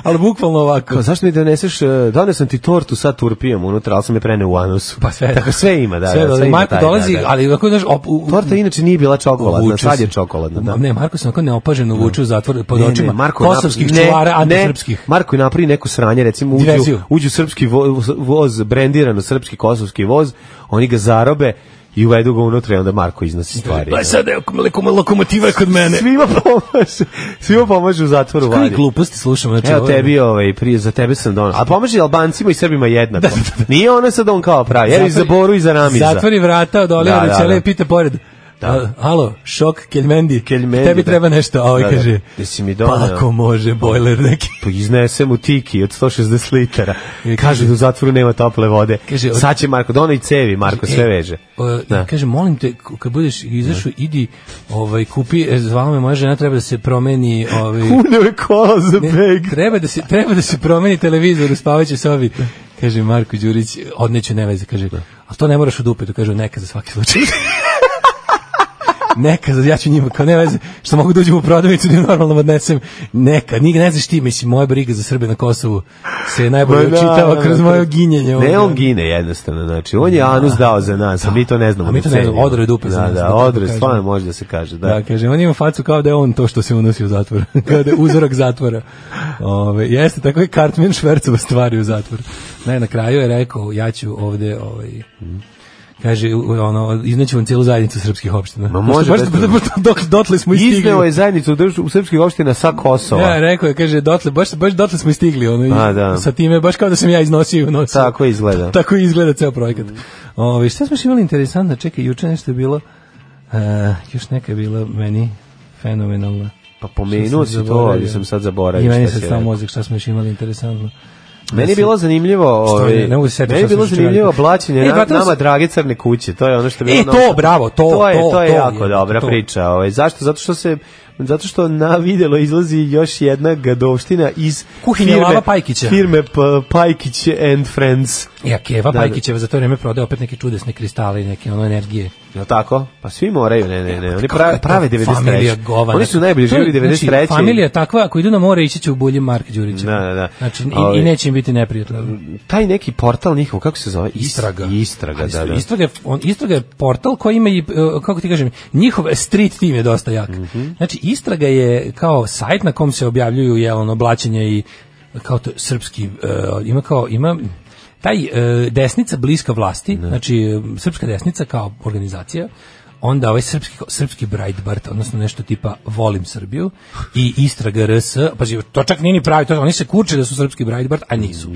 ali bukvalno ovako. Kao, zašto mi doneseš, e, doneo sam ti tortu sa turpijom unutra, ali sam je preneo u anusu. Pa sve. Tako sve ima, da. da, sve, ima Marko taj, dolazi, da, da. ali onako, znaš, op, u, Torta inače nije bila čokoladna, Uvuče sad je se. čokoladna, da. Ne, Marko se onako neopaženo vuče u zatvor pod Ne, ne, očima je kosovskih napravi- ne, čuvara ne, antisrpskih. Marko je napravi neko sranje, recimo uđu, Diverziju. uđu srpski voz, voz, brendirano srpski kosovski voz, oni ga zarobe i uvedu ga unutra i onda Marko iznosi stvari. Pa sad je lokomotiva kod mene. Svima pomaže, svima pomaže u zatvoru Koji vadi. gluposti slušamo. Znači, Evo ovo je- tebi, ovaj, prije, za tebe sam donao. A pomaže i Albancima i Srbima jednako. Nije ono sad on kao pravi, jer i za Zatvori- Boru i za Ramiza. Zatvori vrata od Olivera Da, da, da, da. i pita pored. Da. Alo, šok, Keljmendi. Keljmendi, Tebi da. treba nešto, a ovaj Da, da. kaže. Jesi mi doneo? Pa ako može, bojler neki. Pa iznesem u tiki od 160 litara. Kaže da u zatvoru nema tople vode. Kaže, od- Sad će Marko, dono i cevi, Marko sve E, veže. o, Da. Kaže, molim te, k- kad budeš izašao, idi, ovaj, kupi, e, zvala me moja žena, treba da se promeni, ovaj, Uneo je kola za Ne, beg. treba da se treba da se promeni televizor u spavaćoj sobi. Kaže Marko Đurić, odneću neveze, kaže. A to ne moraš u dupe, to kaže neka za svaki slučaj. neka, za- ja ću njima, kao ne veze, što mogu da uđem u prodavnicu da im normalno odnesem, neka, ni ne znaš ti, mislim, moja briga za Srbe na Kosovu se najbolje Ma da, očitava da, kroz da. moje ginjenje. Ne, ovoga. on gine jednostavno, znači, on je anus dao za nas, a mi to ne znamo. A mi to da ne znamo, cenimo. odre dupe za Da, nas, da da, tako odre, kažemo. stvarno može da se kaže, Da, da. kaže, on ima facu kao da je on to što se unosi u zatvor. kao da je uzorak zatvora. Ove, jeste, tako je Cartman Švercova stvari u zatvor. Ne, na kraju je rekao, ja ću ovde, ovaj, kaže, u- ono, izneću vam cijelu zajednicu srpskih opština. Ma može, Baš, bez baš- baš- dok, dotle smo i stigli. Izneo je zajednicu u, društvu- u srpskih opština sa Kosova. Ja, rekao je, kaže, dotle, baš, baš dotle smo i stigli, ono, A, i- da. sa time, baš kao da sam ja iznosio i unosio. Tako izgleda. Tako izgleda ceo projekat. Ove, šta smo još imali interesantno? Čekaj, juče nešto je bilo, e, još neka je bila meni fenomenalna. Pa pomenuo Što si sam to, zaboravio. ali sam sad zaboravio. I meni šta sad si stao rekao. mozak šta smo još imali interesantno. Meni je bilo zanimljivo, Što ovaj, je, ne mogu se setiti meni je šta sam bilo juče zanimljivo radio. blaćenje E, na, vratilo se- nama drage crne kuće, to je ono što je bilo. E, to, novo. bravo, to, to je, to, to je to jako je, dobra to. priča. Ovaj, zašto? Zato što se Zato što na videlo izlazi još jedna gadovština iz Kuhinja firme, Lava Pajkića. firme P- Pajkić and Friends. Ja, Keva Da, da. Pajkićeva za to vreme prodaje opet neke čudesne kristale i neke ono energije. Je li tako? Pa svi moraju, ne, ne, ne. Oni Kakva prave, je to prave 93. Familija govana. Oni su To najbolji živjeli je, 93. Znači, familija takva, ako idu na more, ići će u bulji Mark Đurića. Da, da, da. Znači, i, Ali- i neće im biti neprijatno. Taj neki portal njihov, kako se zove? Is- Istraga. Istraga, Ali da, da. Istraga, je- on, istraga je portal koji ima i, e, kako ti kažem, njihov street team je dosta jak. Mhm. Znači, istraga je kao sajt na kom se objavljuju jel, ono, blaćenje i kao to, srpski, e, ima kao, ima taj e, desnica bliska vlasti, znači e, srpska desnica kao organizacija, onda ovaj srpski, srpski Breitbart, odnosno nešto tipa Volim Srbiju i Istraga RS, pazi, to čak nije ni pravi, to, oni se kurče da su srpski Breitbart, a nisu.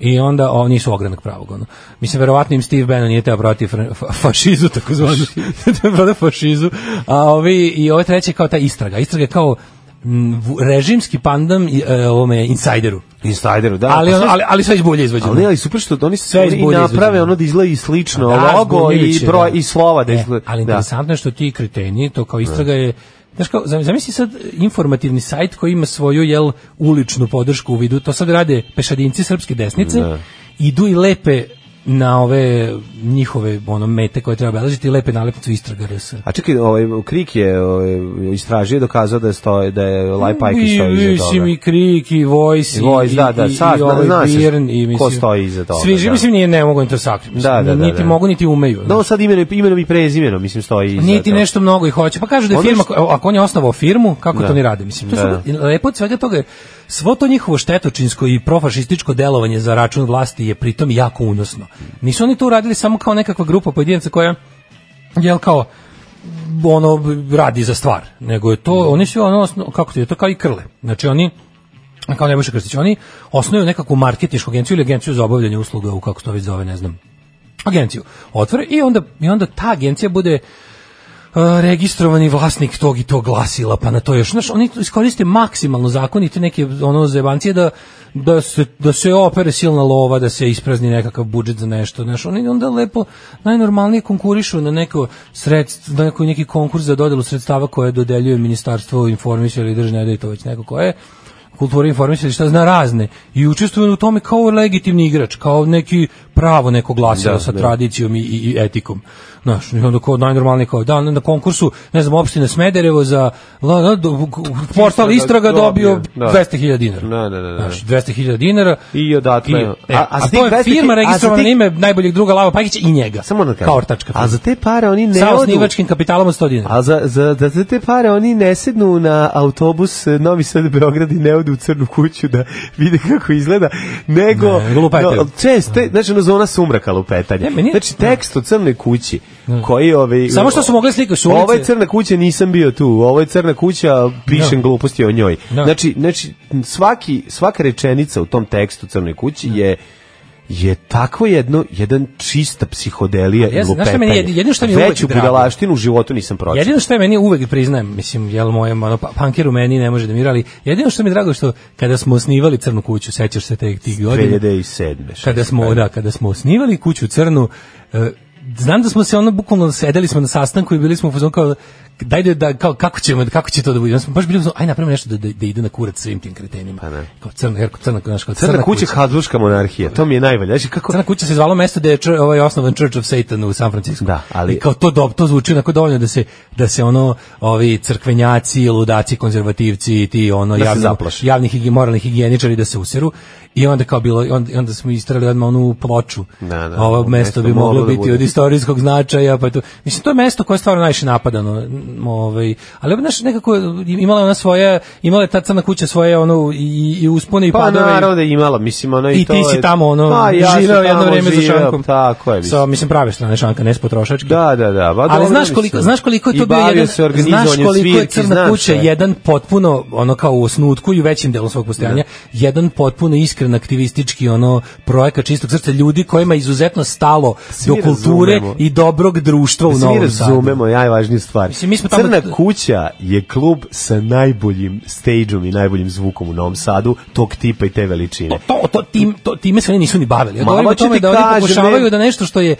I onda oni nisu ogranak pravog. Ono. Mislim, verovatno im Steve Bannon nije teo protiv fa fašizu, tako zvanu. protiv fašizu. A ovi, i ovo treće je kao ta istraga. Istraga je kao mm, vu- režimski pandam i, e, ovome insajderu. Insideru, da. Ali, Pa ono- sve- ali, ali sve izbolje izvođeno. Ali ne, ali super što oni sve Sve i izbolje naprave izvođeno. ono da izgleda i slično, Da, logo i zbunjujuće, broj da. i slova da E, izgleda. ali da. interesantno je što ti kreteni, to kao istraga je Znaš kao, zam- zamisli sad informativni sajt koji ima svoju jel, uličnu podršku u vidu, to sad rade pešadinci srpske desnice, idu i lepe na ove njihove ono, mete koje treba beležiti i lepe nalepnicu istraga RS. A čekaj, ovaj Krik je ovaj, istražio i dokazao da je stoje da je Laj Pajkić I, stoji iza mislim, toga. i Krik, i Voice, I i, Voice, i, da, da, i, sad i zna- ovaj zna se Birn, i, ko mislim, stoji iza toga, Svi, da. mislim, nije, ne mogu im to sakriti. Da, da, da, niti da. mogu, niti umeju. Da, on sad imenom, imenom i prezimenom, mislim, stoji iza Niti toga. nešto mnogo i hoće. Pa kažu da je Ono firma, što- ko- ako on je osnovao firmu, kako Da. to ni rade? Mislim, to Da. su, lepo od svega toga je, svo to njihovo štetočinsko i profašističko delovanje za račun vlasti je pritom jako unosno. Nisu oni to uradili samo kao nekakva grupa pojedinaca koja, jel kao, ono, radi za stvar. Nego je to, oni su ono, osno- kako to je, to kao i krle. Znači oni, kao Nebojša Krstić, oni osnuju nekakvu marketinšku agenciju ili agenciju za obavljanje usluga u kako se to već zove, ne znam, agenciju. Otvore i onda, i onda ta agencija bude e, registrovani vlasnik tog i tog glasila, pa na to još, znaš, oni iskoriste maksimalno zakon i te neke ono zebancije da, da, se, da se opere silna lova, da se isprazni nekakav budžet za nešto, znaš, oni onda lepo najnormalnije konkurišu na neko sredstvo, na neko, neki konkurs za dodelu sredstava koje dodeljuje ministarstvo informisije ili držne, da je to već neko koje kulture informisali šta zna razne i učestvuju u tome kao legitimni igrač, kao neki pravo neko glasilo Da, sa da. tradicijom i, i, i etikom. Znaš, i onda kao najnormalnije kao, da, na konkursu, ne znam, opština Smederevo za la, la, do- portal Istraga dobio Da. 200.000 dinara. Da, da, da, da. Znaš, 200.000 dinara. I odatle. I, e, a, A- a, a to za je tih 200 firma a za registrovana tih- na ime najboljeg druga Lava Pakića i njega. Samo da kažem. Kao ortačka. A za te pare oni ne sa odu. osnivačkim kapitalom od 100 dinara. A za, za, da za te pare oni ne sednu na autobus eh, Novi Sad Beograd i ne odu u crnu kuću da vide kako izgleda, nego, Ne, nego lupetaju. česte, znači ono zona sumraka lupetanja. Ne, meni je- znači tekst o crnoj kući koji ovaj Samo što su mogli slikati s ulice. Ovo je crna kuća, nisam bio tu. Ovo je crna kuća, pišem Da. gluposti o njoj. Da. Znači, znači svaki svaka rečenica u tom tekstu crnoj kući je je takvo jedno jedan čista psihodelija Ali ja i znam, znaš šta lupetanje. meni je jedino- jedino što mi je uvek Veću drago? budalaštinu u životu nisam pročitao. Jedino što je meni uvek priznajem, mislim, jel mojem ono, pa- punker u meni ne može da mira, ali jedino što mi je drago je što kada smo osnivali Crnu kuću, sećaš se te tih godina, 2007. kada smo, da, kada smo osnivali kuću Crnu, e, znam da smo se ono bukvalno sedeli smo na sastanku i bili smo u fazonu kao daj da, da kao, kako ćemo kako će to da bude Onda smo baš bili u fazonu, aj napravimo nešto da, da, da ide na kurac svim tim kretenima kao crna jer crna znaš, kao Pa crna, Crna kuća Habsburgska monarhija, to mi je najbolje. Znači kako Crna kuća se zvalo mesto gde je čr- ovaj osnovan Church of Satan u San Francisco. Da, ali- I kao to dob, to zvuči onako dovoljno da se da se ono ovi crkvenjaci, ludaci, konzervativci i ti ono Da se javni zaplaše. javni higi, moralni higijeničari da se useru i onda kao bilo i onda, i onda smo istrali odmah onu ploču. Da, da, Ovo ovo mesto mesto bi moglo moglo da biti bude. od istorijskog značaja, pa to. Mislim to je mesto koje je stvarno najviše napadano, m, ovaj, ali znaš nekako imala je ona svoje, imala je ta crna kuća svoje ono i, i uspone i pa padove. i- naravno da je imala, mislim ona i, i to ti je- si tamo ono Pa, ja sam živeo jedno tamo vreme za živeo, šankom. Tako je, Sa mislim. mislim prave strane šanka, ne s potrošački. Da, da, da. ba, Ali dobro, znaš mislim. koliko, znaš koliko je to bio I bavio jedan, se znaš organizovanjem koliko je svirki, crna znaš kuća, šta je. jedan potpuno, ono kao u osnutku i u većim delom svog postojanja, jedan potpuno iskren aktivistički ono projekat čistog srca ljudi kojima je izuzetno stalo do mi kulture razumemo. i dobrog društva u Da se mi Novom Sadu. razumemo, najvažniju stvar. Mislim, mi smo tamo- Crna kuća je klub sa najboljim stageom i najboljim zvukom u Novom Sadu, tog tipa i te veličine. to, to, tim, to, time se oni nisu ni bavili. Ja Ma, govorim o hoću tome ti da oni kažem, pokušavaju ne- da nešto što je,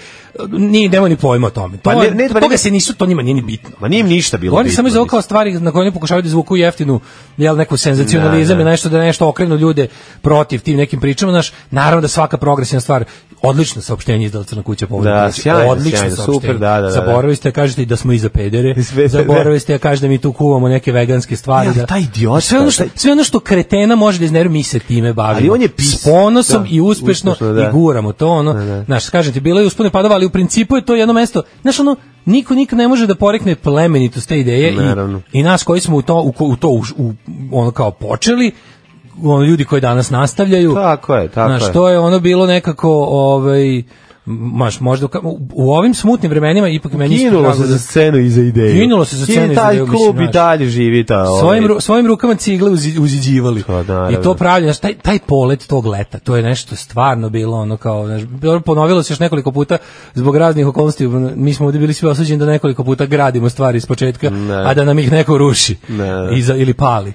ni, nema ni pojma o tome. To, Pa ne- ne- to- pa ne- toga se nisu, to njima nije ni bitno. Ma nije im ništa bilo Govorim bitno, samo iz ovo mislim. kao stvari na koje oni pokušavaju da izvuku jeftinu, jel, neku senzacionalizam i nešto da nešto okrenu ljude protiv tim nekim pričama, znaš, naravno da svaka progresivna stvar, odlično saopštenje izdala Crna kuća povodom Da, Vučića, sjajno, odlično sjajno, saopštenje. super, da, da, da, da. Zaboravili ste da kažete i da smo i za pedere, Sve, sve, zaboravili ste da kažete da mi tu kuvamo neke veganske stvari. Ne, ali da- taj idiota, sve ono što, taj- sve ono što kretena može da iznervi, mi se time bavimo. Ali on je pis- S ponosom da, i uspešno, uspešno, da. i guramo to, ono, znaš, kažem ti, bilo je uspone padova, ali u principu je to jedno mesto, znaš, ono, niko nikad ne može da porekne plemenitost te ideje i, Naravno. i nas koji smo u to, u, ko- u to uš- u, ono kao počeli, ono, ljudi koji danas nastavljaju, Tako je, tako znaš, je. to je ono bilo nekako, ovaj, maš, možda, u ka- u, u ovim smutnim vremenima ipak meni isto Kinulo drago se da- za scenu i za ideju. Kinulo se za scenu i za ideju, Taj mislim, klub i znaš. dalje živi ta... svojim, ovaj, ru- svojim rukama cigle uzi- uziđivali. Pa, naravno. I to pravljeno, znaš, taj, taj polet tog leta, to je nešto stvarno bilo ono kao, znaš, dobro, ponovilo se još nekoliko puta zbog raznih okolnosti, mi smo ovdje bili svi osuđeni da nekoliko puta gradimo stvari iz početka, a da nam ih neko ruši Ne. Pa, Iza, ili pali.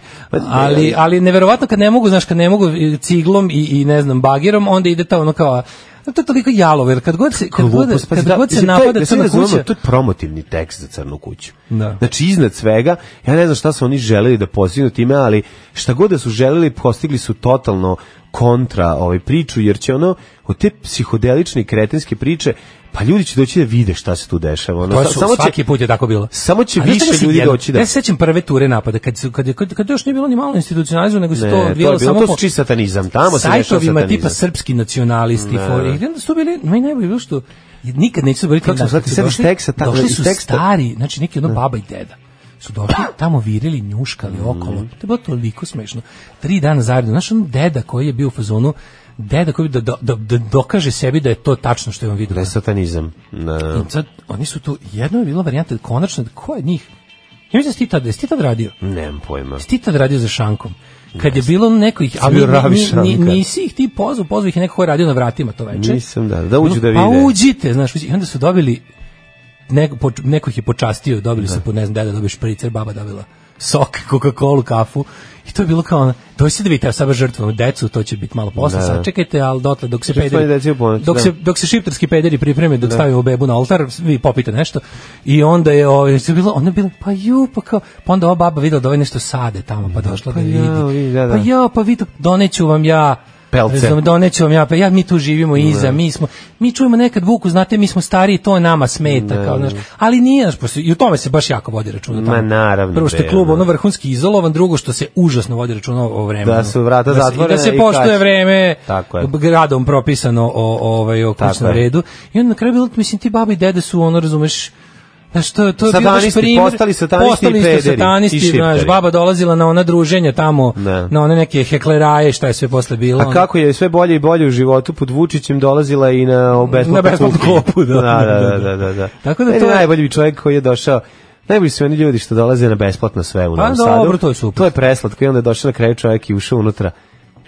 Ali, ali neverovatno kad ne mogu, znaš, kad ne mogu i ciglom i, i ne znam, bagirom, onda ide ta ono kao, a, to je toliko jalovo, jer kad god se, kad god, Glupost, pa kad da, god se mislim, to je- napada da se crna razumemo, kuća, To je promotivni tekst za crnu kuću. Da. Znači, iznad svega, ja ne znam šta su oni želeli da postignu time, ali šta god da su želeli, postigli su totalno kontra ovaj priču, jer će ono, od te psihodelične i kretenske priče, pa ljudi će doći da vide šta se tu dešava. Ono, To sa- Pa su, samo će- svaki put je tako bilo. Samo će Ali više znaš čega se ljudi jedno- doći da- Ja se sećam prve ture napada, kad, su, kad, je- kad, kad još nije bilo ni malo institucionalizovano, nego se Ne, to to je odvijalo bilo- samo to po su čist satanizam, tamo se dešava sajtovima satanizam. tipa srpski nacionalisti. for- I onda su to bili, meni najbolje bilo što nikad neću zaboraviti. Kako smo dan kad shvatili, su sebi došli- teksta tamo, Došli iz su teksta. stari, znači neki ono baba i deda su došli, tamo virili, njuškali okolo. Mhm. To je bilo toliko smešno. Tri dana zaredno. Znaš, on deda koji je bio u fazonu, deda koji bi da, da, da dokaže sebi da je to tačno što je on vidio. Da je satanizam. Da, da. I sad, oni su tu, jedno je bila varijanta, konačno, ko je njih? Ja mislim da si ti tad, jesi ti tad radio? Nemam pojma. Jesi ti tad radio za šankom? Kad je bilo neko ih, ali bio ravi ni, ni, Šankar. nisi ih ti pozvao, pozvao ih je neko ko je radio na vratima to veče. Nisam, da, da uđu da vide. Pa uđite, znaš, uđi- i onda su dobili, neko, po, neko ih je počastio, dobili su, po, ne znam, deda dobio špricer, baba dobila sok, Coca-Cola, kafu, i to je bilo kao, ono, dođite da vidite, evo sad baš žrtvujemo decu, to će biti malo posle, Da. sačekajte, ali dotle, dok se pederi- Žrtvovanje dece u ponoć, dok da. se dok se šiptarski pederi pripreme dok stavimo bebu na oltar, vi popite nešto i onda je ovaj se bilo, onda je bilo pa ju pa kao pa onda ova baba videla da ovaj nešto sade tamo pa došla da, ja, vidi. vidi, da, da. Pa ja, pa vidi, doneću vam ja pelce. Razum, doneću vam ja, pa ja mi tu živimo iza, mi smo, mi čujemo nekad buku, znate, mi smo stariji, to nama smeta, kao, znaš, ali nije, znaš, posle- i u tome se baš jako vodi računa. Ma, tamo. naravno, Prvo što je bre, klub ono. ono vrhunski izolovan, drugo što se užasno vodi računa o vremenu. Da su vrata Da se- i zatvorena Da se i poštuje kači. vreme Tako je. gradom propisano o, o, ovaj, o Tako kućnom je. redu. I onda na kraju bilo, mislim, ti babi i dede su, ono, razumeš, Znaš, to, to je bio baš Satanisti, primer. postali satanisti i postali pederi su i satanisti, šiptari. znaš, baba dolazila na ona druženja tamo, Da. na one neke hekleraje, šta je sve posle bilo. A ono. kako je sve bolje i bolje u životu pod Vučićem dolazila i na Na besplatnu besplatnu klopu, da. da, da, da, da, da. Tako da Meni to je- najbolji bi čovjek koji je došao Najbolji su oni ljudi što dolaze na besplatno sve u Pa Novom dobro, Sadu. to je super. To je preslatko i onda je došao na kraju čovjek i ušao unutra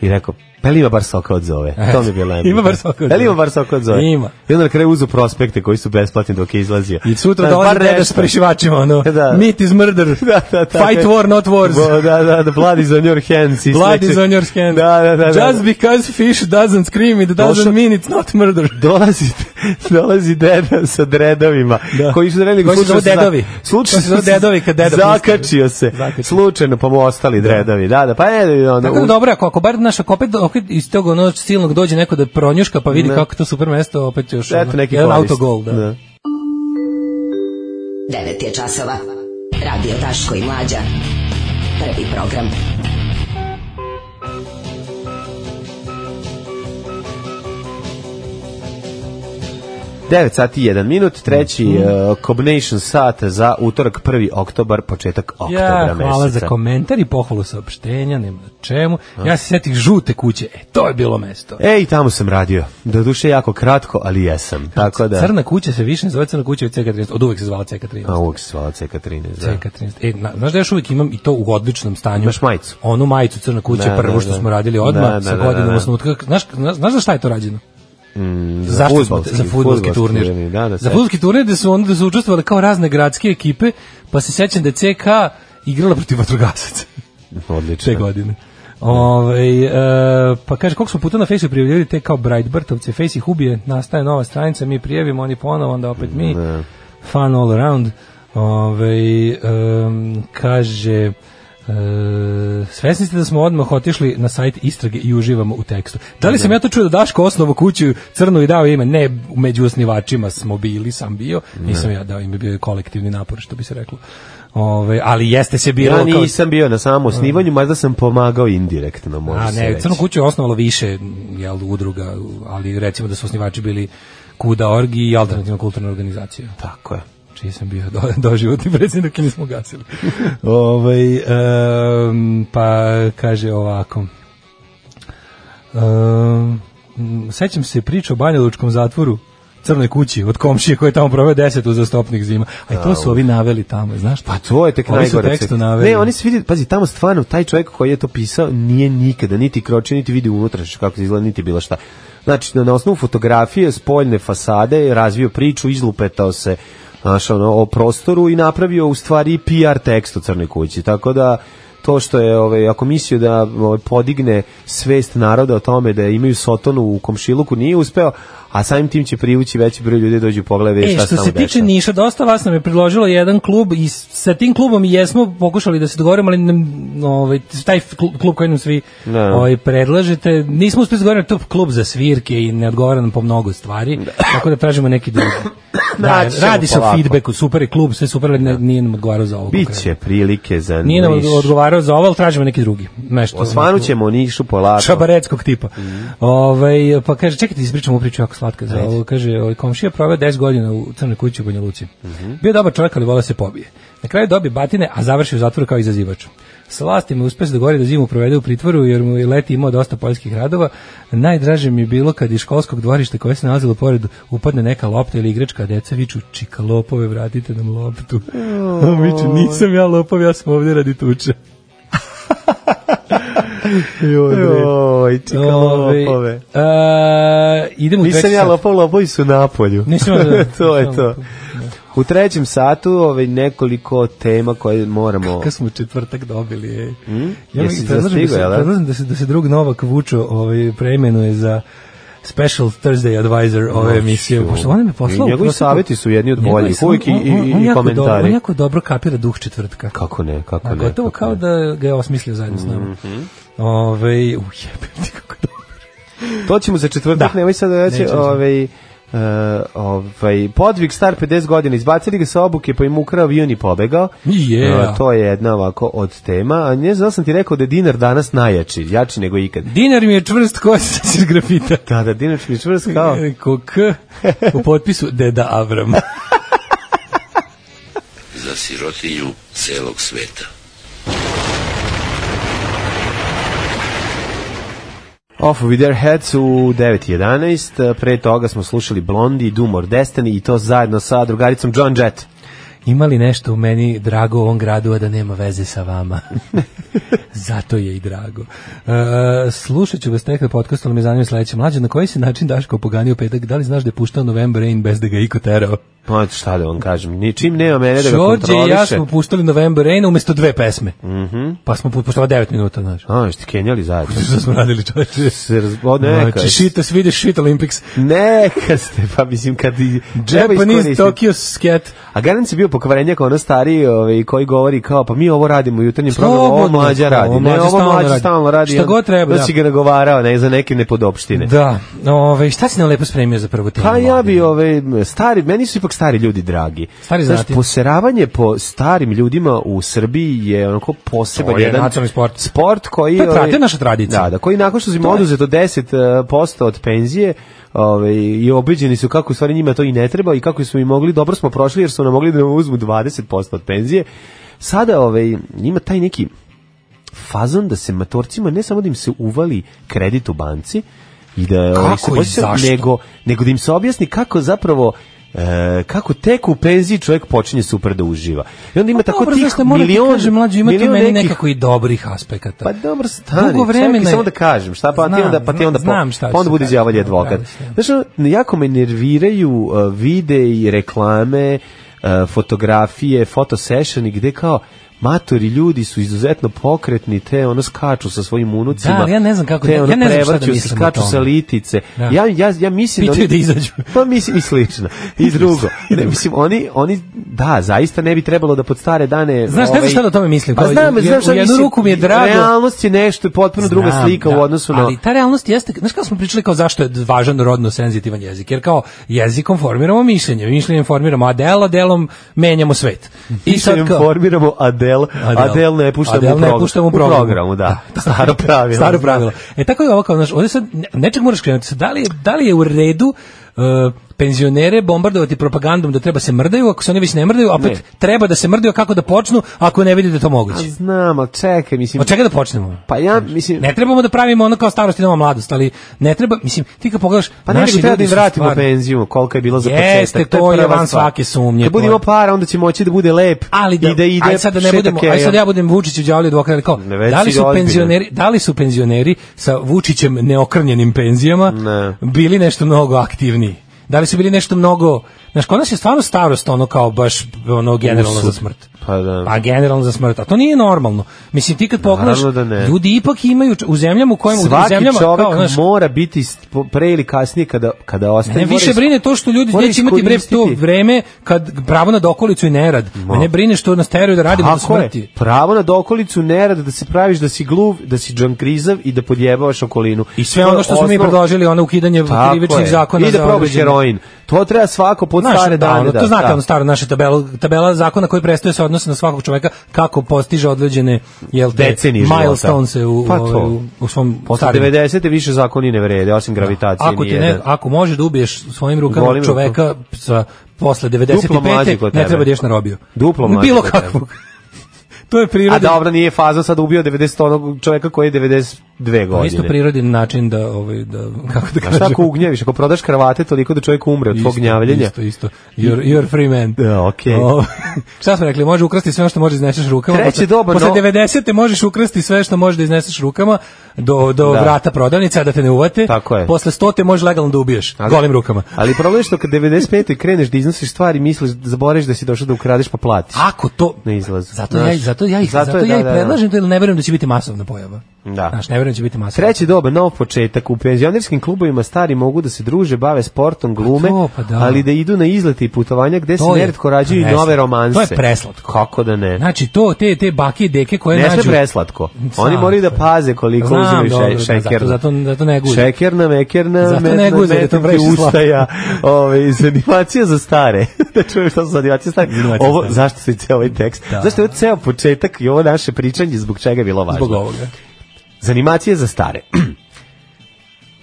i rekao, pa li ima bar soka od zove? To mi je bilo najbolje. E, Ima bar soka od Pa li ima Zove? bar soka od zove? Ima. I onda na kraju uzu prospekte koji su besplatni dok je izlazio. I sutra Znaš, dolazi bar deda s nešto. prišivačima, ono, Da. meat is murder, Da, da, tako fight je. war, not wars. Bo- Da, da, da, blood is on your hands. i Blood sliče. is on your hand. Da, da, da. da. Just because fish doesn't scream, it doesn't Došao- mean it's not murder. dolazi dolazi deda sa dredovima Da. koji su dredovi Koji se zove slučajno su- dedovi. slučajno Koji se zove su- dedovi kad deda zakačio pusti. se Zakačio. slučajno pa mu ostali dredovi da da pa je onda Tako da dobro, ako, ako bar naš, ako opet, opet iz tog onog silnog dođe neko da pronjuška pa vidi Ne. kako je to super mesto, opet još ono, eto neki jedan korist. autogol. Da. 9 je časova. Radio Daško i Mlađa. Prvi program. Devet sati i jedan minut treći Mhm. uh, combination sat za utorak 1. oktobar početak oktobra Ja, hvala meseca za komentar i pohvalu saopštenja, nema na čemu. Ja se sjetih žute kuće, e, to je bilo mesto. Ej, tamo sam radio. Doduše jako kratko, ali jesam. Tako da... Crna kuća se više ne zove crna kuća od CK13, od uvek se zvala CK13. A uvijek se zvala CK13. Da. CK13. E, na, znaš da još uvijek imam i to u odličnom stanju. Imaš majicu? Onu majicu crna kuća, Da, prvo da, što da. smo radili odmah, Da, da, sa da, godinom da, da. osnutka. Znaš, znaš, znaš za šta je to rađeno? Zašto smo, fudbalski- za fudbalski turnir. Da, da, za sećam. fudbalski turnir da su onda da su učestvovali kao razne gradske ekipe, pa se sećam da je CK igrala protiv vatrogasaca Odlično. te godine. Ovaj e, pa kaže, koliko smo puta na Facebooku prijavljali te kao Brightburtovce, Face ih ubije, nastaje nova stranica, mi prijavimo, oni ponovo, onda opet mi. Fun all around. Ovaj em, kaže, e, svesni ste da smo odmah otišli na sajt istrage i uživamo u tekstu. Da li sam ja to čuo da Daško osnovu kuću crnu i dao ime? Ne, među osnivačima smo bili, sam bio. Nisam ja dao ime, bio je kolektivni napor, što bi se reklo. Ove, ali jeste se bilo Ja kao nisam bio na samom osnivanju, mada sam pomagao indirektno, može A se ne, reći. Crnu kuću je osnovalo više jel, udruga, ali recimo da su osnivači bili Kuda Org i Alternativna kulturna organizacija. Tako je. Čiji sam bio do, doživotni predsjednik i nismo gasili. Ovaj, em, pa kaže ovako. Um, sećam se priče o Banjalučkom zatvoru crnoj kući od komšije koji je tamo proveo 10 uzastopnih zima. A i to su ovi naveli tamo, znaš? Pa to je tek Ovi su u najgore. tekstu cek- naveli. Ne, oni su vidjeli, pazi, tamo stvarno taj čovjek koji je to pisao nije nikada niti kročio, niti vidio unutrašnje kako se izgleda, niti bilo šta. Znači, na, na osnovu fotografije, spoljne fasade, je razvio priču, izlupetao se znaš, ono, o prostoru i napravio u stvari PR tekst u Crnoj kući. Tako da, to što je, ovaj, ako mislio da ovaj, podigne svest naroda o tome da imaju sotonu u komšiluku, nije uspeo, a samim tim će privući veći broj ljudi da dođu pogledati E, šta se što tamo se tiče dešava. Niša, dosta vas nam je predložilo jedan klub i s- sa tim klubom i jesmo pokušali da se dogovorimo, ali nam, ovaj, taj kl- klub koji nam svi Da. ovaj, predlažete, nismo uspeli dogovoriti, to je klub za svirke i ne odgovara nam po mnogo stvari, tako da tražimo neki drugi. da, Naći ćemo radi se o polako. feedbacku, super je klub, sve super, ali ne, nije nam odgovarao za ovo. konkretno. Biće prilike za Nije nam Niš. odgovarao za ovo, ali tražimo neki drugi. Nešto, Osvanućemo Nišu polako. Šabareckog tipa. Ovaj, pa kaže, čekajte, ispričam ovu priču jako slatka. Za ovo, kaže, ovaj, komšija proveo 10 godina u crnoj kući u Banja Luci. Bio dobar čovjek, ali vola se pobije. Na kraju dobije batine, a završi u zatvoru kao izazivač. Sa vlastima uspe se dogovori da zimu provede u pritvoru, jer mu je leti imao dosta poljskih radova. Najdraže mi je bilo kad iz školskog dvorišta koje se nalazilo pored upadne neka lopta ili igračka, a deca viču, čika lopove, vratite nam loptu. On viče, nisam ja lopov, ja sam ovdje radi tuče. Joj, čika Ovaj, lopove. e, idemo u Nisam treći ja sat. lopov, lopovi su napolju. Nisam ja, da. to je Nisam to. lopov, U trećem satu ove nekoliko tema koje moramo... Kad smo u četvrtak dobili, ej. Ja Mm? Jesi mi predlažem, da zastigao, se, jel da? predlažem da se, da se drug Novak Vučo ovaj, preimenuje za Special Thursday Advisor ove emisije. Pošto ona mi poslala... u Njegovi proseku- savjeti su jedni od Njegovi boljih, sam- uvijek i- on- on- i- on i jako komentari. dobro- On jako dobro kapira duh četvrtka. Kako ne, kako A ne. gotovo kako kao ne. Mhm. da ga je osmislio zajedno s nama. Ove, ujebem ti kako je dobro. To ćemo za četvrtak, Da. nemoj sad da će, Nećemo. ovaj, e, ovaj, podvig star 50 godina, izbacili ga sa obuke pa im ukrao avion i pobegao. Yeah. E, to je jedna ovako od tema. A ne znam, sam ti rekao da je dinar danas najjači, jači nego ikad. Dinar mi je čvrst kost iz grafita. Da, da, dinar mi je čvrst kao... Ko K u potpisu Deda Avram. Za sirotinju celog sveta. Off with their heads u 9.11. Pre toga smo slušali Blondie, Doom or Destiny i to zajedno sa drugaricom John Jett. Ima li nešto u meni drago u ovom gradu, a da nema veze sa vama? Zato je i drago. E, slušat ću vas nekada podcast, ali me zanima sledeće. Mlađe, na koji se način Daško poganio petak? Da li znaš da je puštao November Rain bez da ga je iko terao? Ma Pa, šta da vam kažem, ničim nema mene da ga Đorđe i kontroliše. Mhm. ja smo puštali November Rain umesto dve pesme. Pa smo pu- puštali 9 minuta, znaš. A, jeste kenjali zajedno. Što smo radili čoveče? Se raz- o, neka. Znači, shit us, vidiš shit Olympics. Neka ste, pa mislim kad i treba Japanese iskoristiti. Tokyo sket. A Garanc je bio pokvarenjak, ono stariji ovaj, koji govori kao, pa mi ovo radimo u jutarnjem programu, ovo Slobodno, mlađa kao, radi. ovo Ne, mlađa ovo stalno mlađa radi. stalno radi. Šta on- god treba, Da si da. ga nagovarao, ne, za neke nepodopštine. Da, ove, šta si nam lepo spremio za prvu temu? Pa ja bi mladi? ove stari, meni su ipak stari ljudi dragi. Stari Znaš, znati. poseravanje po starim ljudima u Srbiji je onako poseban To je jedan nacionalni sport. Sport koji To je ovaj, prate naša tradicija. Da, da, koji nakon što im oduzeto 10% od penzije, ovaj i obeđeni su kako u stvari njima to i ne treba i kako smo i mogli, dobro smo prošli jer su nam mogli da nam uzmu 20% od penzije. Sada ovaj ima taj neki fazon da se matorcima ne samo da im se uvali kredit u banci i da ovaj, se i posjeća- zašto? nego nego da im se objasni kako zapravo e, kako tek u penziji čovjek počinje super da uživa. I onda ima tako Pa Dobro, tih znaš šta, moram ti milion, kažem, mlađe, ima tu milion meni nekih- nekako i dobrih aspekata. Pa dobro, stani, Dugo vremena čekaj je- samo da kažem, šta pa ti Znam, onda, pa ti onda, po- znam šta pa onda ću bude kažem, đavolji da, advokat. da, da, da. Znaš, ono, jako me nerviraju uh, vide i reklame, uh, fotografije, fotosessioni gde kao matori ljudi su izuzetno pokretni, te ono skaču sa svojim unucima. Da, ali ja ne znam kako- te ja ne ono znam šta da prevrću se, mislim o skaču sa tome. litice. Da. Ja, ja, ja mislim Pitaju oni- da izađu. Pa mislim i slično. I drugo. Ne, mislim, oni, oni, da, zaista ne bi trebalo da pod stare dane... Znaš, ne znam šta da o tome mislim, Pa kao, znam, E, u- znam šta u jednu mislim. ruku mi je drago. Realnost je nešto potpuno druga Znam, slika da, u odnosu na... Ali ta realnost jeste, znaš kako smo pričali kao zašto je važan rodno senzitivan jezik, jer kao jezikom formiramo mišljenje, mišljenjem formiramo, a delo, delom menjamo svet. I sad Mišljenjem kao, formiramo Adel, Adel, Adel. ne puštamo Adele u ne programu. puštamo u programu. da. Da. Staro pravilo. Staro pravilo. E tako je ovo kao, znaš, ovde sad ne- nečeg moraš krenuti. Sad, Da li je, da li je u redu e, penzionere bombardovati propagandom da treba se mrdaju, ako se oni već ne mrdaju, a opet Ne. treba da se mrdaju, a kako da počnu ako ne vidi da je to moguće. Pa Znam, ali čekaj, mislim... Od čega da počnemo? Pa ja, mislim... Ne trebamo da pravimo ono kao starost i nova mladost, ali ne treba, mislim, ti kad pogledaš, Pa ne, naši nego treba da ljudi im su vratimo stvarno- penziju, koliko je bilo za početak. Jeste, to je prva van stvar. svake sumnje, Kad to je- budemo para, onda će moći da bude lep ali da, i da ide ajde sad da ne budemo, aj sad ja budem Vučić u đavlju advokat, ali kao, Ne, već da li si su ozbiljan. penzioneri, da li su penzioneri sa Vučićem neokrnjenim penzijama Ne. bili nešto mnogo aktivniji? Da li su bili nešto mnogo, znaš, kod nas je stvarno starost ono kao baš ono generalno Usud. za smrt. Pa da. Pa generalno za smrt, a to nije normalno. Mislim ti kad pogledaš, Naravno da ne. ljudi ipak imaju u zemljama u kojima u Svaki zemljama čovek kao, znaš, mora biti st- po- pre ili kasnije kada, kada ostane. Mene više mora brine to što ljudi mora neće imati bre to iskoristiti. vreme kad pravo na dokolicu i nerad. Mene brine što nas teraju da radimo do Tako je. smrti. Pravo na dokolicu nerad da se praviš da si gluv, da si džankrizav i da podjebavaš okolinu. I sve To je ono što smo mi osnov- predložili, ono ukidanje Tako je. krivičnih zakona I da za probaš određene- heroin. To treba svako pod Znaš, stare da, dane. ono, da, to znate, da. ono staro naše tabela, tabela zakona koji prestaje se odnosi na svakog čoveka kako postiže određene jel te, Decenije života. milestones u, Pa pa to. u, u svom Posle starim. 90. više zakoni ne vrede, osim gravitacije. Ako ti ne, nijedan. ako možeš da ubiješ svojim rukama Golim rukom. čoveka sa posle Duplo mlađeg od 95. ne tebe. treba da ješ na robiju. Duplo mlađeg Bilo od tebe. kakvog. to je A priroda. dobro, nije faza sad ubio 90 onog čoveka koji je 92 To je Pa Isto godine. prirodin način da, ovaj, da kako da A kažem. šta ako ugnjeviš? Ako prodaš kravate toliko da čovjek umre od tvog gnjavljenja? Isto, isto. You're, you're free man. Da, okej. O, šta smo rekli, može ukrasti sve ono što može da izneseš rukama. Treće Posle- doba, Posle no- 90. možeš ukrasti sve što može da izneseš rukama do, do Da. vrata prodavnice, a da te ne uvate. Tako je. Posle 100. možeš legalno da ubiješ, Ali- golim rukama. Ali problem je što kad 95. kreneš da iznosiš stvari, misliš, zaboraviš da si došao da ukradeš pa platiš. Ako to Na izlazu. Zato Znaš, ja zato ja ih zato zato, je, ja da, ih da, da. predlažem da, jer ne verujem da će biti masovna pojava. Da. Znaš, ne verujem da će biti masa. Treći doba, nov početak. U penzionerskim klubovima stari mogu da se druže, bave sportom, glume, to, pa da. ali da idu na izlete i putovanja gde se To je neretko rađaju i preslatko. nove romanse. To je preslatko. Kako da ne? Znači, to, te, te bake i deke koje Ne nađu... sme preslatko. Znam, Oni moraju da sve. paze koliko Znam, uzimaju dobro, še, da, šekerna. Zato, zato, zato ne guzi. Šekerna, mekerna, Zato ne metna, guze, da to metanke, previše slatko. ustaja, ove, zanimacija za stare. da čuješ šta su zanimacije stare. Zanimacije Ovo, stare. zašto se ceo ovaj tekst? Zašto je ovo ceo početak i ovo naše pričanje zbog čega je bilo važno? Zbog ovoga. Zanimacije za stare.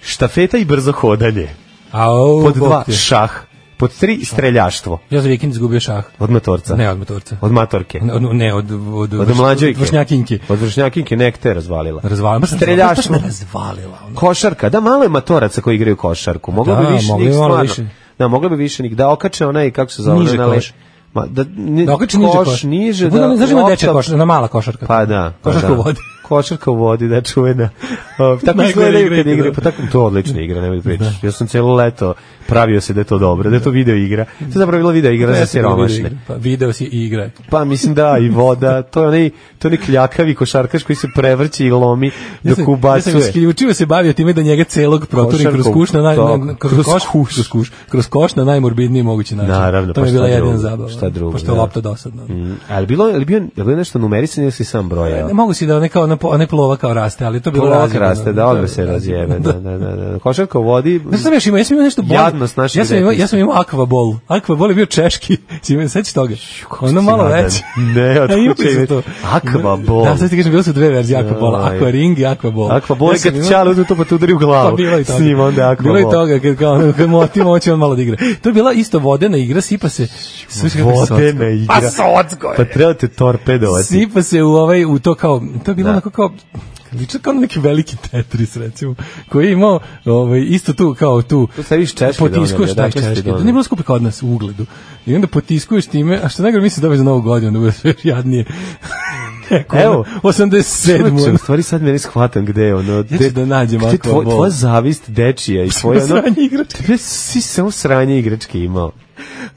Štafeta i brzo hodanje. A, o, Pod Bog dva, te. šah. Pod tri, streljaštvo. Ja za vikend izgubio šah. Od motorca. Ne, od motorca. Od matorke. Ne, od, ne, od, od, Od mlađojke. vršnjakinke. Od vršnjakinke, nek te razvalila. Razvalila. Baš me- Baš Streljaštvo. me razvalila. ono. Košarka, da malo je matoraca koji igraju košarku. Moglo Da, bi više mogli njih bi malo stvarno. više. Da, moglo bi više njih. Da okače onaj, kako se zove, Niže ona le- koš. Ma, da, ne, Da okači niže koš. niže, Bude da, ona- Znaš ima lopta- dečja košarka, ona mala košarka. Pa da. pa Košarka da. u vodi. Košarka u vodi, da čuvena. O, tako Najgore izgledaju igra kad ikada. igraju, pa tako to je odlična igra, nemoj da pričaš. Ja sam celo leto pravio se da je to dobro, da je to video igra. To je zapravo bila video igra za Jeste, bilo siromašne. igra. Pa video si i igraj. Pa mislim da i voda, to je onaj to je onaj kljakavi košarkaš koji se prevrće i lomi Ja dok sam- ubacuje. Ja sam isključivo se bavio time da njega celog proturim kroz Košarkom, kuš na, naj, to, na- kroz kroz, koš, kroz, kuš, kroz koš na najmorbidniji mogući način. Naravno, to pa mi je bila šta jedina drugo, zabava. šta drugo, Pošto je da. lopta dosadna. Mm, Ali bilo je bio, je bilo nešto numerisanje ili si sam brojao? Ne mogu si da neka ona, po- ona plova kao raste, ali to je bilo Polak razjebano. raste, da odmah se razjebe. Da, da, da, da. Košarka u vodi, Znaš šta sam još imao, ja sam imao nešto bolje. Jadnost našeg ja sam imao, ja detinjstva. sam imao akvabol. Akvabol je bio češki. Si imao, sećaš toga? Ono malo nadan. veće. Ne, od A imali kuće su ima- to. Akvabol. Da, sad ti kažem, bilo su dve verzije akvabola. Aj. Akvaring i akvabol. Akva bol sam kad imao- čale uzme to pa te udari u glavu. Pa bilo je i toga. S njim onda akva Bilo je i toga kad kao ono, kad motim hoće on malo da igra. To je bila isto vodena igra, sipa se. Slušaj kako je socko. Vodena igra. Pa socko je. Pa treba te torpedovati. Sipa se u ovaj u to kao to je bilo Da. onako kao liči kao na neki veliki Tetris recimo koji je imao ovaj isto tu kao tu To se viš Češke potiskuješ doneli, taj odakle ste češki doneli? ne bilo skupo kod nas u ugledu i onda potiskuješ time a što najgore misliš da je za novu godinu da bude sve još jadnije Neko, ono, Evo. Evo, 87. Čovječe, u ono. stvari sad meni shvatam gde je ono... ću gde- da nađem gde akva tvoj- bol. Tvoja zavist dečija i tvoja... ono- Sranje igračke. Tebe si samo sranje igračke imao.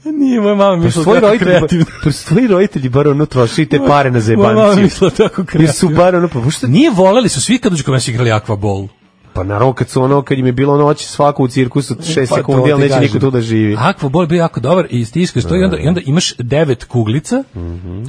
Nije, moja mama Pa su mislila tvoji tako roditelji, kreativno. pa su tvoji roditelji bar ono trošili te pare na Moja mama zebanciju. mislila tako Jer su kreativno. bar ono, pa šta Nije voleli su svi kad uđu kod nas igrali akvabol. Pa naravno kad su ono, kad im je bilo noć svako u cirkusu 6 Pa, to sekundi, ali ti neće kažem. niko tu da živi. Akvabol je bio jako dobar i stiskaš to i onda, i onda imaš devet kuglica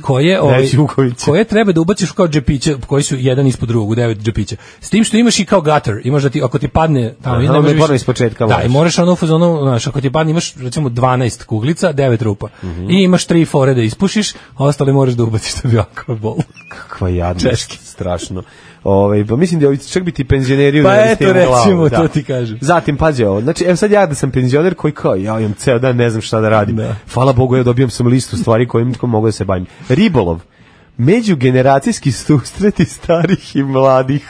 koje, ovaj, Devet kuglica. koje treba da ubaciš kao džepiće, koji su jedan ispod drugog, u devet džepića. S tim što imaš i kao gutter, imaš da ti, ako ti padne tamo, Aha, ne onda možeš moraš više- ono ispočetka, Da, moraš. i moraš ono, u fazonu, znaš, ako ti padne, imaš recimo 12 kuglica, devet rupa. I imaš tri fore da ispušiš, a ostale moraš da ubaciš da bi akvabol. Kakva jadnost, strašno. Ovaj pa mislim da ovi čak bi ti penzioneri Pa udarili eto, ste u glavu, recimo, to ti kažem. Zatim pađe ovo. Znači, evo sad ja da sam penzioner koji kao ja imam ceo dan ne znam šta da radim. Hvala Bogu ja dobijam sam listu stvari kojim tko mogu da se bavim. Ribolov. Međugeneracijski susreti starih i mladih.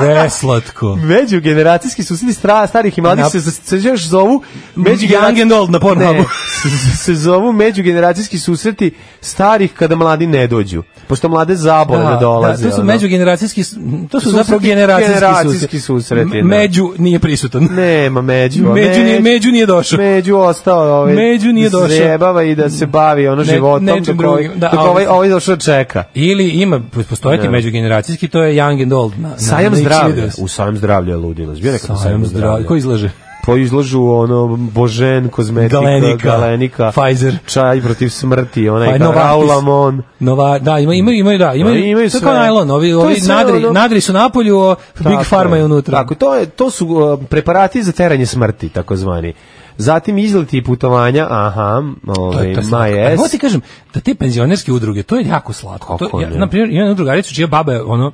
Preslatko. Međugeneracijski susreti stra, starih i mladih Na- se, se, se još zovu Young and old na Pornhubu. Ne, se- se zovu međugeneracijski susreti starih kada mladi ne dođu. Pošto mlade zabole ne dolaze. Da, to su ono. međugeneracijski, s- to su Susreti, zapravo generacijski, generacijski susreti, susreti. da. Među nije prisutan. Nema među. a Među nije- među nije došao. Među ostao ovaj. Među nije da se došao. Zajebava i da se bavi ono Ne- životom nečim dok ovaj, drugim. Da, dok a ovaj, ovaj- ovaj došao da čeka. Ili ima postojati Ne. međugeneracijski, to je young and old. Na, na, Sajam na zdravlja. Xvideos. U sajam zdravlja je ludilac. Bio nekad na Sajam zdravlja. Ko izlaže? Po izlažu ono Božen, kozmetika, Galenika, Galenika Pfizer. čaj protiv smrti, onaj Pa, kao Novartis. Raulamon. Nova, da, ima, imaju, imaju, da, imaju, Ali imaju to je sve. kao najlon, ovi, To je ovi sve nadri, ono- nadri su napolju, o, Tako Big Pharma je unutra. Tako, to, je, to su uh, preparati za teranje smrti, takozvani. Zatim izleti i putovanja, aha, To ovaj, je, to je slatko. majes. Ali mogu ti kažem, da te penzionerske udruge, to je jako slatko. Kako to, ja, ne? na primjer, imam jednu drugaricu čija baba je ono,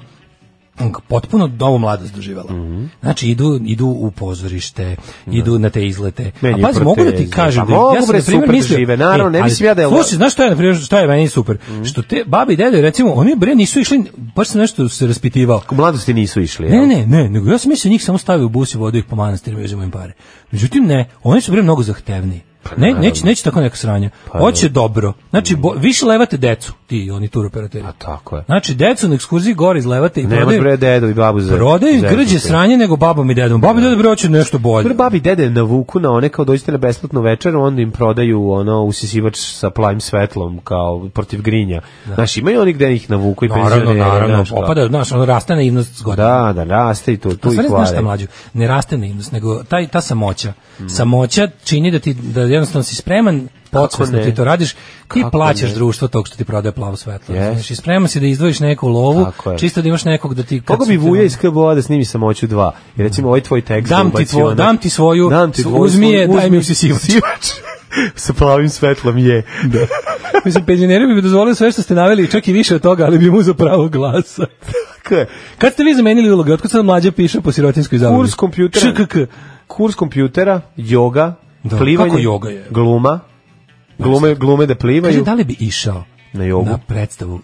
potpuno novu mladost doživjela. Mhm. Znači, idu, idu u pozorište, idu na te izlete. Meni je a pazi, mogu da ti proteze. kažem, Pa da, ja mogu, sam, bre, na primjer, super mislio- žive, naravno, E, ne ali, mislim ja da je- Mhm. Slušaj, znaš šta je, na primjer, šta je meni super? Što te babi i dede, recimo, oni bre nisu išli, baš sam nešto se raspitivao. U mladosti nisu išli. Ne, jel? ne, ne, nego ja sam mislio njih samo stavio u bus i vodio ih po manastirima i uzimao im pare. Međutim, ne, oni su bili mnogo zahtevniji. Pa ne, neće, neće tako neka sranja. Hoće dobro. Znači, bo, više levate decu, ti oni turoperateri. A Pa tako je. Znači, decu na ekskurziji gore izlevate i Nemaš bre prodaju, dedu i babu za. prodaju za- grđe za- sranje nego babom i dedom. Babi i dede bre hoće nešto bolje. Bre, babi i dede navuku na one kao dođete na besplatnu večeru, onda im prodaju ono usisivač sa plavim svetlom kao protiv grinja. Znaš, imaju oni gde ih navuku i Naravno, penzionere. naravno, znaš, kao- opada, znaš, ono raste naivnost s godinama. Da, da, raste i tu, tu U i stvari, znaš šta kvare. mlađu, ne raste naivnost, nego taj, ta samoća. Samoća čini da ti da jednostavno si spreman, podsvesno ne? ti to radiš, ti Kako plaćaš ne? društvo tog što ti prodaje plavo svetlo. Jest. Znaš, i spreman si da izdvojiš neku lovu, Tako je. čisto da imaš nekog da ti... kad Koga bi su ti- ono- vuja iz KBO da snimi samoću dva? I recimo ovaj tvoj tekst Dam ti ubaci tvo- ono- dam ti svoju, uzmi je, daj mi usisivač. sa plavim svetlom je. Da. Mislim, penzioneri bi mi dozvolili sve što ste naveli, čak i više od toga, ali bi mu za pravo glasa. Kad ste vi zamenili uloge, otkud sad mlađa piše po sirotinskoj zabavi? Kurs kompjutera. ŠKK. Kurs kompjutera, joga, Da, plivanje. kako joga je? Gluma. Glume, glume da Kaže, plivaju. da li bi išao Na jogu? na predstavu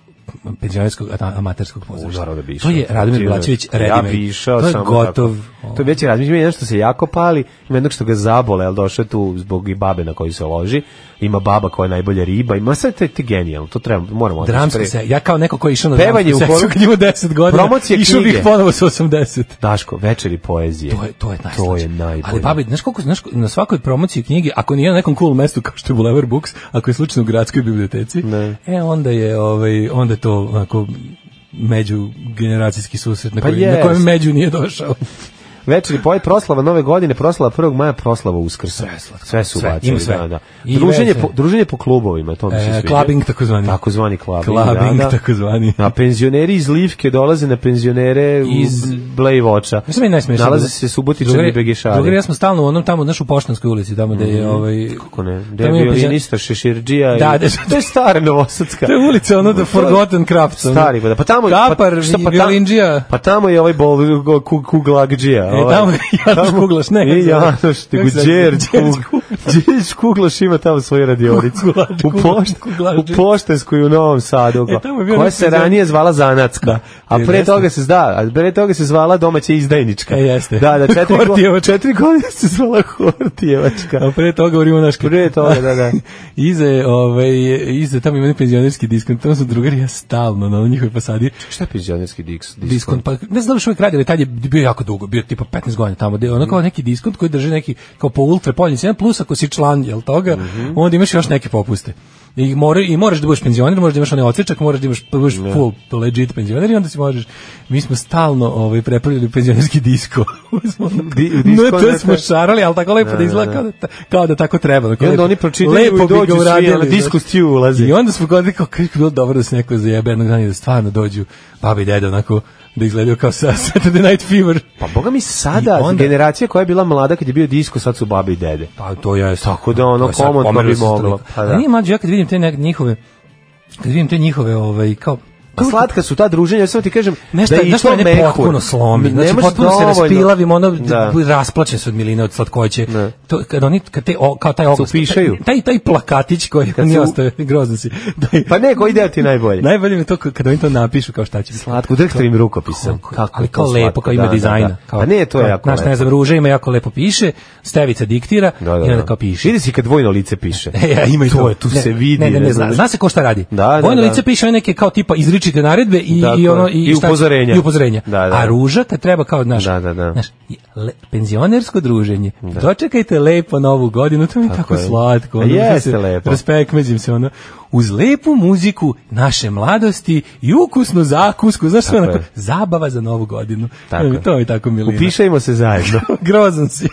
penzionerskog a- amaterskog U, pozorišta? naravno da bi išao. to je Radomir Sigurno. Blačević Ja Redimej. bi išao to je samo gotov. Tako. To je već razmišljam, ima nešto se jako pali, ima jednog što ga zabole, ali došao je tu zbog i babe na koju se loži, ima baba koja je najbolja riba, ima sve te, te genijalno, to treba, moramo... otići Dramski pre- se, ja kao neko ko je išao na Pevanje dramsku u sekciju koru- kad imao 10 godina, Promocije išao bih knjige. ponovo sa 80. Daško, večeri poezije. To je, to je najslađe. To je najbolje. Ali babi, znaš koliko, znaš, na svakoj promociji knjige, ako nije na nekom cool mestu kao što je Boulevard Books, ako je slučajno u gradskoj biblioteci, Ne. e onda je ovaj, onda je to onako međugeneracijski susret na Pa koji, na jest. kojem među nije došao. Večeri poje proslava nove godine, proslava 1. maja, proslava Uskrsa. Sve slatko. Sve su Sve, ubacili, ima sve. Da, da. I Druženje, veze. po, druženje po klubovima, to mi se E, sviđa. clubbing takozvani. Takozvani clubbing, Clubbing da, da. takozvani. A penzioneri iz Livke dolaze na penzionere iz Iz- Blejvoča. Mislim je najsmešnije. Nalaze se Subotičani i Begešari. Drugari, ja smo stalno u onom tamo, znaš, u Poštanskoj ulici, tamo gde je ovaj... Kako ne? Gde je tamo ima penzioner- violinista, šeširđija. i- Da, da. to je stara Novosadska. To je ulica, ono, The Forgotten Crafts. ono. Stari, pa tamo Kapar, pa, šta, pa, violinđija. tamo, pa tamo je ovaj bol, ku, kuglagđija. E, tamo je Janoš Kuglaš, ne, kako I se zove? Janoš, nego Kako se zove? Đerđ Đerđ Kug- Đerđ Kuglaš ima tamo svoju radionicu. Kuglač, U, Kuglač, pošt, Kuglađija. u Poštanskoj u Novom Sadu. E, tamo je bio koja neki se za- ranije zvala Zanacka. Da. A E, pre jeste. toga se zda, a pre toga se zvala domaća izdajnička. E, jeste. Da, da, četiri, go- Hortijeva- četiri godine se zvala Hortijevačka. A pre toga govorimo naš Pre toga, da, da. Ize, ovaj, ize, tamo ima onaj penzionerski diskont, tamo su drugari, ja stalno na njihovoj fasadi. Šta je penzionerski diks? Diskont, pa ne znam što uvijek radio, ali tad je bio jako dugo, bio tipa 15 godina tamo, gde je ono kao neki diskont koji drži neki, kao po ultra poljni cena, plus ako si član, jel toga, Mhm. onda imaš još neke popuste. I, mora, I moraš da budeš penzioner, moraš da imaš onaj odsječak, moraš da imaš da budeš full legit penzioner i onda si možeš. Mi smo stalno ovaj, prepravili penzionerski disko. Mi smo ono- Di- u disko no, to ne smo treba. šarali, ali tako lepo da izgleda kao da, ta- kao da tako treba. I Dakle, onda lepo- oni pročitaju lepo i bi ga dođu svi, ono, uradili, znači. na znaš. disku stiju ulaze. I onda smo godili kao kako je bilo dobro da se neko zajebe jednog dana i da stvarno dođu babi i dede onako da izgledaju kao sa Saturday Night Fever. Pa boga mi sada, I onda- generacija koja je bila mlada kad je bio disko, sad su babi i dede. Pa to je Tako da, ono, to je sad komotno pomerilo bi se moglo. toliko. Pa A da. Nije mlađe, ja kad vidim te nek- njihove kad vidim te njihove ovaj kao Pa slatka su ta druženja, samo ti kažem Nešto, da je nešto išlo mene mehur. potpuno slomi. Znači, Nemaš potpuno se dovoljno- raspilavim, ono, Da. rasplaćen se od miline, od slatkoće. Da. To, kad oni, kad te, o, kao taj oglas, upišaju. taj, taj plakatić koji Kad oni se u- ostave, grozno si. Taj- Pa ne, koji deo ti je najbolje? Najbolje mi je to k- kad oni to napišu kao šta će biti. Slatko, drhtavim rukopisom. Kako, Kako ali je to kao lepo, slatko, kao ima da, da, dizajna. da. Kao, Pa ne, to je kao, jako Znaš, ne lepo. znam, ruža ima jako lepo piše, stevica diktira Da, da, i onda da. kao piše. Vidi si kad dvojno lice piše. E, ja, ima i To to. je, tu se vidi, Ne, ne, ne ne, zna, znam. zna se ko šta radi. Da, da, Vojno da. lice piše one neke kao tipa izričite naredbe i, Da, i da. ono i, I šta- upozorenja. I upozorenja. Da, da. A ruža kad treba kao naš. Da, da, da. Znaš, i le- penzionersko druženje. Dočekajte lepo novu godinu, to mi je tako, je. slatko. A ono, da jeste se lepo. Raspekmeđim se ono. Uz lepu muziku naše mladosti i ukusnu zakusku, znaš sve Tako onako, je. zabava za novu godinu. Tako je. to mi je tako milina. Upišajmo se zajedno. Grozan si.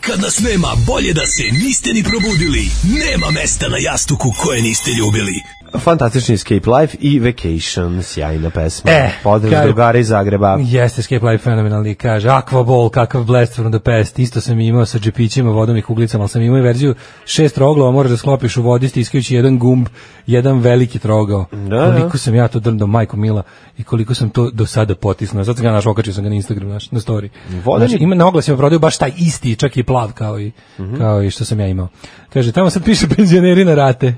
Kad nas nema, bolje da se niste ni probudili. Nema mesta na jastuku koje niste ljubili. Fantastični Escape Life i Vacation, sjajna pesma. E, Pozdrav kaj- drugara iz Zagreba. Jeste, Escape Life fenomenalni, kaže, Aquaball, kakav blast from the past, isto sam imao sa džepićima, vodom i kuglicama, ali sam imao i verziju šest troglova, moraš da sklopiš u vodi, stiskajući jedan gumb, jedan veliki trogao. Da, da. koliko sam ja to drndao, majko mila, i koliko sam to do sada potisnuo. Sad sam ga našao, okačio sam ga na Instagram, naš, na story. Voda Znači, mi- ima na oglasima prodaju baš taj isti, čak i plav, kao i, kao i što sam ja imao. Kaže, tamo sad piše penzioneri na rate.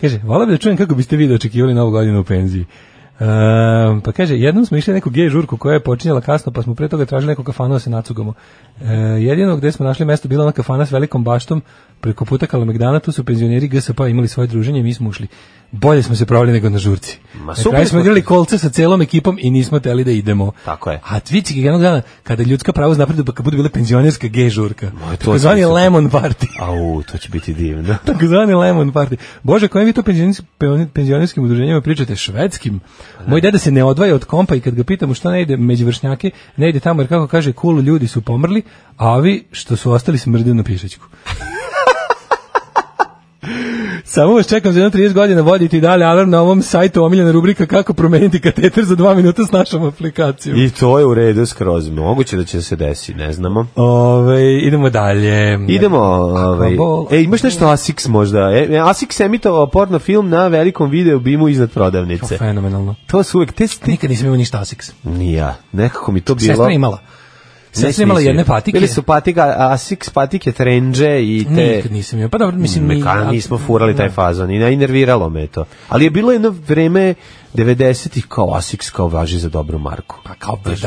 Kaže, vola bi da čujem kako biste vi dočekivali novu godinu u penziji. Ehm, pa kaže, jednom smo išli na neku gej žurku koja je počinjela kasno, pa smo pre toga tražili neku kafanu da se nacugamo. E, jedino gde smo našli mesto bila ona kafana s velikom baštom preko puta Kalemegdana, tu su penzioneri GSP imali svoje druženje i mi smo ušli. Bolje smo se provali nego na žurci. Ma, na super kraju smo smo igrali kolce sa celom ekipom i nismo teli da idemo. Tako je. A vici ga jednog dana, kada ljudska prava napredu, pa kad bude bila penzionerska gej žurka. Ma, to Takozvani će biti- lemon party. Au, to će biti divno. Takozvani lemon party. Bože, kojim vi to penzionis- peoni- penzionerskim udruženjima pričate? Švedskim? Moj deda se ne odvaja od kompa i kad ga pitamo što ne ide među vršnjake, ne ide tamo jer kako kaže, cool ljudi su pomrli, a ovi što su ostali smrde na pišećku. Samo vas čekam za jedno 30 godina voditi i dalje alarm na ovom sajtu omiljena rubrika kako promeniti kateter za dva minuta s našom aplikacijom. I to je u redu skroz. Moguće da će da se desi, ne znamo. Ove, idemo dalje. Idemo, ovaj. Ball. E, imaš nešto Asics možda? E, Asics emitovao porno film na velikom video bimu iznad prodavnice. Fenomenalno. To su uvek te sti... Nikad nisam imao ništa Asics. Ni ja. Nekako mi to bilo... Sestra je imala. Sestra je imala jedne patike. Bili su patika, Asics patike trendže i te... Nikad nisam imao. Pa dobro, mislim... mi- Meka, nismo furali taj fazon i nerviralo me to. Ali je bilo jedno vreme 90-ih kao Asics kao važi za dobru marku. Pa kao da, Znaš,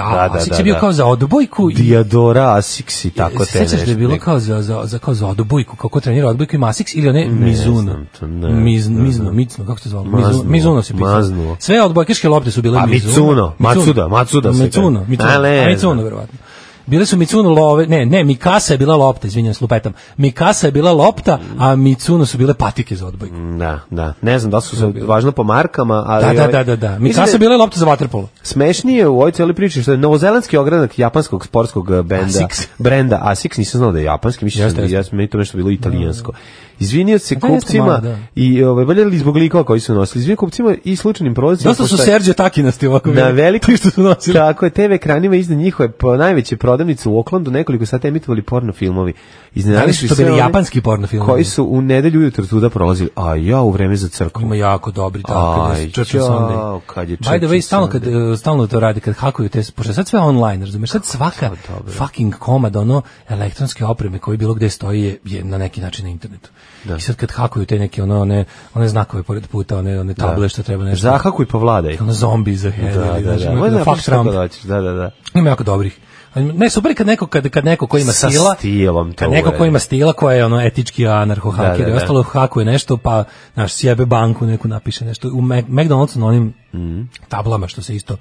da, da, je bio kao za odbojku. i- Diadora, Asics i tako se te sećaš da je bilo kao za, za, za, kao za odbojku, kako trenira odbojku i Masix ili one Mizuno. znam to, ne, Miz, ne Mizno, znam. Micno, kako se zvalo? Mizuno, Maznuo, Mizuno se pisalo. maznuo. Sve odbojkaške lopte su bile A, Mizuno, Matsuda, Matsuda se kaže. Mizuno, Mizuno, A, ne a Mizuno znam. verovatno. Bile su Micuno love, ne, ne, Mikasa je bila lopta, izvinjam se, lupetam. Mikasa je bila lopta, a Micuno su bile patike za odbojku. Da, da. Ne znam da li su se važno po markama, Mm. ali... Da, da, ovaj- da, da, da. Mislim Mikasa je je bila lopta za vaterpolo. Smešnije u ovoj cijeloj priči što je novozelandski ogranak japanskog sportskog eh, benda, Asics. brenda Asics, nisam znao da je japanski, mislio Jeste, sam da jeste. ja sam meni to nešto bilo italijansko. Izvinio se da, jeste kupcima malo, da. i ovaj valjali zbog likova koji su nosili. Izvinio kupcima i slučajnim prolaznicima. Dosta su pošto je- Serđe Takinasti ovako. na bili, velikim ti što su nosili. Tako je, TV ekranima iznad njihove po najveće prodavnice u Oklandu nekoliko sati emitovali porno filmovi. Da li Iznenadili su su to sve bili one japanski porno filmovi? Koji su u nedelju ujutro tuda prolazili, a ja u vreme za crkvu. Ima jako dobri tako Aj, Church jao, Sunday. kad je By the way, Church stalno, kad, Sunday. e, stalno to radi, kad hakuju te, pošto je sad sve online, razumeš, sad svaka fucking komad ono elektronske opreme koji bilo gde stoji je, je na neki način na internetu. I sad kad hakuju te neke ono, one, one znakove pored puta, one, one table što treba nešto. Zahakuj pa vladaj. Ono zombi za Da, head. da, da. znači, Možda ono, fuck napraviš kako Trump. hoćeš, Da, da, da. Ima jako dobrih. Ne, super je kad neko, kad, kad neko ko ima Sa stila, stilom to kad neko ko uradi. ima stila koja je ono etički anarcho-haker Da, da, i da. ostalo hakuje nešto, pa naš sjebe banku neku napiše nešto. U Mac- McDonald'su na onim Mhm. tablama što se isto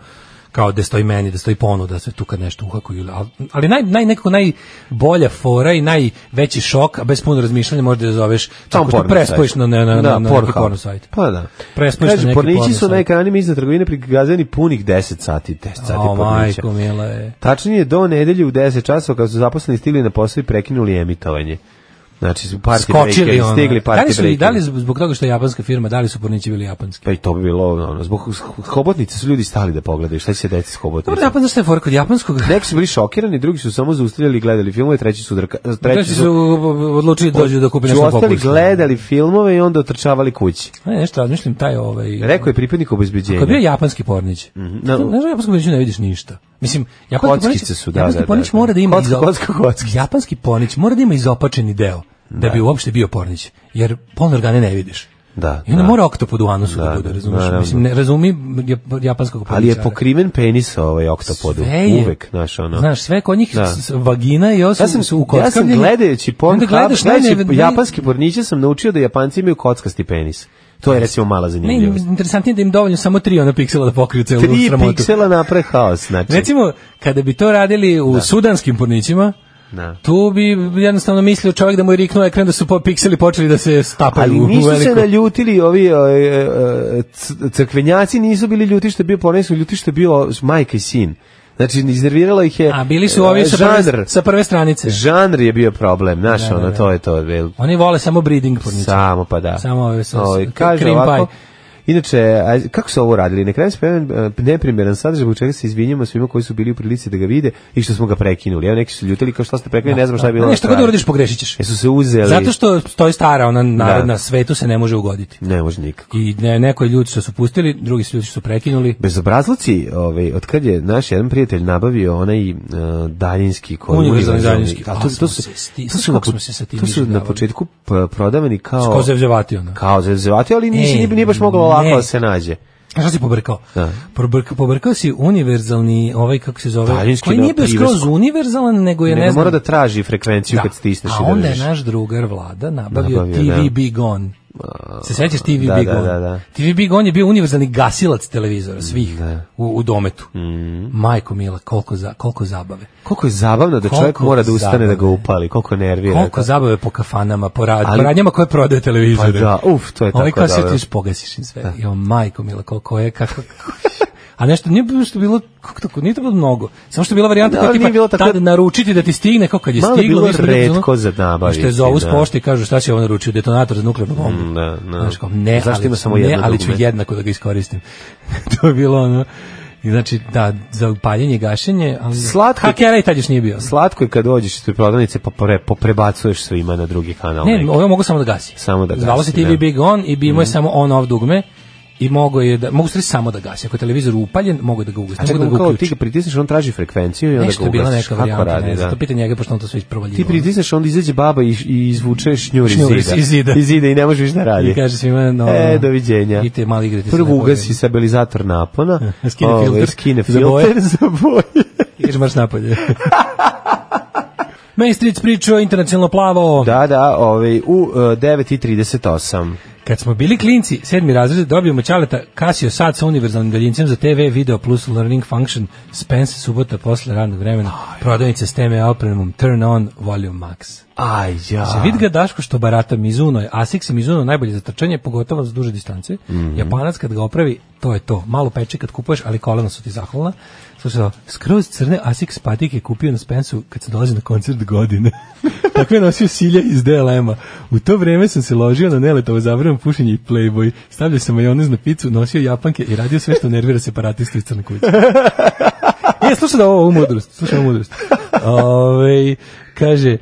kao da stoji meni, da stoji ponuda, sve tu kad nešto uhakuju. ili- Ali, ali naj, naj, nekako najbolja fora i najveći šok, a bez puno razmišljanja možda da zoveš tako što porno prespojiš sajt. na, na, na, na, Da, na neki Pornhub. porno sajt. Pa da. Prespojiš na Kaže, neki porno pornići su na sajt. ekranima iznad trgovine prikazani punih 10 sati, 10 sati O, pornića. majko, mila je. Tačnije do nedelje u 10 časova kad su zaposleni stigli na posao i prekinuli emitovanje. Znači su party skočili breakeri, ono. stigli da li party su, i- breakeri. da li zbog toga što je japanska firma, da li su pornići bili japanski? Pa i to bi bilo ono, zbog hobotnice su ljudi stali da pogledaju šta će se desiti s Dobro, pa- hobotnicom. Japan, znaš šta je fora kod japanskog? Neki su bili šokirani, drugi su samo zaustavljali i gledali filmove, treći su drka, treći, Treći su odlučili dođu da kupe su nešto ostali popularno. gledali filmove i onda otrčavali kući. Ne, nešto razmišljam, taj ovaj... Rekao je pripadnik obezbeđenja. Kad bio japanski pornić, mm no. znaš, u japanskom porniću ne vidiš ništa. Mislim, japanski Kockice pornić- su, da, japanski da, da, pornić da. mora da ima... Kocka, izo- kocka, kockice. Japanski pornić mora da ima izopačeni deo, da, bi uopšte bio pornić, jer polne organe ne vidiš. Da, I onda da. mora oktopod u anusu da, Da, bude, da, razumiješ? naravno. Mislim, ne razumi jap- japanskog pornića. Ali je pokriven penis ovaj oktopodu. Sve je. Uvek, znaš, ono. Znaš, sve kod njih Da. s- s- vagina i osim ja sam, su ja sam ukockavljeni. gledajući Onda Pornhub, gledaš gledajući najne- naj- japanski porniće sam naučio da japanci imaju kockasti penis. To je recimo mala Ne, zanimljivost. interesantnije da im dovoljno samo tri ona piksela da pokriju celu Tri sramotu. piksela napre haos, znači. Recimo, kada bi to radili u sudanskim pornićima, Da. tu bi jednostavno mislio čovjek da mu je riknuo ekran da su po pikseli počeli da se stapaju Ali pa u, u nisu se veliko. naljutili ovi o, e, e, c- crkvenjaci nisu bili ljuti što je bio pornić, nego ljuti što je bio majka i sin. Znači, iznerviralo ih je A bili su ovi e, sa žanr. prve, sa prve stranice. Žanr je bio problem, znaš, da, ono, da. to je to. jel, Oni vole samo breeding porniće. Samo pa da. Samo ove sa- Ovaj, sa- kaže cream ovako, pie. Inače, a, kako su ovo radili? Na kraju spremam neprimjeran sadržaj, zbog čega se izvinjamo svima koji su bili u prilici da ga vide i što smo ga prekinuli. Evo neki su ljutili, kao što ste prekinuli, ne znam šta je bilo. na Nešto god kraju. uradiš pogrešit ćeš. Jesu se uzeli? Zato što stoji stara ona narodna, svetu se ne može ugoditi. Ne može nikako. I ne, neko je ljudi što su pustili, drugi su ljudi što su prekinuli. Bezobrazluci, ovaj, od kad je naš jedan prijatelj nabavio onaj uh, daljinski koji Univerzalni daljinski. A A, to, smo to su, se sti- to su, kako na, smo se sa tim to su na iživljavali. početku p- prodavani kao... Skozevzevati ona. Kao zevzevati, ali nisi, E, nije baš moglo ne. lako da se nađe. A Šta si pobrkao? Da. Pobrkao, pobrkao si univerzalni, ovaj kako se zove, Daljinski koji na nije bio privesku. skroz univerzalan, nego je, ne, Nego znam... mora da traži frekvenciju kad stisneš A i da onda je držiš. naš drugar vlada nabavio, Nabavio, TV da. Big On. Se sećaš TV Pa, da, Big da, On? da, da. TV Big On je bio univerzalni gasilac televizora svih u, u dometu. Mm. Majko mila, koliko, za, koliko zabave. Koliko je zabavno da čovjek Koliko mora da ustane da ga zabavno je. upali, koliko nervira. Koliko zabave po kafanama, po, rad, Ali- po radnjama koje prodaju televizore. Pa da, uf, to je Ovaj tako kaset dobro. još pogasiš im sve. Jo, majko mila, koliko je, kako... A nešto nije bilo što je bilo kako tako nije to bilo mnogo. Samo što je bila varijanta Da, kao ali tipa nije bilo tako- tad naručiti da ti stigne kao kad je Malo je stiglo bilo mi smo bili u fazonu- retko za nabaviti, Što je zovu s da. pošte i kažu šta će on naručio detonator za nuklearnu bombu. Mm, da, da. Znaš, kao, ne, Zašto ali, ima samo ne, jedno ali ću dugme? jednako da ga iskoristim. to je bilo ono I znači, da, za paljenje i gašenje, ali... Slatko- Hakera i tad još nije bio. Slatko je kad dođeš iz te prodavnice pa pre, poprebacuješ svima na drugi kanal. Ne, neki. ovo mogu samo da gasi. Samo da gasi, Zvalo se TV da. Mhm. Big On i imao je samo on off dugme i mogo je da mogu se samo da gasi. Ako je televizor upaljen, mogu da ga A ugasim, mogu čekaj, da on ga kao ti ga uključim. pritisneš, on traži frekvenciju i onda Nešto ga je bila ugasiš. neka Kako varijanta, radi, ne znam, da. to pita njega, pošto on to sve isprovaljivo. Ti pritisneš, onda izađe baba i, i izvuče šnjur iz Šnjur zida. iz zida. Iz zida i ne možeš da radi. I kaže svima, no, ono, E, doviđenja. idite malo igrati se Prvo na ugasi polju. stabilizator napona. Skine ovaj, filter. Skine Za boje. filter za boje. I kaže, marš napolje. Mejstric pričao internacionalno plavo. Da, da, ovaj, u uh, 9.38. Kad smo bili klinci, sedmi razred, dobijemo ćaleta Casio sat sa univerzalnim daljincem za TV, video plus learning function, Spence, subota posle radnog vremena, prodavnice s teme opremom, turn on, volume max. Aj, ja. Za vid ga Daško što barata Mizuno je, Asics i Mizuno najbolje za trčanje, pogotovo za duže distance. Japanac kad ga opravi, to je to. Malo peče kad kupuješ, ali kolena su ti zahvalna. Slušaj, ovo, skroz crne Asics patike kupio na Spensu kad sam dolazio na koncert godine. Takve je nosio silje iz DLM-a. U to vreme sam se ložio na neletovo zabranom pušenje i playboy. Stavljao sam majonez na picu, nosio japanke i radio sve što nervira separatistu iz Crne kuće. E, slušaj da ovo, ovu mudrost, slušaj ovu mudrost. Ove, kaže, e,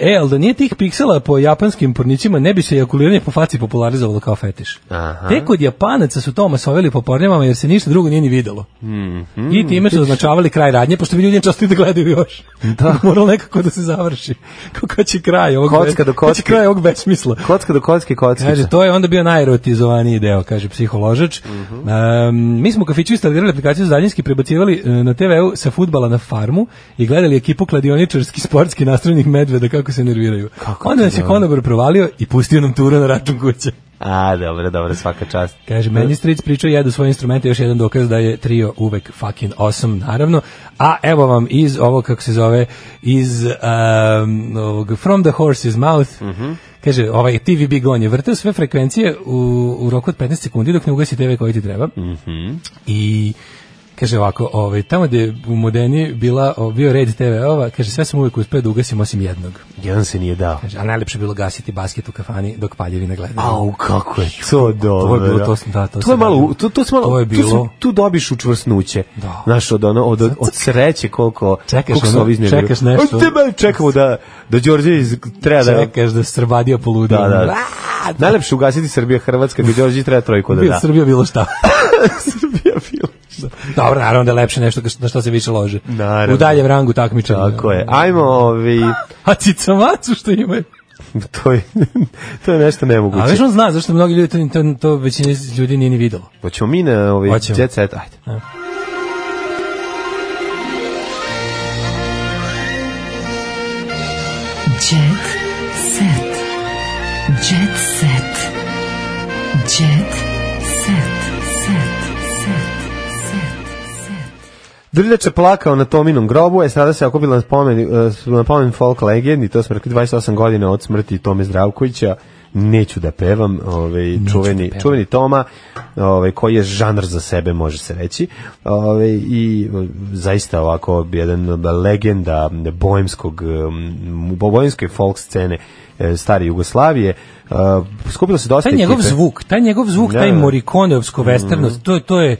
e, ali da nije tih piksela po japanskim pornićima, ne bi se ejakuliranje po faci popularizovalo kao fetiš. Aha. Tek od japanaca su to masoveli po pornjavama, jer se ništa drugo nije ni videlo. Mhm. I time su označavali kraj radnje, pošto bi ljudi inače ostali da gledaju još. Da. Moralo nekako da se završi. Kako će kraj ovog, Kocka do ko će kocke. kraj ovog besmisla. Kocka do kocke, kockica. Kaže, to je onda bio najerotizovaniji deo, kaže psiholožač. Em, mi smo u kafiću instalirali aplikaciju za daljinski, prebacivali e, na TV-u sa futbala na farmu i gledali ekipu kladioničarski, sportski nastrojenih medveda kako se nerviraju. onda nas je konobar provalio i pustio nam turu na račun kuće. A, dobro, dobro, svaka čast. Kaže, meni stric pričao jedu svoje instrumente, još jedan dokaz da je trio uvek fucking awesome, naravno. A evo vam iz ovo, kako se zove, iz um, ovog From the Horse's Mouth, Mhm. kaže, ovaj TV Big On je vrteo sve frekvencije u, u roku od 15 sekundi dok ne ugasi TV koji ti treba. Mhm. I kaže ovako, ovaj, tamo gde je u Modeni bila, o, bio red TV-ova, kaže, sve sam uvek uspeo da ugasim osim jednog. Jedan se nije dao. Kaže, a najlepše je bilo gasiti basket u kafani dok paljevi ne gledaju. Au, kako je to dobro. bilo, to sam- da, to to sam je malo, radio. to, to, sam malo, To je Tu, bilo- sam- tu dobiš učvrsnuće. Da. Znaš, od, ono, od, od, od sreće koliko, Čekaš koliko ono, ovi iznerviraju. čekaš nešto. Od tebe čekamo da, da Đorđe iz, treba da... Čekaš da Srbadija poludi. Da, da. Najlepše ugasiti Srbija Hrvatska gdje Đorđe treba trojku da Bio da. Srbija bilo šta. Srbija bila. Dobro, naravno da je lepše nešto ka- na što se više lože. Naravno. U daljem rangu takmičenja. Tako je. Ajmo, ovi, A cicamacu što imaju. to je, to je nešto nemoguće. A već on zna zašto mnogi ljudi to, to, to većina ljudi nije ni videlo. Hoćemo mi na ovi Hoćemo. jet set, ajde. Jet set. Jet set. Jet set. Set. Set. Drljač je plakao na Tominom grobu, je sada se okupila na spomen, eh, na spomen folk legendi, to smo rekli 28 godina od smrti Tome Zdravkovića, neću da pevam, ovaj, čuveni, čuveni Toma, ovaj, koji je žanr za sebe, može se reći, ovaj, i eh, zaista ovako jedan legenda bojemskog, em, bojemske folk scene eh, stare Jugoslavije, Eh, skupilo se dosta Taj njegov ekipe. zvuk, taj njegov zvuk, Da, taj da. Mhm. morikoneovsko westernost, to, je- to je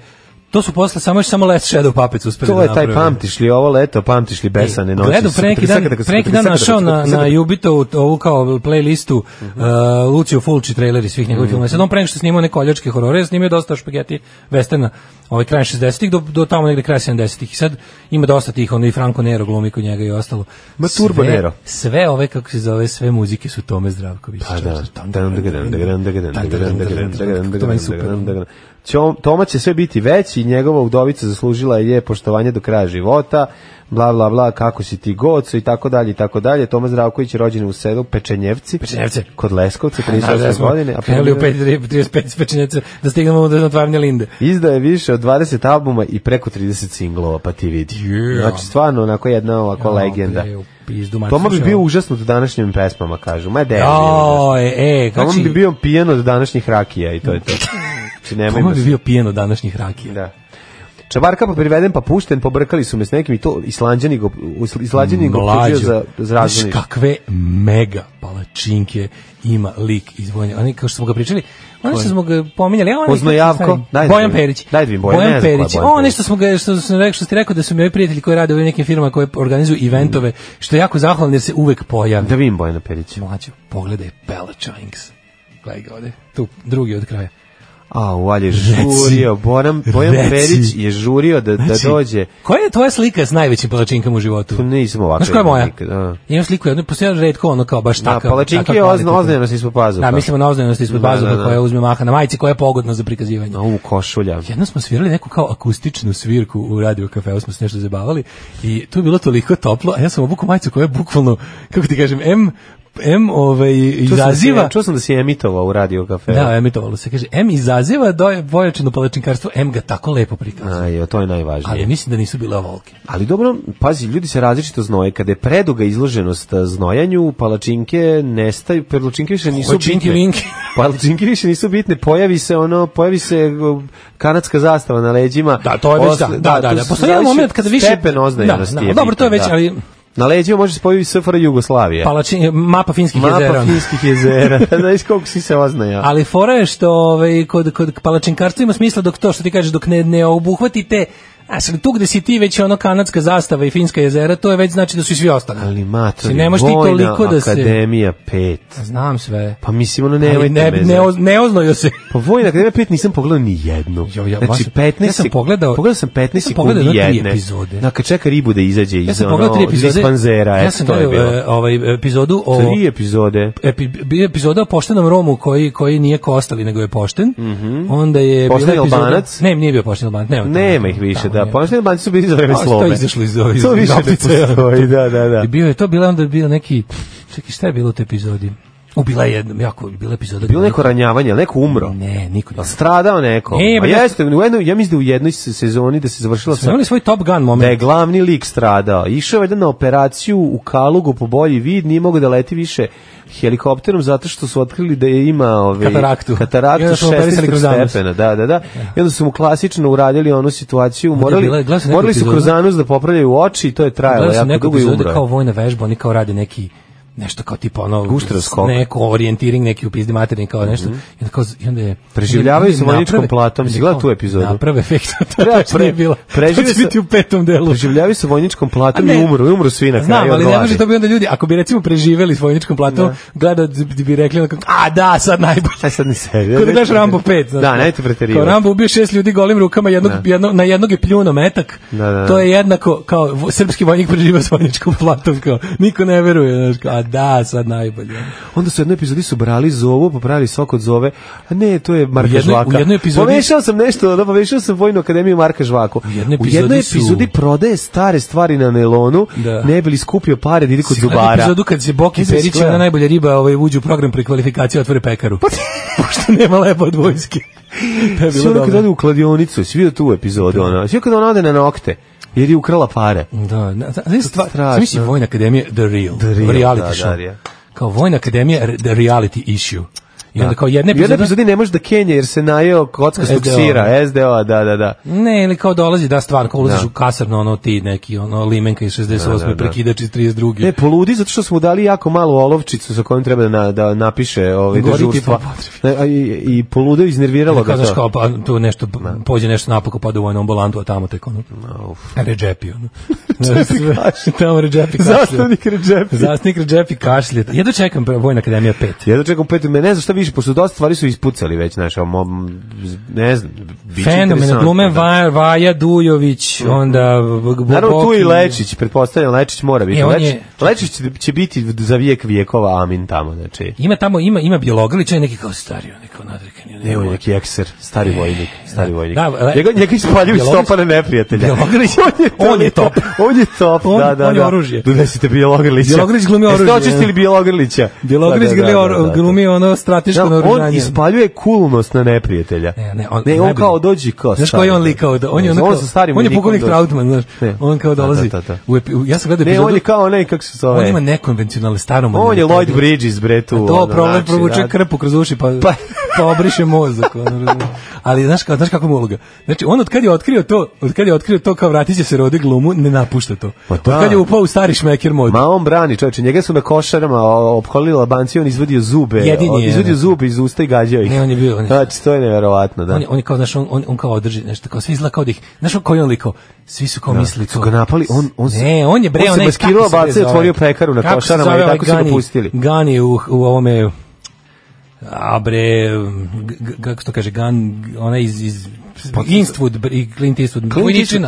to su posle samo još samo Last Shadow Puppets uspeli To da je taj naprave. pamtiš li ovo leto, pamtiš li besane noći. Gledao pre neki Pa dan, Prisakata- pre neki dan prisakata- našao na, prisakata- na Jubitovu t- ovu kao playlistu uh, Lucio Fulci traileri svih Mhm. njegovih filmova. Sad on pre nego što je snimao neke oljačke horore, snimao je dosta špageti westerna, ovaj kraj 60-ih do, do tamo negde kraj 70-ih. I sad ima dosta tih, ono i Franco Nero glumi kod njega i ostalo. Ma, Turbo Sve- Nero. Sve ove, kako se zove, sve muzike su Tome Zdravković. Pa da. To meni super. Ćom- Toma će sve biti veći, njegova udovica zaslužila je poštovanje do kraja života, bla, bla, bla, kako si ti goco i tako dalje i tako dalje. Toma Zdravković je rođen u selu Pečenjevci. Pečenjevce. Kod Leskovca, Znaš da 38 smo Pa, godine. a krenuli u premijerao- 5.35 spečenjaca da stignemo do otvaranja Linde. Izdao je više od 20 albuma i preko 30 singlova, pa ti vidi. Yeah. Znači, stvarno, onako jedna ovako legenda. Bre, u pizdu, mater, Toma bi slušaj, bio ovo. užasno od današnjim pesmama, kažu. Ma da. Joj, e, Toma znači, bi bio pijen od današnjih rakija i to je to. Znači, nemoj Toma me bi bio pijen od današnjih rakija. Da. Čabarka pa priveden pa pušten, pobrkali su me s nekim i to islanđani go, islanđani go optužio za, za razvojni. Znaš kakve mega palačinke ima lik iz Vojne. Oni kao što smo ga pričali, oni što smo ga pominjali, a oni Poznojavko? Daj da Bojan vidim. Perić. Daj da vidim Bojan, Bojan ne znam ko je Perić. Bojan Oni Perić. što smo ga što sam rekao što ste rekao da su mi ovi prijatelji koji rade u nekim firmama koje organizuju eventove, što je jako zahvalno jer se uvek pojavi. Da vidim Bojana Perića. Mlađo, pogledaj palačinks. Gledaj ga ovde. Tu, drugi od kraja. A, u je Reci. žurio. Bojan, Bojan Reci. Perić je žurio da, da Znači, dođe. Koja je tvoja slika s najvećim palačinkama u životu? Tu nisam ovako. Znaš koja je moja? nikad, a. Imam sliku jednu, postoja redko ono kao baš Da, takav. palačinke takav pa je ozna- kvalitetna. oznajnost ispod pazuha. Da, mislimo na oznajnost ispod Da, pazuha da, da. koja uzme maha na majici koja je pogodna za prikazivanje. Na ovu košulja. Jedno smo svirali neku kao akustičnu svirku u radio kafeu, smo se nešto zabavali i tu je bilo toliko toplo, a ja sam obukao majicu koja je bukvalno, kako ti kažem, M, M ovaj, Čuo sam da si- izaziva... Čuo sam da si je emitovao u radio kafe. Da, emitovalo se. Kaže, M izaziva doje pojačano palačinkarstvo, M ga tako lepo prikazuje. Aj, to je najvažnije. Ali mislim da nisu bile ovolke. Ali dobro, pazi, ljudi se različito znoje. Kada je preduga izloženost eh, znojanju, palačinke nestaju, palačinke više nisu Palačinki bitne. linki. Palačinke više nisu bitne, pojavi se ono, pojavi se eh, kanadska zastava na leđima. Da, to je već, Posle- da, da, da, tu da. su Postoji jedan različiti moment kada više- Stepen oznajenosti Da, da, je dobro, to je bitan, već, da. ali- Na leđima može se pojaviti SFRJ Jugoslavije. Palačin, mapa finskih Mapa jezera. ono. finskih jezera. Znaš koliko si se oznaja. Ali fora je što ovaj, kod, kod palačinkarstva ima smisla dok to što ti kažeš, dok ne, ne obuhvatite A sad tu gde si ti već je ono kanadska zastava i finska jezera, to je već znači da su i svi ostali. Ali matori, Znači, ne možeš ti Vojna toliko da se- Akademija 5. Znam sve. Pa mislim, ono, Ali nemojte ne, me ne, za- oz- ne oznojio se. Pa Vojna Akademija 5 nisam pogledao ni jednu. Jo, ja, znači, vas- 15 ja sam sek- pogledao- pogledao sam 15 ja sam sekundi pogledao tri jedne. epizode. Da, kad čeka ribu da izađe iz, Ja sam ono, pogledao tri epizode. iz panzera. ja eto, sam to je gledao bilo. e, ovaj, epizodu o... Tri epizode. epi, bi- epizoda o poštenom Romu koji koji nije kostali nego je pošten. Onda je Pošteni bila epizoda- Mhm. Albanac? Ne, nije bio pošten Albanac, nema. Nema ih više, da. Pa Ponoštene banci su bili za vreme A, što je slome. izašlo iz ove- iz To više ne Gaplice, ja. postoji, da, da, da. bio je to bila onda je bio neki čekaj šta je bilo u toj epizodi? U bila je jednom jako bila je epizoda. Bilo neko ranjavanje, ali neko umro. Ne, niko A nije. Stradao neko. E, A pa da- jeste, u jednoj, ja mislim da u jednoj se- sezoni da se završila Smo sa imali svoj Top Gun da je moment. glavni lik stradao. Išao je valjda na operaciju u Kalugu po bolji vid, nije mogao da leti više helikopterom zato što su otkrili da je ima ove, Kataraktu. kataraktu I onda su mu operisali 16 kroz anus. stepena. Da, da, da. I onda su mu klasično uradili onu situaciju, morali, bila- gledao sam neku morali su epizodu. kroz anus da popravljaju oči i to je trajalo Gledao sam jako neku dugo i epizodu umro. je. kao vojna vežba, oni kao rade neki nešto kao tipa ono Guštra skok. neko orijentiring neki upizdi materini kao nešto i onda kao i onda je Mhm. Preživljavaju onda je sa vojničkom naprave- platom, si gledao tu epizodu? naprave efekt to Pre- tačno je pre- bilo prežive to će sa- biti u petom delu Preživljavi sa vojničkom platom A ne. i umru, i umru svi na kraju. Znam, od ali ne gladi. može to bi onda ljudi, ako bi recimo preživeli s vojničkom platom, gledao bi bi rekli onako, a da, sad najbolje. Aj sad ni sebi. Kada Neću gledaš preter- Rambo 5. znaš. Da, nemojte Kao preterivati. Rambo ubio šest ljudi golim rukama, jednog, Da. jedno, na jednog je pljuno metak. Da, da, da. To je jednako kao vo- srpski vojnik preživio s vojničkom platom. Kao, niko ne veruje. Znaš, kao, a da, sad najbolje. Onda su u jednoj epizodi su brali zovu, pa pravili sok od zove. A ne, to je Marka U jednoj- Žvaka. u jednoj epizodi- Pomešao sam nešto, da, pomešao sam Vojnu akademiju Marka Žvaku. U jednoj u jednoj epizodi su- epizodi prodaje stare stvari na nelonu, Da. ne bi li skupio pare da ide kod Gledaj zubara. epizodu kad se Boki Mislim, Perić izgleda. na najbolje riba ovaj, uđu u program pri kvalifikaciji otvore pekaru. Pa Pošto nema lepo od vojske. To je Svi bilo ono kad ode dobro. u kladionicu, svi vidio tu epizodu, ono. Svi kad ona ode na nokte, jer je ukrala pare. Da, na- zna- znaš stvar, strašno. znaš misli Vojna akademija The Real, The Real, reality da, show. da, Real. Kao Vojna akademija re- The Reality Issue. I onda kao jedna U jednoj epizoda... epizodi ne može da kenja jer se najeo kockastog SDO. sira, SDO, da, da, da. Ne, ili kao dolazi, da, stvarno, kao ulaziš Da. u kasarno, ono ti neki, ono, limenka iz 68. Da, E, da, da. prekidač iz 32. Ne, poludi zato što smo dali jako malu olovčicu sa kojom treba da, na, da napiše ovaj Gori ti dežurstva. po Ne, a I, I poludeo iznerviralo Kao, ga znaš, to. kao, pa, tu nešto, pođe nešto napako, pa do vojnom ambulantu, a tamo tek, ono, Redžepi, ono. tamo Redžepi kašlje. Zastavnik Redžepi. Zastnik Redžepi kašlje. Jedno čekam pre- Vojna akademija 5. Ja da čekam pet, me ne znam šta više više, pošto dosta stvari su ispucali već, znaš, ono, mom- ne znam, bit će Fenomen, interesantno, glume da. Mhm. Vaja, Vaja Dujović, onda... Naravno tu i Lečić. Lečić, pretpostavljam Lečić mora biti. E, on Lečić, je- Lečić će, će biti za vijek vijekova amin tamo, znači. Ima tamo, ima, ima Bjelogrlić, on je neki kao stari, on je kao nadrekan. on je Ne, on je neki ekser, stari vojnik, stari vojnik. E, Da, le- njega, njega ispaljuju Bjelogrlić- stopane neprijatelja. Bjelogrlić, on je top. on je top, On- da, da. on je da. oružje. Donesite Bjelogrlića. Bjelogrlić glumi oružje, Jeste da. očistili Bjelogrlića? Bjelogrlić Da, da, glumi da, da, da, or- da. glumi ono Da, strateško on naoružanje. ispaljuje kulnost na neprijatelja. Ne, ne, on- ne, on najbolje. kao dođi kao Znaš stari. koji je on likao? Da, on je Ne, ono on kao, sa starim on je vojnikom pukovnik dođe. Trautman, znaš. Ne. On kao Da, da, dolazi. da, da. u epi- u- ja sam gledao Ne, epizodu. on je kao onaj, kako se zove? on ima nekonvencionalne staromodne. On je Lloyd metode. Bridges, bre, tu. To ono, problem znači, provuče da. krpu kroz uši pa, Pa- pa. obriše mozak. ono, razumeš. Ali znaš, kao, znaš kako mu je uloga? Znači, on od kad je otkrio to, od kad je otkrio to kao vratit će se rode glumu, ne napušta to. Pa od da. kad je upao u stari šmeker mod. Ma on brani, čoveče, njega su na košarama o- opkolili Labanci, on izvadio zube. Jedini on je, izvadio ne. zube iz usta i gađao ih. Ne, on je bio- on je- Znači, to je neverovatno, da. On, je, on je kao, znaš, on, on, on kao održi nešto, kao svi izgleda kao da ih, znaš on koji je on likao, svi su kao Da, mislili kad su kao... ga napali, on- on se- ne, on je bre, on se onaj- maskirao, kako se bre bacio i zove? otvorio pekaru na Kako se Košanama i zove tako ovaj su ga Gani- pustili. Gani u, u ovome, a bre, g- g- kako se to kaže, Gan, onaj iz, iz Instwood br- i Clint Eastwood.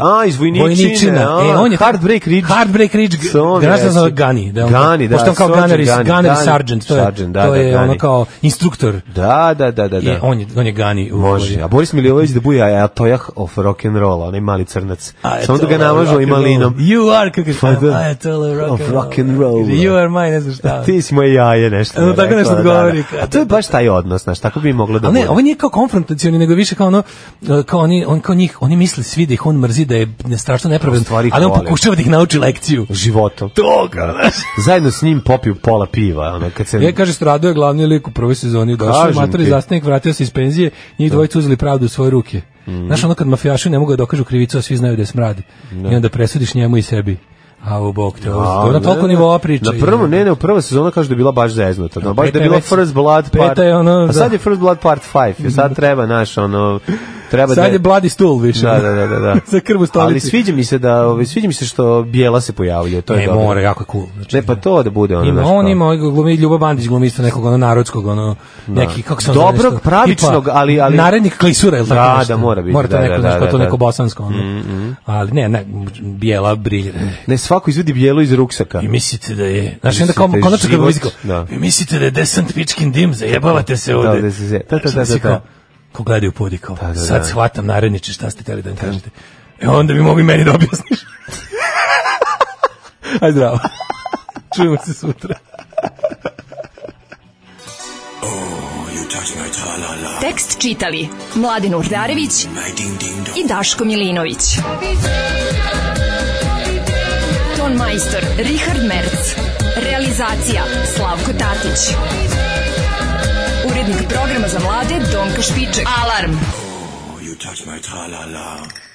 a, iz Vojničine, a, e, on je Heartbreak Ridge. Heartbreak Ridge. Sa ovom Danas je- se zove Gani. Da, on, Gani, da, Pošto on kao Sergeant Gunner, Gani, Gunner, Gunner Gani, Sergeant, to je, Sergeant, da, to da, je ono Gani. kao instruktor. Da, da, da, da, da. Je, on je, on je Gani. u- Može. A Boris Milivojević da buja a tojah of rock and roll, onaj mali crnac. I Samo da tell ga her namažu rock i and roll. malinom. ovaj You are kako Pa da. I tell her rock Of and rock and roll. ovaj You are mine, ne znam šta. Pa Ti si moje jaje nešto. Ono mi je tako rekla, nešto da, odgovori, da. kao A to je baš taj odnos, znaš, tako bi moglo da A bude. ne, ovo nije kao konfrontacioni, nego je više kao ono, e, kao oni, on kao njih, oni misle svi da ih on mrzi, da je ne- strašno A u stvari nepravedan, ih ali on vole. pokušava da ih nauči lekciju. životom. Toga, Zajedno s njim popiju pola piva, ono, kad se... Ja kaže Strado je glavni lik u prvoj sezoni, došao Kažem matori ti. zastavnik, vratio se iz penzije, njih dvojica uzeli pravdu u svoje ruke. Mhm. Znaš ono kad mafijaši ne mogu da dokažu krivicu, a svi znaju da je smrad. I onda presudiš njemu i sebi. A u bok te, ovo- A, to na toliko ne, ne. nivoa priča. Na prvo, ne, ne, u prva sezona kaže da je bila baš zeznuta. Da, baš da peta je je bila već- First Blood peta Part... je ono, a sad da. je First Blood Part 5. jer Sad treba, naš, ono... Treba Sad da... je bladi stul više. Da, da, da, da. da. Za krv u stolici. Ali sviđa mi se da, ovaj, sviđa mi se što bijela se pojavljuje, to je ne, dobro. mora, jako je cool. Znači, Ne, pa to da bude ono, Ima, znaš, on kao- ima, ovaj glumi Ljubo Bandić glumi isto nekog ono narodskog, ono, neki, kako se on Dobrog, zove nešto, pravičnog, tipa ali- ali- Narednik klisura, ili tako Da, nešto? da, mora biti, Mora to da, neko, da, znaš, da, kao to da, Mm, neko da. bosansko, ono. Ali ne, ne, bijela, brilja. Ne, svako izvedi bijelo iz ruksaka. Vi mislite da je, znaš, onda Mislite kao, konačno kad život, bi izgao, da. vi mislite da je desant pičkin dim, zajebavate se ovde. da se zje- da, da, Znaš, da, onda si da, da. kao- Kao gledaju podi, kao, da, da. sad shvatam naredniče šta ste teli da mi kažete. E onda bi mogli meni da objasniš. Aj zdravo. Čujemo se sutra. Tekst čitali Mladin Urdarević i Daško Milinović. Ton majstor Richard Merc. Realizacija Slavko Tatić. Urednik programa za mlade Donka Špiček. Alarm! You touch my tra-la-la.